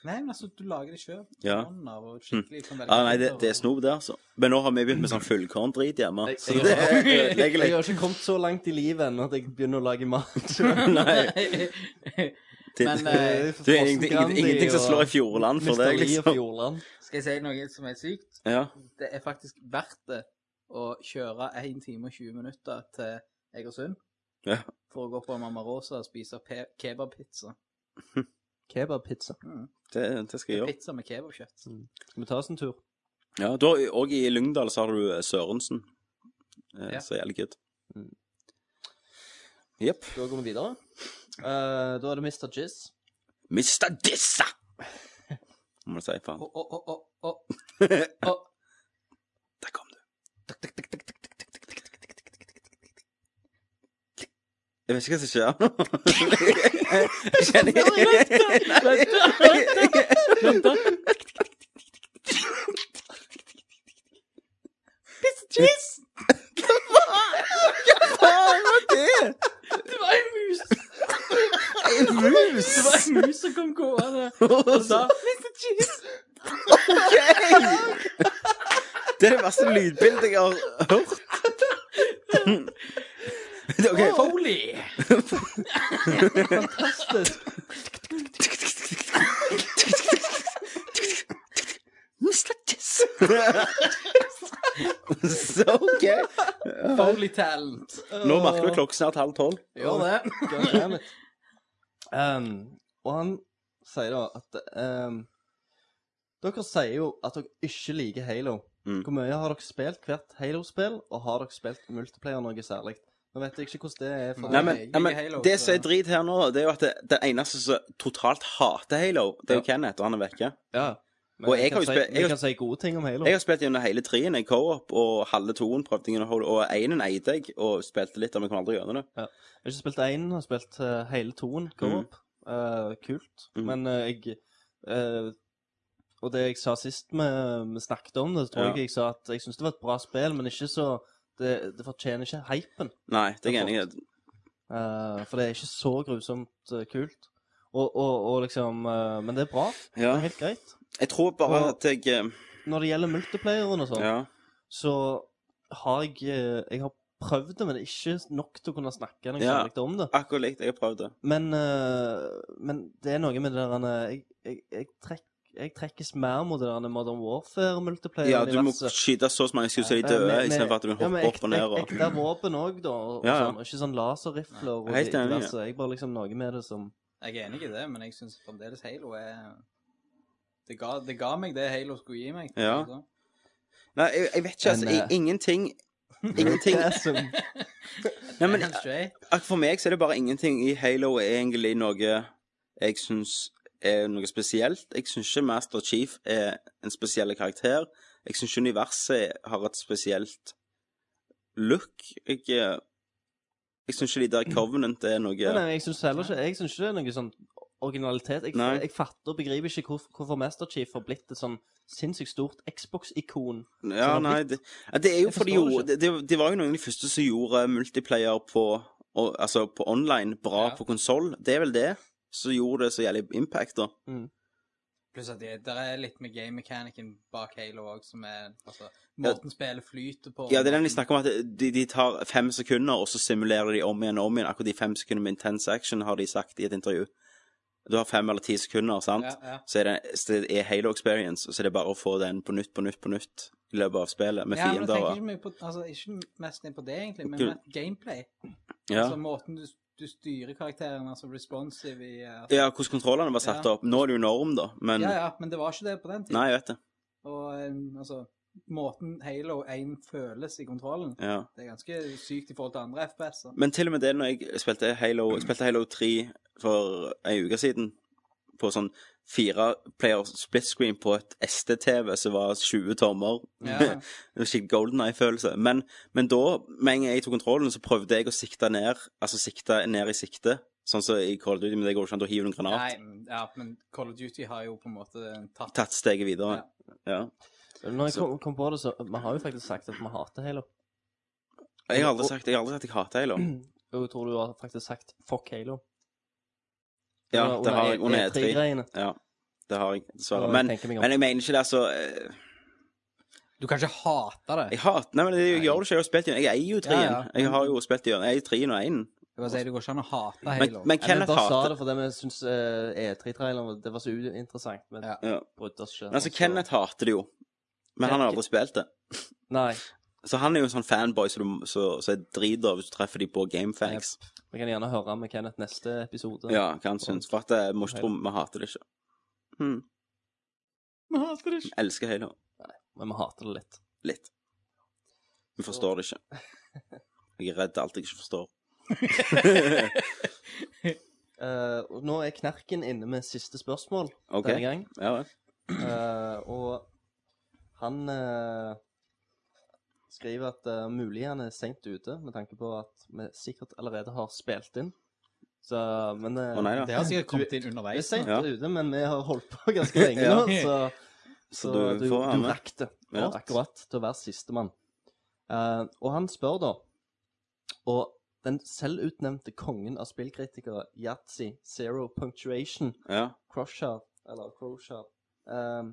H: Nei, men altså, du lager det sjøl.
G: Ja.
H: Av, og skikkelig, kan velge
G: Ah, nei, det,
H: kjøtt
G: det er
H: og-
G: snop, det, altså. Men nå har vi begynt med sånn fullkorndrit hjemme.
I: Jeg-
G: Så
I: jeg-
G: det er ødeleggelig.
I: Jeg har ikke kommet så langt i livet ennå at jeg begynner å lage mat. selv.
H: Nei.
G: Det-
H: Men eh,
G: Du er ingenting,
I: Frossen Grandi
G: ingenting som
I: og
G: slår i Fjordland for
I: Mr.
G: deg,
I: Lee og
G: liksom.
I: Fjordland.
H: skal jeg si noe som er sykt?
G: Ja.
H: Det er faktisk verdt det å kjøre 1 time og 20 minutter til Egersund
G: Ja.
H: for å gå på Mamma Rosa og spise pe- kebabpizza. Hm,
I: Kebabpizza.
G: Det, det skal jeg gjøre.
H: Pizza med kebabkjøtt.
I: Skal vi ta oss en tur?
G: Ja, du har, og i Lyngdal så har du eh, Sørensen. Eh,
H: Ja.
G: Så jævlig good.
I: Mm.
G: Jepp.
I: Da går vi videre. Eh, da er det Mr. Jizz.
G: Mr. Dissa! Må du si, faen.
H: Å, å, å, å, å.
G: Der kom du. Jeg vet ikke hva som skjer nå. Jeg Kjenner
H: Jizz!
G: Faen, hva er det?
H: Det var en mus!
G: En mus?
H: Det var en mus som kom gående og sa Mr. Jizz!
G: Ok! Det er det verste lydbildet jeg har hørt. Ok.
H: Foley!
I: Fantastisk.
G: Mr. Jess. Så ok.
H: Foley talent.
G: Nå merker du klokken snart halv tolv.
H: Gjør det.
I: God damn it. Ehm, og han sier da at ehm, Dere sier jo at dere ikke liker Halo.
G: Mm.
I: Hvor mye har dere spilt hvert Halo-spill, og har dere spilt multiplayer noe særlig? Nå vet jeg ikke hvordan det er
G: Nei,
I: for
H: Nei,
G: men,
H: jeg
G: nei, men
H: liker Halo,
G: Det
H: så-
G: som er drit her nå, det er jo at det, det eneste som totalt hater Halo, det er jo
I: Ja.
G: Kenneth, og han er vekke.
I: ja. Men
G: Og jeg har
I: jeg, kan
G: jo
I: si,
G: spilt- jeg
I: jeg
G: har-
I: kan si gode ting om Halo.
G: Jeg har spilt gjennom hele treen i co-op, og halve toen prøvde jeg å holde, og enen eide jeg, og spilte litt, men kom aldri gjennom det.
I: Jeg har ikke spilt én, jeg har spilt eh, hele toen. Co-op. Eh, kult.
G: Mm.
I: Men eh, jeg eh, Og det jeg sa sist vi vi snakket om det, så tror
G: Ja.
I: jeg jeg sa at jeg syns det var et bra spill, men ikke så Det, det fortjener ikke hypen.
G: Nei, det er jeg enig i.
I: Eh, for det er ikke så grusomt eh, kult. Og, og, og liksom eh, Men det er bra.
G: Ja.
I: Det er helt greit.
G: Jeg tror bare
I: Og-
G: at jeg eh,
I: Når det gjelder multiplayeren og sånn,
G: Ja.
I: så har jeg eh, Jeg har prøvd det, men det er ikke nok til å kunne snakke noe
G: Ja.
I: særlig om det.
G: Akkurat likt. Jeg har prøvd det.
I: Men, eh, men det er noe med det der han, eh, jeg, jeg, jeg, trekk, jeg trekkes mer mot det der Modern Warfare-multiplayer.
G: Ja, du må skyte så mange skudd så de
I: eh,
G: dør, istedenfor at du hopper opp og ned og
I: Ekte våpen òg, da. Og,
G: Ja, ja.
I: Sånn, og ikke sånn laserrifler og
G: Nei, helt
I: de-
G: enig, ja.
I: diverse. Jeg bare liksom noe med det som
H: Jeg er enig i det, men jeg syns fremdeles Halo er det ga, det ga meg det Halo skulle gi meg.
G: Ja.
H: altså.
G: Nei, jeg, jeg vet ikke, altså.
I: Men, eh,
G: i- Ingenting Ingenting
I: Det er som-
G: Nei, men
H: Helt straight.
G: ak- for meg så er det bare ingenting i Halo er egentlig noe jeg syns er noe spesielt. Jeg syns ikke Master Chief er en spesiell karakter. Jeg syns ikke universet har et spesielt look. Jeg, eh, jeg syns ikke de der Covenant er noe
I: Nei, nei, jeg syns heller ikke Jeg synes ikke det er noe sånn originalitet. Jeg,
G: Nei.
I: jeg fatter og begriper ikke hvorfor, hvorfor Master Chief har blitt et sånn sinnssykt stort Xbox-ikon.
G: Ja,
I: har
G: nei, det, ja, det er jo
I: Jeg
G: fordi
I: forstår
G: jo
I: det
G: det, det, det var jo noen av de første som gjorde multiplayer på og, Altså på online bra
H: Ja.
G: på konsoll. Det er vel det som gjorde det så jævlig impact, da.
H: Pluss at det der er litt med game mechanicen bak Halo òg, som er altså, Måten spillet flyter på.
G: Ja, det er den de snakker om, at de, de tar fem sekunder, og så simulerer de om igjen og om igjen. Akkurat de fem sekundene med intense action har de sagt i et intervju. Du har fem eller ti sekunder, sant?
H: Ja, ja.
G: Så er det, så det er Halo Experience, og så er det bare å få den på nytt, på nytt, på nytt i løpet av spillet, med
H: ja, men jeg
G: fiender
H: tenker
G: og
H: ikke, mye på, altså, ikke mest ned på det, egentlig, men
G: Kul.
H: mer gameplay.
G: ja.
H: Altså måten du, du styrer karakteren, altså responsive i eh, altså,
G: ja, hvordan kontrollene var satt
H: Ja.
G: opp. Nå er det jo norm, da, men
H: ja, ja, men det var ikke det på den tiden.
G: Nei, jeg vet det.
H: Og eh, altså Måten Halo 1 føles i kontrollen,
G: Ja.
H: det er ganske sykt i forhold til andre FPS-er.
G: Men til og med det når jeg spilte Halo, jeg spilte Halo 3 for en uke siden, på sånn fire player split screen på et SD-TV som var 20 tommer.
H: Ja.
G: Det var Skikkelig golden eye-følelse. Men, men da, med en gang jeg tok kontrollen, så prøvde jeg å sikte ned, altså sikte ned i sikte. Sånn som i Call of Duty, men det går ikke an å hive en granat.
H: Nei, men- ja, men Call of Duty har jo på en måte tatt
G: Tatt steget videre. Ja.
I: Når jeg
G: Så-
I: kom, kom på det, så Vi har jo faktisk sagt at vi hater Halo.
G: Jeg har aldri sagt, jeg har aldri sagt jeg hater Halo.
I: Og jeg tror du har faktisk sagt 'fuck Halo'.
G: Ja,
I: Under- E
G: det har jeg under E3.
I: E3-greiene.
G: Ja, det har jeg, dessverre.
I: Og jeg
G: Men,
I: tenker meg om.
G: men jeg mener ikke det, altså. eh,
H: Du kan ikke hate det.
G: Jeg hater Nei, men det
H: Nei.
G: gjør du ikke. Jeg har spilt i den. Jeg eier jo treen.
H: Ja, ja.
G: Jeg har jo spilt i den. Jeg eier treen og einen.
H: Jeg bare sier, Det går ikke an å hate
G: Men, men
H: Halo.
I: Ja, men
G: Kenneth
I: bare sa
G: hater
I: det fordi vi syntes eh, E3-traileren var- det var så uinteressant. Men
H: Ja.
G: ja.
I: brydde oss ikke.
G: Men Altså,
I: Og så-
G: Kenneth hater det jo. Men han har aldri spilt det.
I: Nei.
G: Så han er jo en sånn fanboy som du- så- så jeg driter av hvis du treffer de på Gamefangs.
I: Vi kan gjerne høre med Kenneth neste episode.
G: Ja, hva han syns. For at jeg må ikke tro vi hater det ikke. Hmm.
H: Vi hater det
G: Jeg elsker Halo.
I: Men vi hater det litt.
G: Litt. Vi forstår det ikke. Jeg er redd alt jeg ikke forstår.
I: Eh, og nå er Knerken inne med siste spørsmål
G: OK.
I: denne gang.
G: Ja, vel.
I: Eh, og han eh, skriver at eh, mulig han er sent ute, med tanke på at vi sikkert allerede har spilt inn. Så, men eh,
G: Å nei da.
H: Det har sikkert kommet inn
I: Vi er
H: underveis.
I: seint
G: Ja.
I: ute, men vi har holdt på ganske lenge
G: Ja.
I: nå, så,
G: Så du får være
I: du
G: med.
I: rakk det
G: Ja.
I: akkurat til å være sistemann. Eh, og han spør da Og den selvutnevnte kongen av spillkritikere, Yatzy Zero Punctuation
G: Ja.
I: Crusher, eller Crusher, eh,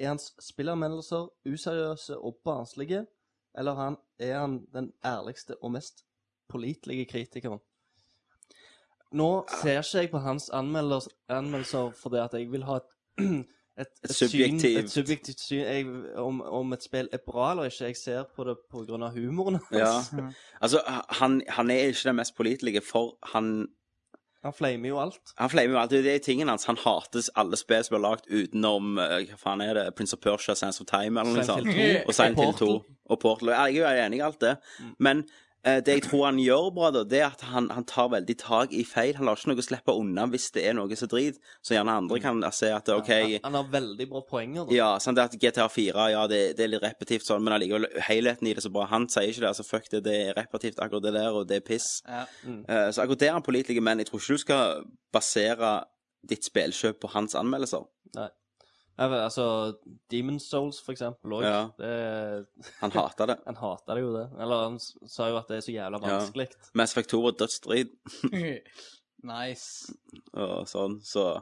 I: er hans spillermeldelser useriøse og barnslige, eller han, er han den ærligste og mest pålitelige kritikeren? Nå ser ikke jeg på hans anmelders, anmeldelser fordi at jeg vil ha et, et, et, Syn,
G: subjektivt-
I: et subjektivt syn jeg, om, om et spill er bra eller ikke. Jeg ser på det på grunn av humoren hans.
G: Ja.
I: Mm.
G: Altså, han, han er ikke den mest pålitelige, for han
I: Han flamer jo alt.
G: Han fleimer jo alltid. Det er tingen hans. Han hater alle spill som blir lagd utenom eh, Hva faen er det? Prince of Persia, Sands of Time eller noe sånt.
I: Silent Hill 2,
G: liksom Og Silent Hill 2.
I: Portal.
G: Og Portal. Ja, Jeg er jo enig i alt det.
I: Mm.
G: Men eh, det jeg tror han gjør bra, da, det er at han, han tar veldig tak i feil. Han lar ikke noe slippe unna hvis det er noe som drit. Så gjerne andre
I: Mm.
G: kan se at OK
I: Han, han har veldig bra poenger. Da.
G: ja, sant, det at GTA 4 ja, det, det er litt repetitivt, sånn, men allikevel helheten i det er så bra. Han sier ikke det. altså Fuck det, det er repetitivt, akkurat det der, og det er piss.
H: Ja.
I: Mm.
G: Eh, Så akkurat der er han pålitelig, men jeg tror ikke du skal basere ditt spillkjøp på hans anmeldelser.
I: Ja, vel, Altså, Demon's Souls, for eksempel, òg.
G: Ja.
I: Det
G: Han hater det.
I: Han hater det jo det. Eller han s- sa jo at det er så jævla
G: Ja.
I: vanskelig.
G: Mens Effect 2 var dødsdrit
H: nice.
G: og sånn, så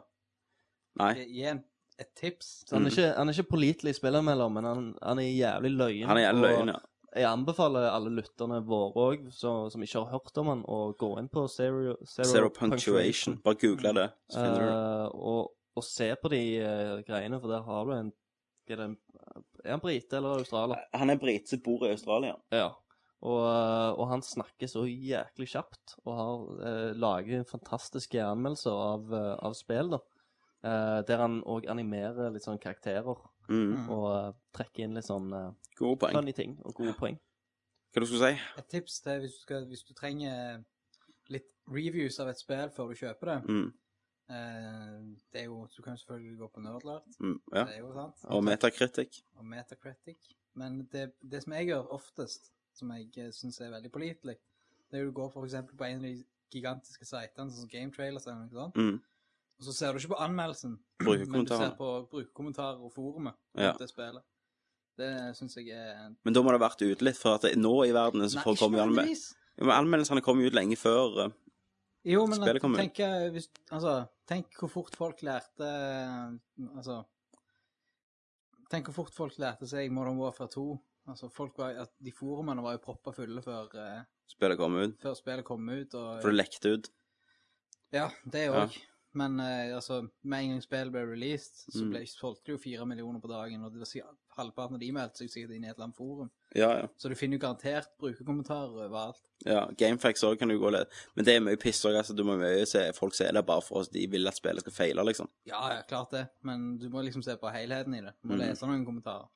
G: Nei.
H: Gi en, et tips.
I: Så han
G: Mm.
I: er ikke, han er ikke pålitelig spillermelder, men han, han er jævlig løyen.
G: Han er jævlig
I: og
G: løyen, ja.
I: Jeg anbefaler alle lytterne våre òg, som ikke har hørt om han, å gå inn på Zero, zero,
G: Zero punctuation. Bare google det, så finner du det.
I: Eh, og, og se på de eh, greiene, for der har du en Er, det en, er han brite eller australier?
G: Eh, Han er brite som bor i Australia.
I: Ja. Og, eh, og han snakker så jæklig kjapt, og har eh, laget fantastiske anmeldelser av, eh, av spill, da. Eh, der han òg animerer litt sånn karakterer,
G: Mm.
I: og eh, trekker inn litt sånn eh,
G: Gode poeng.
I: funny ting og gode poeng.
G: Hva du skulle si?
H: Et tips til hvis du, skal, hvis du trenger litt reviews av et spill før du kjøper det
G: Mm,
H: eh, Det er jo, Du kan jo selvfølgelig gå på Nerdlert,
G: mm, ja.
H: det er jo sant,
G: Og metakritikk.
H: og Metacritic. Men det, det som jeg gjør oftest, som jeg syns er veldig pålitelig, det er jo du går for eksempel på en av de gigantiske sitene, sånn som Game Trailers eller noe sånt,
G: Mm.
H: og så ser du ikke på anmeldelsen, men du ser
G: Brukerkommentarer.
H: på brukerkommentarer og forumet
G: Ja.
H: om det spillet. Det syns jeg er
G: Men da må det ha vært ute litt, for at det, nå i verden så folk kommer jo anmel
H: nødvendigvis.
G: Ja, men anmeldelsene kommer jo ut lenge før eh,
H: Jo, men
G: Spillet
H: at-
G: kommer jo.
H: tenk, eh, hvis, altså, tenk hvor fort folk lærte eh, Altså Tenk hvor fort folk lærte seg Modern Warfare 2. Altså, folk var, at de forumene var jo proppa fulle før, eh,
G: spillet kommer ut.
H: før spillet kom ut. Og,
G: For det lekte ut.
H: ja, det òg. Men eh, altså, med en gang spillet ble released, så
G: Mm.
H: ble, solgte det jo fire millioner på dagen, og det var, sikkert- halvparten av de meldte seg sikkert inn i et eller annet forum.
G: Ja, ja.
H: Så du finner jo garantert brukerkommentarer overalt.
G: ja. Gamefax òg kan du gå litt. Men det er mye piss òg, altså. Du må mye se folk ser det bare for oss. De vil at spillet skal feile, liksom.
H: Ja, ja, klart det. Men du må liksom se på helheten i det. Du må
G: Mm.
H: lese noen kommentarer.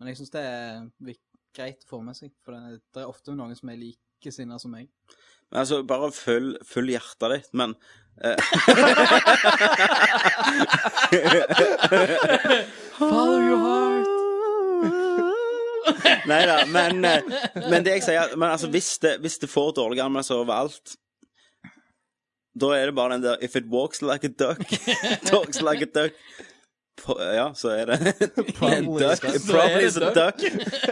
H: Men jeg syns det er vik- greit å få med seg, for det, det er ofte noen som er likesinna som meg.
G: Men altså, bare følg, følg hjertet ditt, men eh.
I: Follow your heart.
G: Nei da, men, eh, men det jeg sier er at- Men altså, hvis det, hvis det får dårlige anmeldelser overalt Da er det bare den der If it walks like a duck, talks like a duck på, Ja, så er det en
I: Probably
G: duck.
I: is a duck.
G: Probably is
I: Så
G: a
I: er det
G: duck.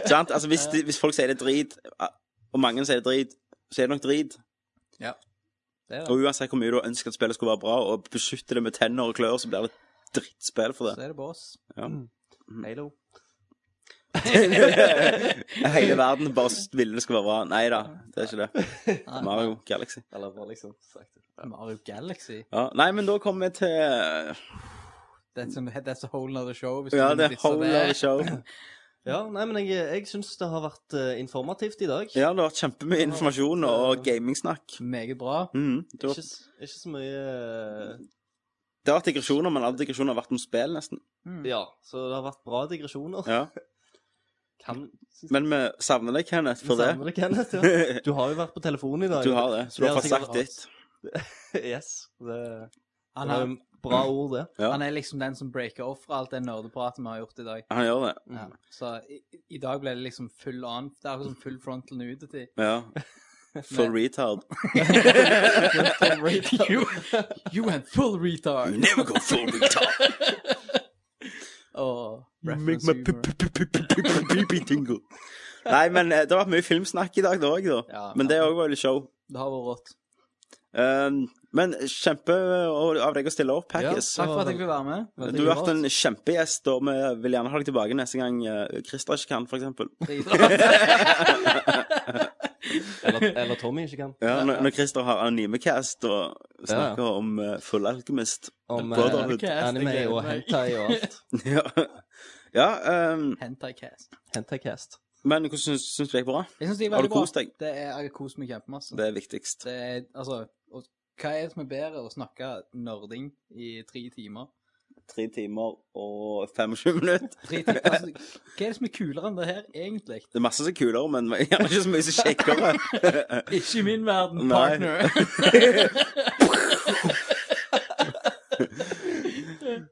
G: Sant? Altså, hvis, de, hvis folk sier det er drit, ah, og mange sier det er drit, så er det nok drit.
H: Det er det.
G: Og uansett hvor mye du ønsker at spillet skulle være bra, og beskytter det med tenner og klør, så blir det et drittspill for
H: Så
G: det.
H: er det bås.
G: Mm.
I: Halo.
G: Hele verden bare ville det skulle være bra. Nei da, det er ikke det. Mario Galaxy.
I: Eller bare liksom sagt det.
H: Mario Galaxy.
G: Ja, nei, men da kommer vi til
H: That's a, that's a whole nother show. Hvis
G: Ja,
H: du
G: det er
H: ditser
G: whole other show.
I: Ja, nei, men jeg, jeg syns det har vært eh, informativt i dag.
G: Ja, det har vært kjempemye informasjon og gamingsnakk.
H: Meget bra.
G: Mm, det, har,
I: Ikke, s- ikke så mye
G: det har vært digresjoner, men alle digresjoner har vært om spill, nesten.
H: Mm.
I: eh, Ja, så det har vært bra digresjoner.
G: Ja.
I: Kan, synes
G: Men vi savner deg, Kenneth, for det.
I: Savner det, Kenneth, ja.
G: Du
I: Du har jo vært på telefonen i dag.
G: har det, så du har
I: Det har
G: fått
I: sikkert
G: sagt ditt.
I: Yes. Det,
H: Han
I: det var
H: er,
I: jo bra ord, det.
G: Ja.
H: han er liksom den som breaker off for alt det nerdepratet vi har gjort i dag.
G: Han gjør det.
H: Ja. Så i, i dag ble det liksom full on. Det er akkurat som full frontal nudity.
G: Ja. For
H: Men-
G: retard.
H: you, you went full retard.
G: Never go for retard.
H: Oh,
G: Make my pee-pee-pee-pee-pee-pee tingle. Nei, men eh, det har vært mye filmsnakk i dag, det òg, da.
H: Ja.
G: Men det òg var jo litt show.
H: Det har vært rått.
G: Um, men kjempe av deg å stille opp, Packis.
H: Takk for at jeg fikk være med.
G: Du har vært en kjempegjest, og vi vil gjerne ha deg tilbake neste gang eh, Christer ikke kan, for eksempel.
I: Eller, eller Tommy ikke kan.
G: Ja, når, når Christer har anonyme cast og snakker om uh, Full Alchemist.
I: Om eh,
G: Brotherhood.
I: anime og hentai og alt.
G: ja, ja um,
H: Hentai-cast.
I: Hentai-cast.
G: men hvordan syns, syns du det gikk bra?
H: Jeg synes det er
G: Har du
H: veldig bra.
G: kost deg?
H: Det er, jeg har kost meg kjempemasse.
G: Det er viktigst.
H: Det er, altså, og, hva er det som er bedre å snakke nerding i tre timer?
G: Tre timer og 25 minutter.
H: Tre timer, altså, hva er det som er kulere enn det her, egentlig?
G: Det er masse som er kulere, men gjerne ikke så mye som kjekkere.
H: Ikke i min verden,
G: Nei.
H: partner.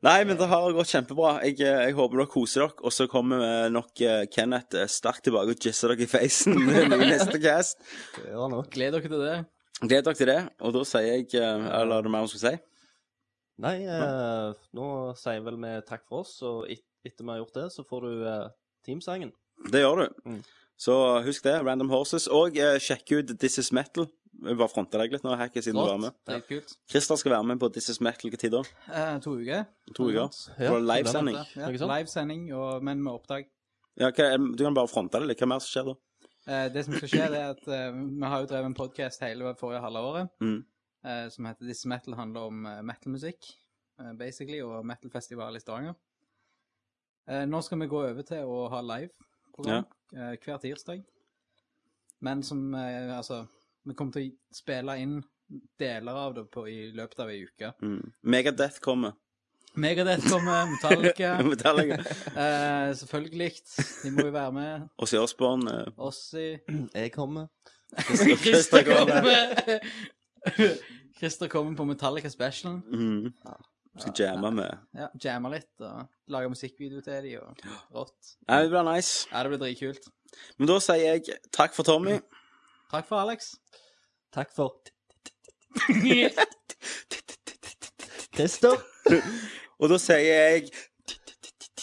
G: Nei, men det har gått kjempebra. Jeg, eh, jeg håper dere koser dere. Og så kommer eh, nok eh, Kenneth eh, sterkt tilbake og jizzer dere i facen i neste cast.
I: Det gjør han også.
H: Gleder dere til det.
G: Gled dere til det. Og da sier jeg eh, Eller er det mer vi skal si?
I: Nei, eh, nå sier vel vi takk for oss, og et, etter vi har gjort det, så får du eh, teamsangen.
G: Det gjør du.
I: Mm.
G: Så eh, husk det. Random Horses. Og eh, sjekk ut This Is Metal. Jeg bare fronta deg litt nå, Hacky, siden du var
H: Flott.
G: med.
H: Det er kult.
G: Christer skal være med på This Is Metal hva tid da?
H: Eh, to uker.
G: To uker?
I: Ja,
G: På livesending?
H: Ja,
I: Noe sånt?
H: Livesending, og- men med opptak.
G: Ja, hva, eh, du kan bare fronte det litt. Hva mer som skjer da?
H: Eh, det som skal skje, det er at eh, vi har jo drevet en podkast hele forrige halve året
G: Mm.
H: eh, som heter This Metal handler om eh, metalmusikk, eh, basically, og metalfestival i Stavanger. Eh, nå skal vi gå over til å ha live-program eh, hver tirsdag. Men som eh, Altså, vi kommer til å spille inn deler av det på, i løpet av ei uke.
G: Mm. Megadeth kommer.
H: Megadeth kommer, Metallica
G: Metallica.
H: eh, Selvfølgelig. De må jo være med.
G: Og Sørspåren eh,
H: Ossi
I: Jeg kommer.
H: Christer kommer. Christer kommer på Metallica Special.
G: mm, skal jamme med
H: Ja, Jammer litt og lager musikkvideo til de og rått.
G: Nei, det blir nice.
H: Ja, det blir dritkult.
G: Men da sier jeg takk for Tommy.
H: Takk for Alex.
I: Takk for Christer.
G: Og da sier jeg